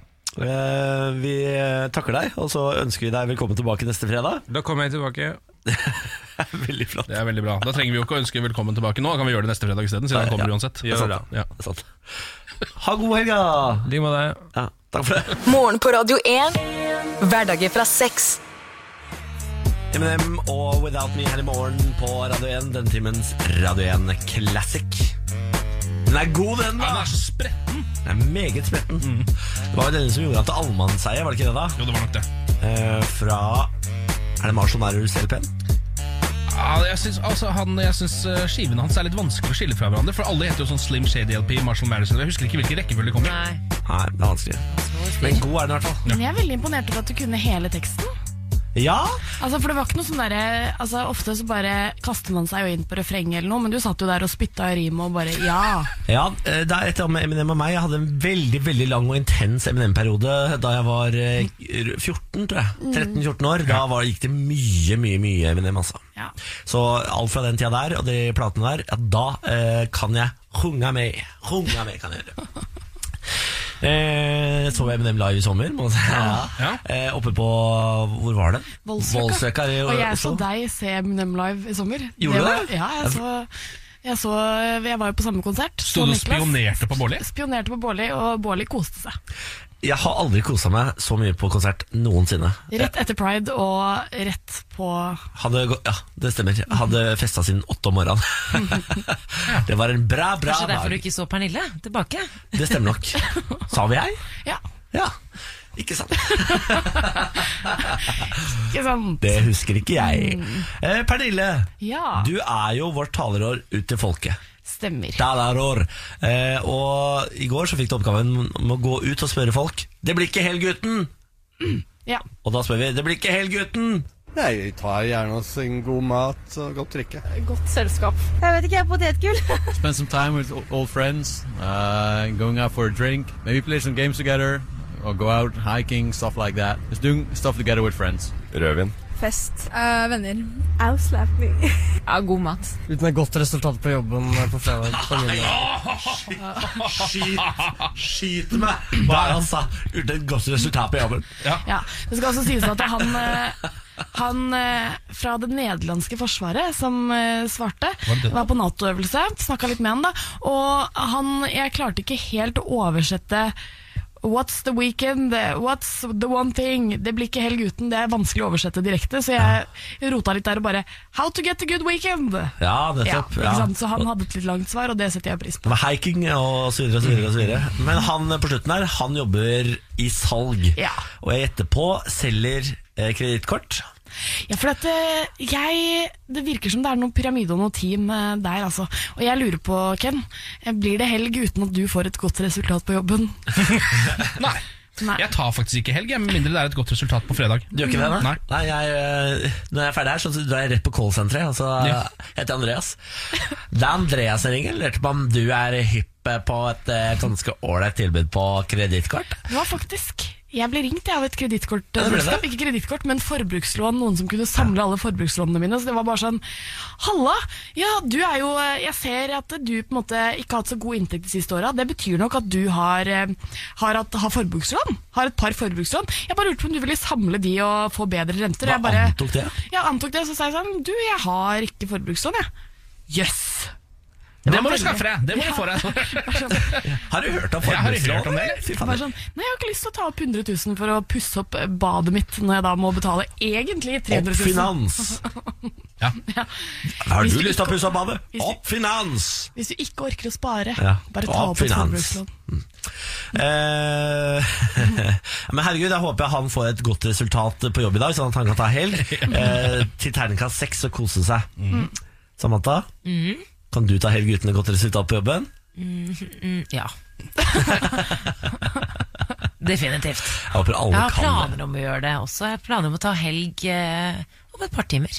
[SPEAKER 1] Eh, vi eh, takker deg, og så ønsker vi deg velkommen tilbake neste fredag.
[SPEAKER 9] Da kommer jeg tilbake.
[SPEAKER 1] <laughs> Veldig flott.
[SPEAKER 2] Det er veldig bra. Da trenger vi jo ikke å ønske velkommen tilbake nå. Da kan vi gjøre det neste fredag isteden, siden han kommer uansett.
[SPEAKER 1] Gjør det.
[SPEAKER 2] Ja.
[SPEAKER 1] Sant. Ha god helg, da.
[SPEAKER 9] De må det.
[SPEAKER 1] Ja, takk for det.
[SPEAKER 4] Morgen på Radio 1. Hverdager fra seks.
[SPEAKER 1] Eminem og Without Me her i morgen på Radio 1. Den timens Radio 1 Classic. Den er god, den,
[SPEAKER 2] Han
[SPEAKER 1] da!
[SPEAKER 2] er så spretten!
[SPEAKER 1] Den er meget spretten. Det var jo denne som gjorde han til allmannseie, var det ikke det, da?
[SPEAKER 2] Jo, det var nok det.
[SPEAKER 1] Eh, fra Er det Marshall Mathers LP-en?
[SPEAKER 2] Ja, jeg syns, altså, han, jeg syns eh, skivene hans er litt vanskelig å skille fra hverandre. For alle heter jo sånn Slim Shady LP, Marshall Madison Jeg husker ikke hvilken rekkefølge de kommer i.
[SPEAKER 3] Nei.
[SPEAKER 1] Nei, det er vanskelig. Men god er den i hvert fall.
[SPEAKER 10] Men jeg er veldig imponert over at du kunne hele teksten.
[SPEAKER 1] Ja!
[SPEAKER 10] Altså, for det var ikke noe sånn derre altså, Ofte så bare kaster man seg jo inn på refrenget eller noe, men du satt jo der og spytta i rimet og bare ja.
[SPEAKER 1] Ja, eh, det er et eller annet med Eminem og meg. Jeg hadde en veldig veldig lang og intens Eminem-periode da jeg var eh, 14, tror jeg. 13-14 år. Da var, gikk det mye, mye mye Eminem, altså.
[SPEAKER 10] Ja.
[SPEAKER 1] Så alt fra den tida der og de platene der, ja, da eh, kan jeg hunga meg. Hunga meg kan jeg gjøre. <laughs> Eh, så Eminem live i sommer. Må jeg si. ja.
[SPEAKER 2] Ja.
[SPEAKER 1] Eh, oppe på Hvor var det?
[SPEAKER 10] Voldsløkka.
[SPEAKER 1] i
[SPEAKER 10] Og jeg så
[SPEAKER 1] Oslo.
[SPEAKER 10] deg se Eminem live i sommer.
[SPEAKER 1] Gjorde
[SPEAKER 10] var,
[SPEAKER 1] du det?
[SPEAKER 10] Ja, jeg så, jeg så Jeg var jo på samme konsert.
[SPEAKER 2] Sto
[SPEAKER 10] som
[SPEAKER 2] du og
[SPEAKER 10] Niklas.
[SPEAKER 2] spionerte på Bårli?
[SPEAKER 10] Spionerte på Bårli, og Bårli koste seg.
[SPEAKER 1] Jeg har aldri kosa meg så mye på konsert noensinne.
[SPEAKER 10] Rett etter Pride og rett på
[SPEAKER 1] Hadde, gå- ja, det stemmer. Hadde festa siden åtte om
[SPEAKER 3] <laughs>
[SPEAKER 1] morgenen. det var en bra, bra
[SPEAKER 3] Kanskje derfor du
[SPEAKER 1] dag.
[SPEAKER 3] ikke så Pernille tilbake?
[SPEAKER 1] Det stemmer nok. Sa vi hei?
[SPEAKER 10] Ja.
[SPEAKER 1] Ja. Ikke sant?
[SPEAKER 10] Ikke sant?
[SPEAKER 1] Det husker ikke jeg.
[SPEAKER 10] Mm.
[SPEAKER 1] Eh, Pernille,
[SPEAKER 10] Ja.
[SPEAKER 1] du er jo vårt talerår ut til folket.
[SPEAKER 10] Stemmer.
[SPEAKER 1] Talerår. Eh, og i går så fikk du oppgaven om å gå ut og spørre folk. Det blir ikke Helgutten!
[SPEAKER 10] Mm. Ja.
[SPEAKER 1] Og da spør vi Det blir ikke Helgutten!
[SPEAKER 11] Nei, vi tar gjerne oss en god mat og godt drikke.
[SPEAKER 12] Godt selskap. Jeg vet ikke, jeg er potetgull.
[SPEAKER 13] Spend some time with o- old friends, uh, going out for a drink, maybe play some games together, or go out hiking, stuff like that. Just doing stuff together with friends. Rødvin.
[SPEAKER 12] Fest.
[SPEAKER 10] Eh,
[SPEAKER 12] venner. Avslapning. ja, god mat.
[SPEAKER 14] Uten et godt resultat på jobben på fredag. på middag.
[SPEAKER 1] Skyt, skyt meg! Hva er det han sa? Uten et godt resultat på jobben.
[SPEAKER 10] Ja, Det skal også sies at han, eh, han eh, fra det nederlandske forsvaret som eh, svarte,
[SPEAKER 15] Var det det?
[SPEAKER 10] var på Nato-øvelse. Snakka litt med han, da. Og han Jeg klarte ikke helt å oversette What's the weekend? What's the one thing? Det blir ikke helg uten. Det er vanskelig å oversette direkte, så jeg rota litt der og bare How to get a good weekend?
[SPEAKER 1] Ja, nettopp,
[SPEAKER 10] ikke
[SPEAKER 1] ja.
[SPEAKER 10] sant? Så han hadde et litt langt svar, og det setter jeg pris på.
[SPEAKER 1] Det var hiking og så videre og så videre. Og så videre. Men han på slutten her, han jobber i salg.
[SPEAKER 10] Ja.
[SPEAKER 1] Og jeg gjetter på selger eh, kredittkort.
[SPEAKER 10] Ja, for at eh, jeg Det virker som det er noen pyramide og noe team eh, der, altså. Og jeg lurer på, Ken, eh, blir det helg uten at du får et godt resultat på jobben?
[SPEAKER 2] Nei. Jeg tar faktisk ikke helg, jeg, med mindre det er et godt resultat på fredag.
[SPEAKER 1] Du gjør ikke det? da?
[SPEAKER 2] Mm, Nei.
[SPEAKER 1] Nei jeg, eh, når jeg er ferdig her, så drar jeg rett på callsenteret. Og så eh, heter jeg Andreas. Det er Andreas som ringer. Lurte på om du er hypp på et eh, ganske ålreit tilbud på kredittkort.
[SPEAKER 10] Det var faktisk Jeg ble ringt jeg, av et
[SPEAKER 1] Ja, det ble
[SPEAKER 10] kredittkortselskap.
[SPEAKER 1] det.
[SPEAKER 10] Ikke kredittkort, men forbrukslån. Noen som kunne samle alle forbrukslånene mine. Så det var bare sånn Halla! Ja, du er jo eh, Jeg ser at du på en måte ikke har hatt så god inntekt de siste åra. Det betyr nok at du har, eh, har, hatt- har forbrukslån. Har et par forbrukslån. Jeg bare lurte på om du ville samle de og få bedre renter.
[SPEAKER 1] Hva
[SPEAKER 10] Jeg bare,
[SPEAKER 1] antok det?
[SPEAKER 10] Jeg antok det, så sa jeg sånn Du, jeg har ikke forbrukslån, jeg. Jøss! Yes.
[SPEAKER 2] Det,
[SPEAKER 10] var
[SPEAKER 2] må du
[SPEAKER 10] veldig-
[SPEAKER 2] skaffe deg! Det må
[SPEAKER 10] Ja.
[SPEAKER 2] du få deg.
[SPEAKER 1] Har du hørt om
[SPEAKER 2] Jeg har ikke hørt om
[SPEAKER 1] forbrukslån?
[SPEAKER 2] det, eller?
[SPEAKER 1] eller? Fy
[SPEAKER 10] Jeg
[SPEAKER 1] faen.
[SPEAKER 10] bare sånn, Nei, jeg har ikke lyst til å ta opp 100 000 for å pusse opp eh, badet mitt når jeg da må betale egentlig 300 000.
[SPEAKER 1] Oppfinans. Har du lyst til å pusse opp badet? Opp finans!
[SPEAKER 10] Hvis du ikke orker å spare,
[SPEAKER 1] Ja.
[SPEAKER 10] bare ta opp et
[SPEAKER 1] Oppfinans.
[SPEAKER 10] forbrukslån.
[SPEAKER 1] Mm. Eh, <laughs> men herregud, jeg håper han får et godt resultat på jobb i dag, sånn at han kan ta helg. <laughs> Eh, til terningkast seks og kose seg.
[SPEAKER 3] Mm.
[SPEAKER 1] Samantha,
[SPEAKER 3] Mm.
[SPEAKER 1] kan du ta helg uten et godt resultat på jobben?
[SPEAKER 3] Mm, mm, ja. <laughs> Definitivt.
[SPEAKER 1] Jeg håper alle
[SPEAKER 3] jeg har
[SPEAKER 1] kan det
[SPEAKER 3] planer om å gjøre det også. Jeg har planer om å ta helg eh, om et par timer.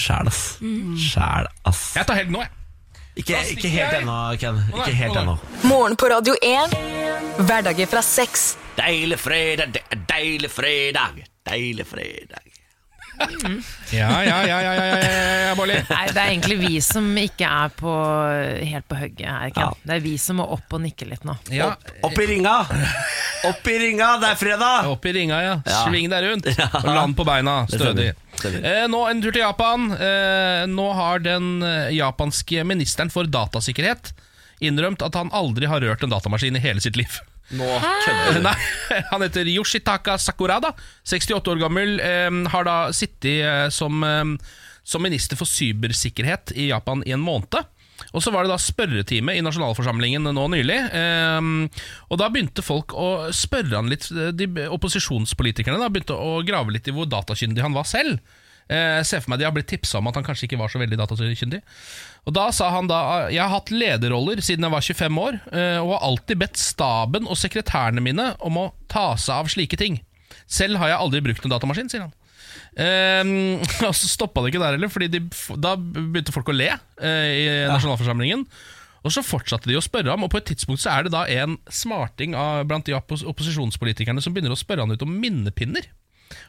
[SPEAKER 1] sjæl, ass.
[SPEAKER 3] Mm.
[SPEAKER 1] Sjæl, ass.
[SPEAKER 2] Jeg tar helg nå, jeg.
[SPEAKER 1] Ikke, ikke helt ennå, Ken. Ikke helt ennå.
[SPEAKER 4] Morgen på Radio 1. Hverdager fra seks.
[SPEAKER 1] Deilig fredag, det er deilig fredag, deilig fredag.
[SPEAKER 2] Ja, ja, ja, ja, ja, ja, ja, ja Bolli.
[SPEAKER 3] Nei, det er egentlig vi som ikke er på, helt på hugget her, Ken. Det er vi som må opp og nikke litt nå.
[SPEAKER 1] Opp, opp i ringa! Opp i ringa, det er fredag!
[SPEAKER 2] Opp i ringa, ja.
[SPEAKER 1] <laughs> Ja.
[SPEAKER 2] Sving deg rundt. Og land på beina.
[SPEAKER 1] Det
[SPEAKER 2] Stødig.
[SPEAKER 1] stemmer. Stemmer.
[SPEAKER 2] Eh, nå en tur til Japan. Eh, nå har den eh, japanske ministeren for datasikkerhet innrømt at han aldri har rørt en datamaskin i hele sitt liv.
[SPEAKER 11] Nå
[SPEAKER 2] Eh, Nei, <laughs> han heter Yoshitaka Sakurada, 68 år gammel, eh, har da sittet eh, som, eh, som minister for cybersikkerhet i Japan i en måned. Og så var det da spørretime i nasjonalforsamlingen nå nylig. eh, og da begynte folk å spørre han litt, eh, de opposisjonspolitikerne da, begynte å grave litt i hvor datakyndig han var selv. Eh, ser for meg De har blitt tipsa om at han kanskje ikke var så veldig datakyndig. Og Da sa han da Jeg har hatt lederroller siden jeg var 25 år, eh, og har alltid bedt staben og sekretærene mine om å ta seg av slike ting. Selv har jeg aldri brukt en datamaskin, sier han. Ehm, <laughs> og så stoppa det ikke der heller, Fordi de, da begynte folk å le eh, i nasjonalforsamlingen. Og så fortsatte de å spørre ham, og på et tidspunkt så er det da en smarting av, blant de oppos opposisjonspolitikerne som begynner å spørre han ut om minnepinner.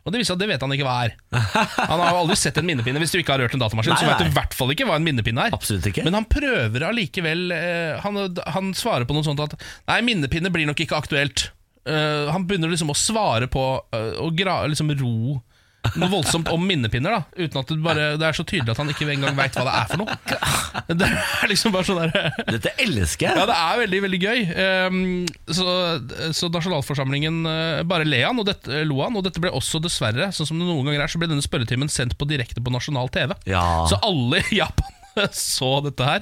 [SPEAKER 2] Og det viser at det vet han ikke hva er. Han har jo aldri sett en minnepinne hvis du ikke har rørt en datamaskin.
[SPEAKER 1] Nei,
[SPEAKER 2] så vet
[SPEAKER 1] nei.
[SPEAKER 2] du i hvert fall ikke hva en minnepinne er.
[SPEAKER 1] Absolutt ikke.
[SPEAKER 2] Men han prøver allikevel eh, han, han svarer på noe sånt at Nei, minnepinne blir nok ikke aktuelt. Eh, han begynner liksom å svare på eh, Å gra, liksom ro noe voldsomt om minnepinner, da uten at det, bare, det er så tydelig at han ikke engang veit hva det er for noe. Det er liksom bare sånn der
[SPEAKER 1] Dette elsker jeg.
[SPEAKER 2] Ja, det er veldig, veldig gøy. Ehm, så, så nasjonalforsamlingen eh, bare le han, og dette, eh, lo han. Og dette ble også, dessverre, sånn som det noen ganger er, så ble denne spørretimen sendt på direkte på nasjonal TV.
[SPEAKER 1] Ja.
[SPEAKER 2] Så alle i Japan <laughs> så dette her.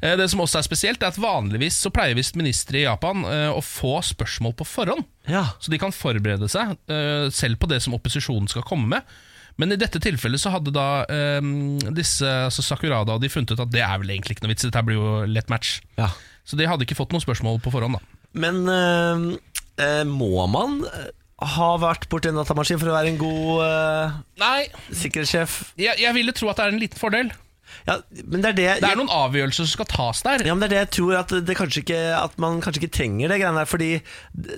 [SPEAKER 2] Eh, Det som også er spesielt, er at vanligvis så pleier visst ministre i Japan eh, å få spørsmål på forhånd. Så de kan forberede seg eh, selv på det som opposisjonen skal komme med. Men i dette tilfellet så hadde da eh, disse altså Sakurada og de funnet ut at det er vel egentlig ikke noe vits, dette her blir jo lett match. Så de hadde ikke fått noen spørsmål på forhånd, da.
[SPEAKER 1] Men eh, eh, må man eh, ha vært borti en datamaskin for å være en god eh, sikkerhetssjef?
[SPEAKER 2] Jeg, jeg ville tro at det er en liten fordel.
[SPEAKER 1] Ja, men det er det
[SPEAKER 2] Det er noen avgjørelser som skal tas der.
[SPEAKER 1] Ja, men det er det jeg tror at, det kanskje ikke, at man kanskje ikke trenger det greiene der. Fordi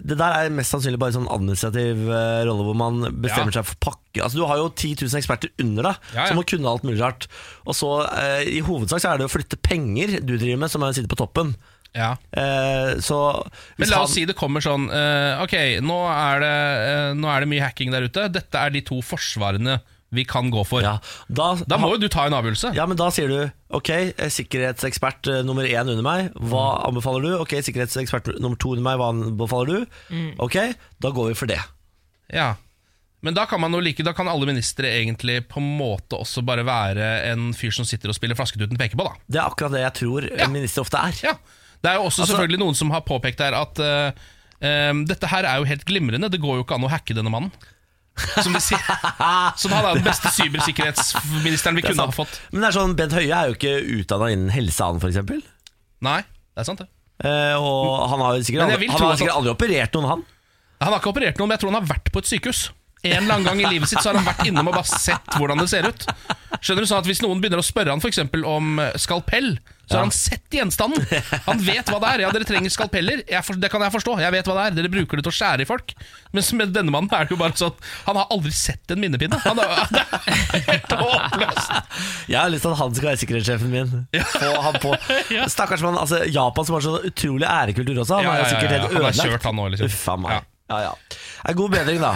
[SPEAKER 1] det der er mest sannsynlig bare sånn administrativ eh, rolle hvor man bestemmer seg for pakke. Altså Du har jo 10 000 eksperter under deg
[SPEAKER 2] Ja, ja.
[SPEAKER 1] som må kunne alt mulig rart. Og så eh, i hovedsak så er det å flytte penger du driver med, som er å sitte på toppen.
[SPEAKER 2] Ja.
[SPEAKER 1] Eh, så
[SPEAKER 2] Men la oss si det kommer sånn eh, Ok, nå er, det, eh, nå er det mye hacking der ute. Dette er de to forsvarene vi kan gå for.
[SPEAKER 1] da,
[SPEAKER 2] må jo du ta en avgjørelse.
[SPEAKER 1] Ja, men da sier du Ok, eh, sikkerhetsekspert eh, nummer én under meg, hva
[SPEAKER 2] Mm.
[SPEAKER 1] anbefaler du? Ok, sikkerhetsekspert nummer to under meg, hva anbefaler du?
[SPEAKER 2] Mm.
[SPEAKER 1] Ok, da går vi for det.
[SPEAKER 2] Ja. Men da kan man jo like, da kan alle ministre egentlig på en måte også bare være en fyr som sitter og spiller Flasketuten peker på, da.
[SPEAKER 1] Det er akkurat det jeg tror en minister ofte er.
[SPEAKER 2] Ja. Det er jo også
[SPEAKER 1] Altså-
[SPEAKER 2] selvfølgelig noen som har påpekt her at eh, eh, dette her er jo helt glimrende, det går jo ikke an å hacke denne mannen. Som de sier.
[SPEAKER 1] <laughs>
[SPEAKER 2] Som han er den beste cybersikkerhetsministeren vi
[SPEAKER 1] Det er
[SPEAKER 2] kunne ha
[SPEAKER 1] sant.
[SPEAKER 2] fått.
[SPEAKER 1] Men det er sånn, Bent Høie er jo ikke utdanna innen helse, han f.eks.
[SPEAKER 2] Nei, det er sant, det.
[SPEAKER 1] Eh, og han har jo sikkert,
[SPEAKER 2] Men jeg
[SPEAKER 1] aldri,
[SPEAKER 2] vil
[SPEAKER 1] han
[SPEAKER 2] tro
[SPEAKER 1] har
[SPEAKER 2] at
[SPEAKER 1] sikkert
[SPEAKER 2] han-
[SPEAKER 1] aldri operert noen, han.
[SPEAKER 2] Han har ikke operert noen, men jeg tror han har vært på et sykehus. En eller annen gang i livet sitt så har han vært innom og bare sett hvordan det ser ut. Skjønner du sånn at Hvis noen begynner å spørre han for eksempel om eh, skalpell, så har han sett gjenstanden. Han vet hva det er. Ja, dere trenger skalpeller. Jeg for, det kan jeg forstå. Jeg vet hva det er. Dere bruker det til å skjære i folk. Mens med denne mannen er det jo bare sånn Han har aldri sett en minnepinne. Han har, <laughs> det er helt håpløst.
[SPEAKER 1] Jeg har lyst til at han skal være sikkerhetssjefen min. Få han på.
[SPEAKER 2] <laughs>
[SPEAKER 1] Stakkars mann. Altså, Japan, som har så utrolig ærekultur også, han
[SPEAKER 2] Ja,
[SPEAKER 1] er jo
[SPEAKER 2] ja, ja,
[SPEAKER 1] sikkert
[SPEAKER 2] ja.
[SPEAKER 1] helt
[SPEAKER 2] Han er
[SPEAKER 1] ødelagt.
[SPEAKER 2] kjørt, han også, liksom.
[SPEAKER 1] Uffa meg. Ja, ja. Eh, God bedring, da.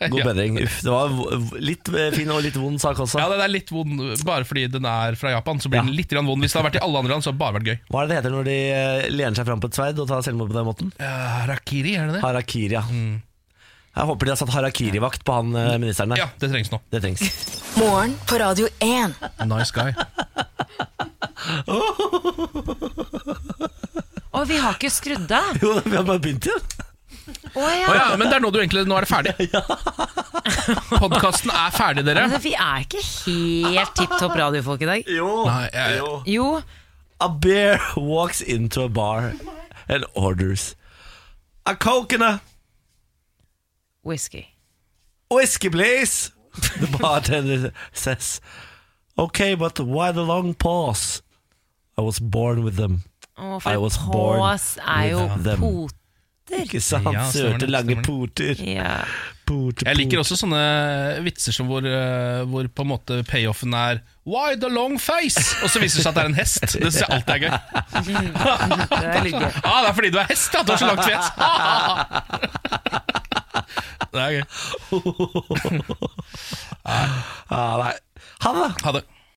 [SPEAKER 1] God
[SPEAKER 2] Ja.
[SPEAKER 1] bedring. Uff, det var v- v- litt eh, fin og litt vond sak også.
[SPEAKER 2] Ja, den er litt vond bare fordi den er fra Japan. Så blir den litt grann vond. Hvis den har vært i alle andre land, så har det bare vært gøy.
[SPEAKER 1] Hva er det det heter når de eh, lener seg fram på et sverd og tar selvmord på den måten?
[SPEAKER 2] harakiri, er det det?
[SPEAKER 1] Harakiri, ja.
[SPEAKER 2] Mm.
[SPEAKER 1] Jeg håper de har satt harakiri-vakt på han eh, ministeren der.
[SPEAKER 2] Ja, det trengs nå.
[SPEAKER 1] Det trengs. <laughs>
[SPEAKER 4] Morgen på Radio 1.
[SPEAKER 2] Nice guy.
[SPEAKER 3] Og vi har ikke skrudd av.
[SPEAKER 1] Jo, vi har bare begynt igjen.
[SPEAKER 3] Å ja.
[SPEAKER 2] Å ja, men det er nå du egentlig Nå er det ferdig. <laughs> Podkasten er ferdig, dere.
[SPEAKER 3] Altså, vi er ikke helt tipp topp radiofolk i dag.
[SPEAKER 1] Jo.
[SPEAKER 2] Nei, jeg,
[SPEAKER 3] Jo.
[SPEAKER 1] A bear walks into a bar and orders a coke and a
[SPEAKER 3] Whisky.
[SPEAKER 1] whiskey, please. <laughs> The bartender says, Okay, but why the long pause? I was born with them.
[SPEAKER 3] Å, for
[SPEAKER 1] I
[SPEAKER 3] en
[SPEAKER 1] was
[SPEAKER 3] pås er jo
[SPEAKER 1] with them.
[SPEAKER 3] poter.
[SPEAKER 1] Ikke sant?
[SPEAKER 2] Ja, stemmer
[SPEAKER 1] Søte,
[SPEAKER 2] det,
[SPEAKER 1] lange
[SPEAKER 2] stemmer det.
[SPEAKER 1] poter.
[SPEAKER 3] Ja.
[SPEAKER 1] Poter,
[SPEAKER 2] jeg liker også sånne vitser som hvor, eh, hvor på en måte payoffen er Why the long face? Og så viser det seg at det er en hest. Det syns jeg alltid er gøy. <laughs>
[SPEAKER 3] er litt gøy.
[SPEAKER 2] ah, det er fordi du er hest, ja! Du har så langt <laughs> fjes. det er gøy.
[SPEAKER 1] Ah, nei. Ha det.
[SPEAKER 2] Ha det.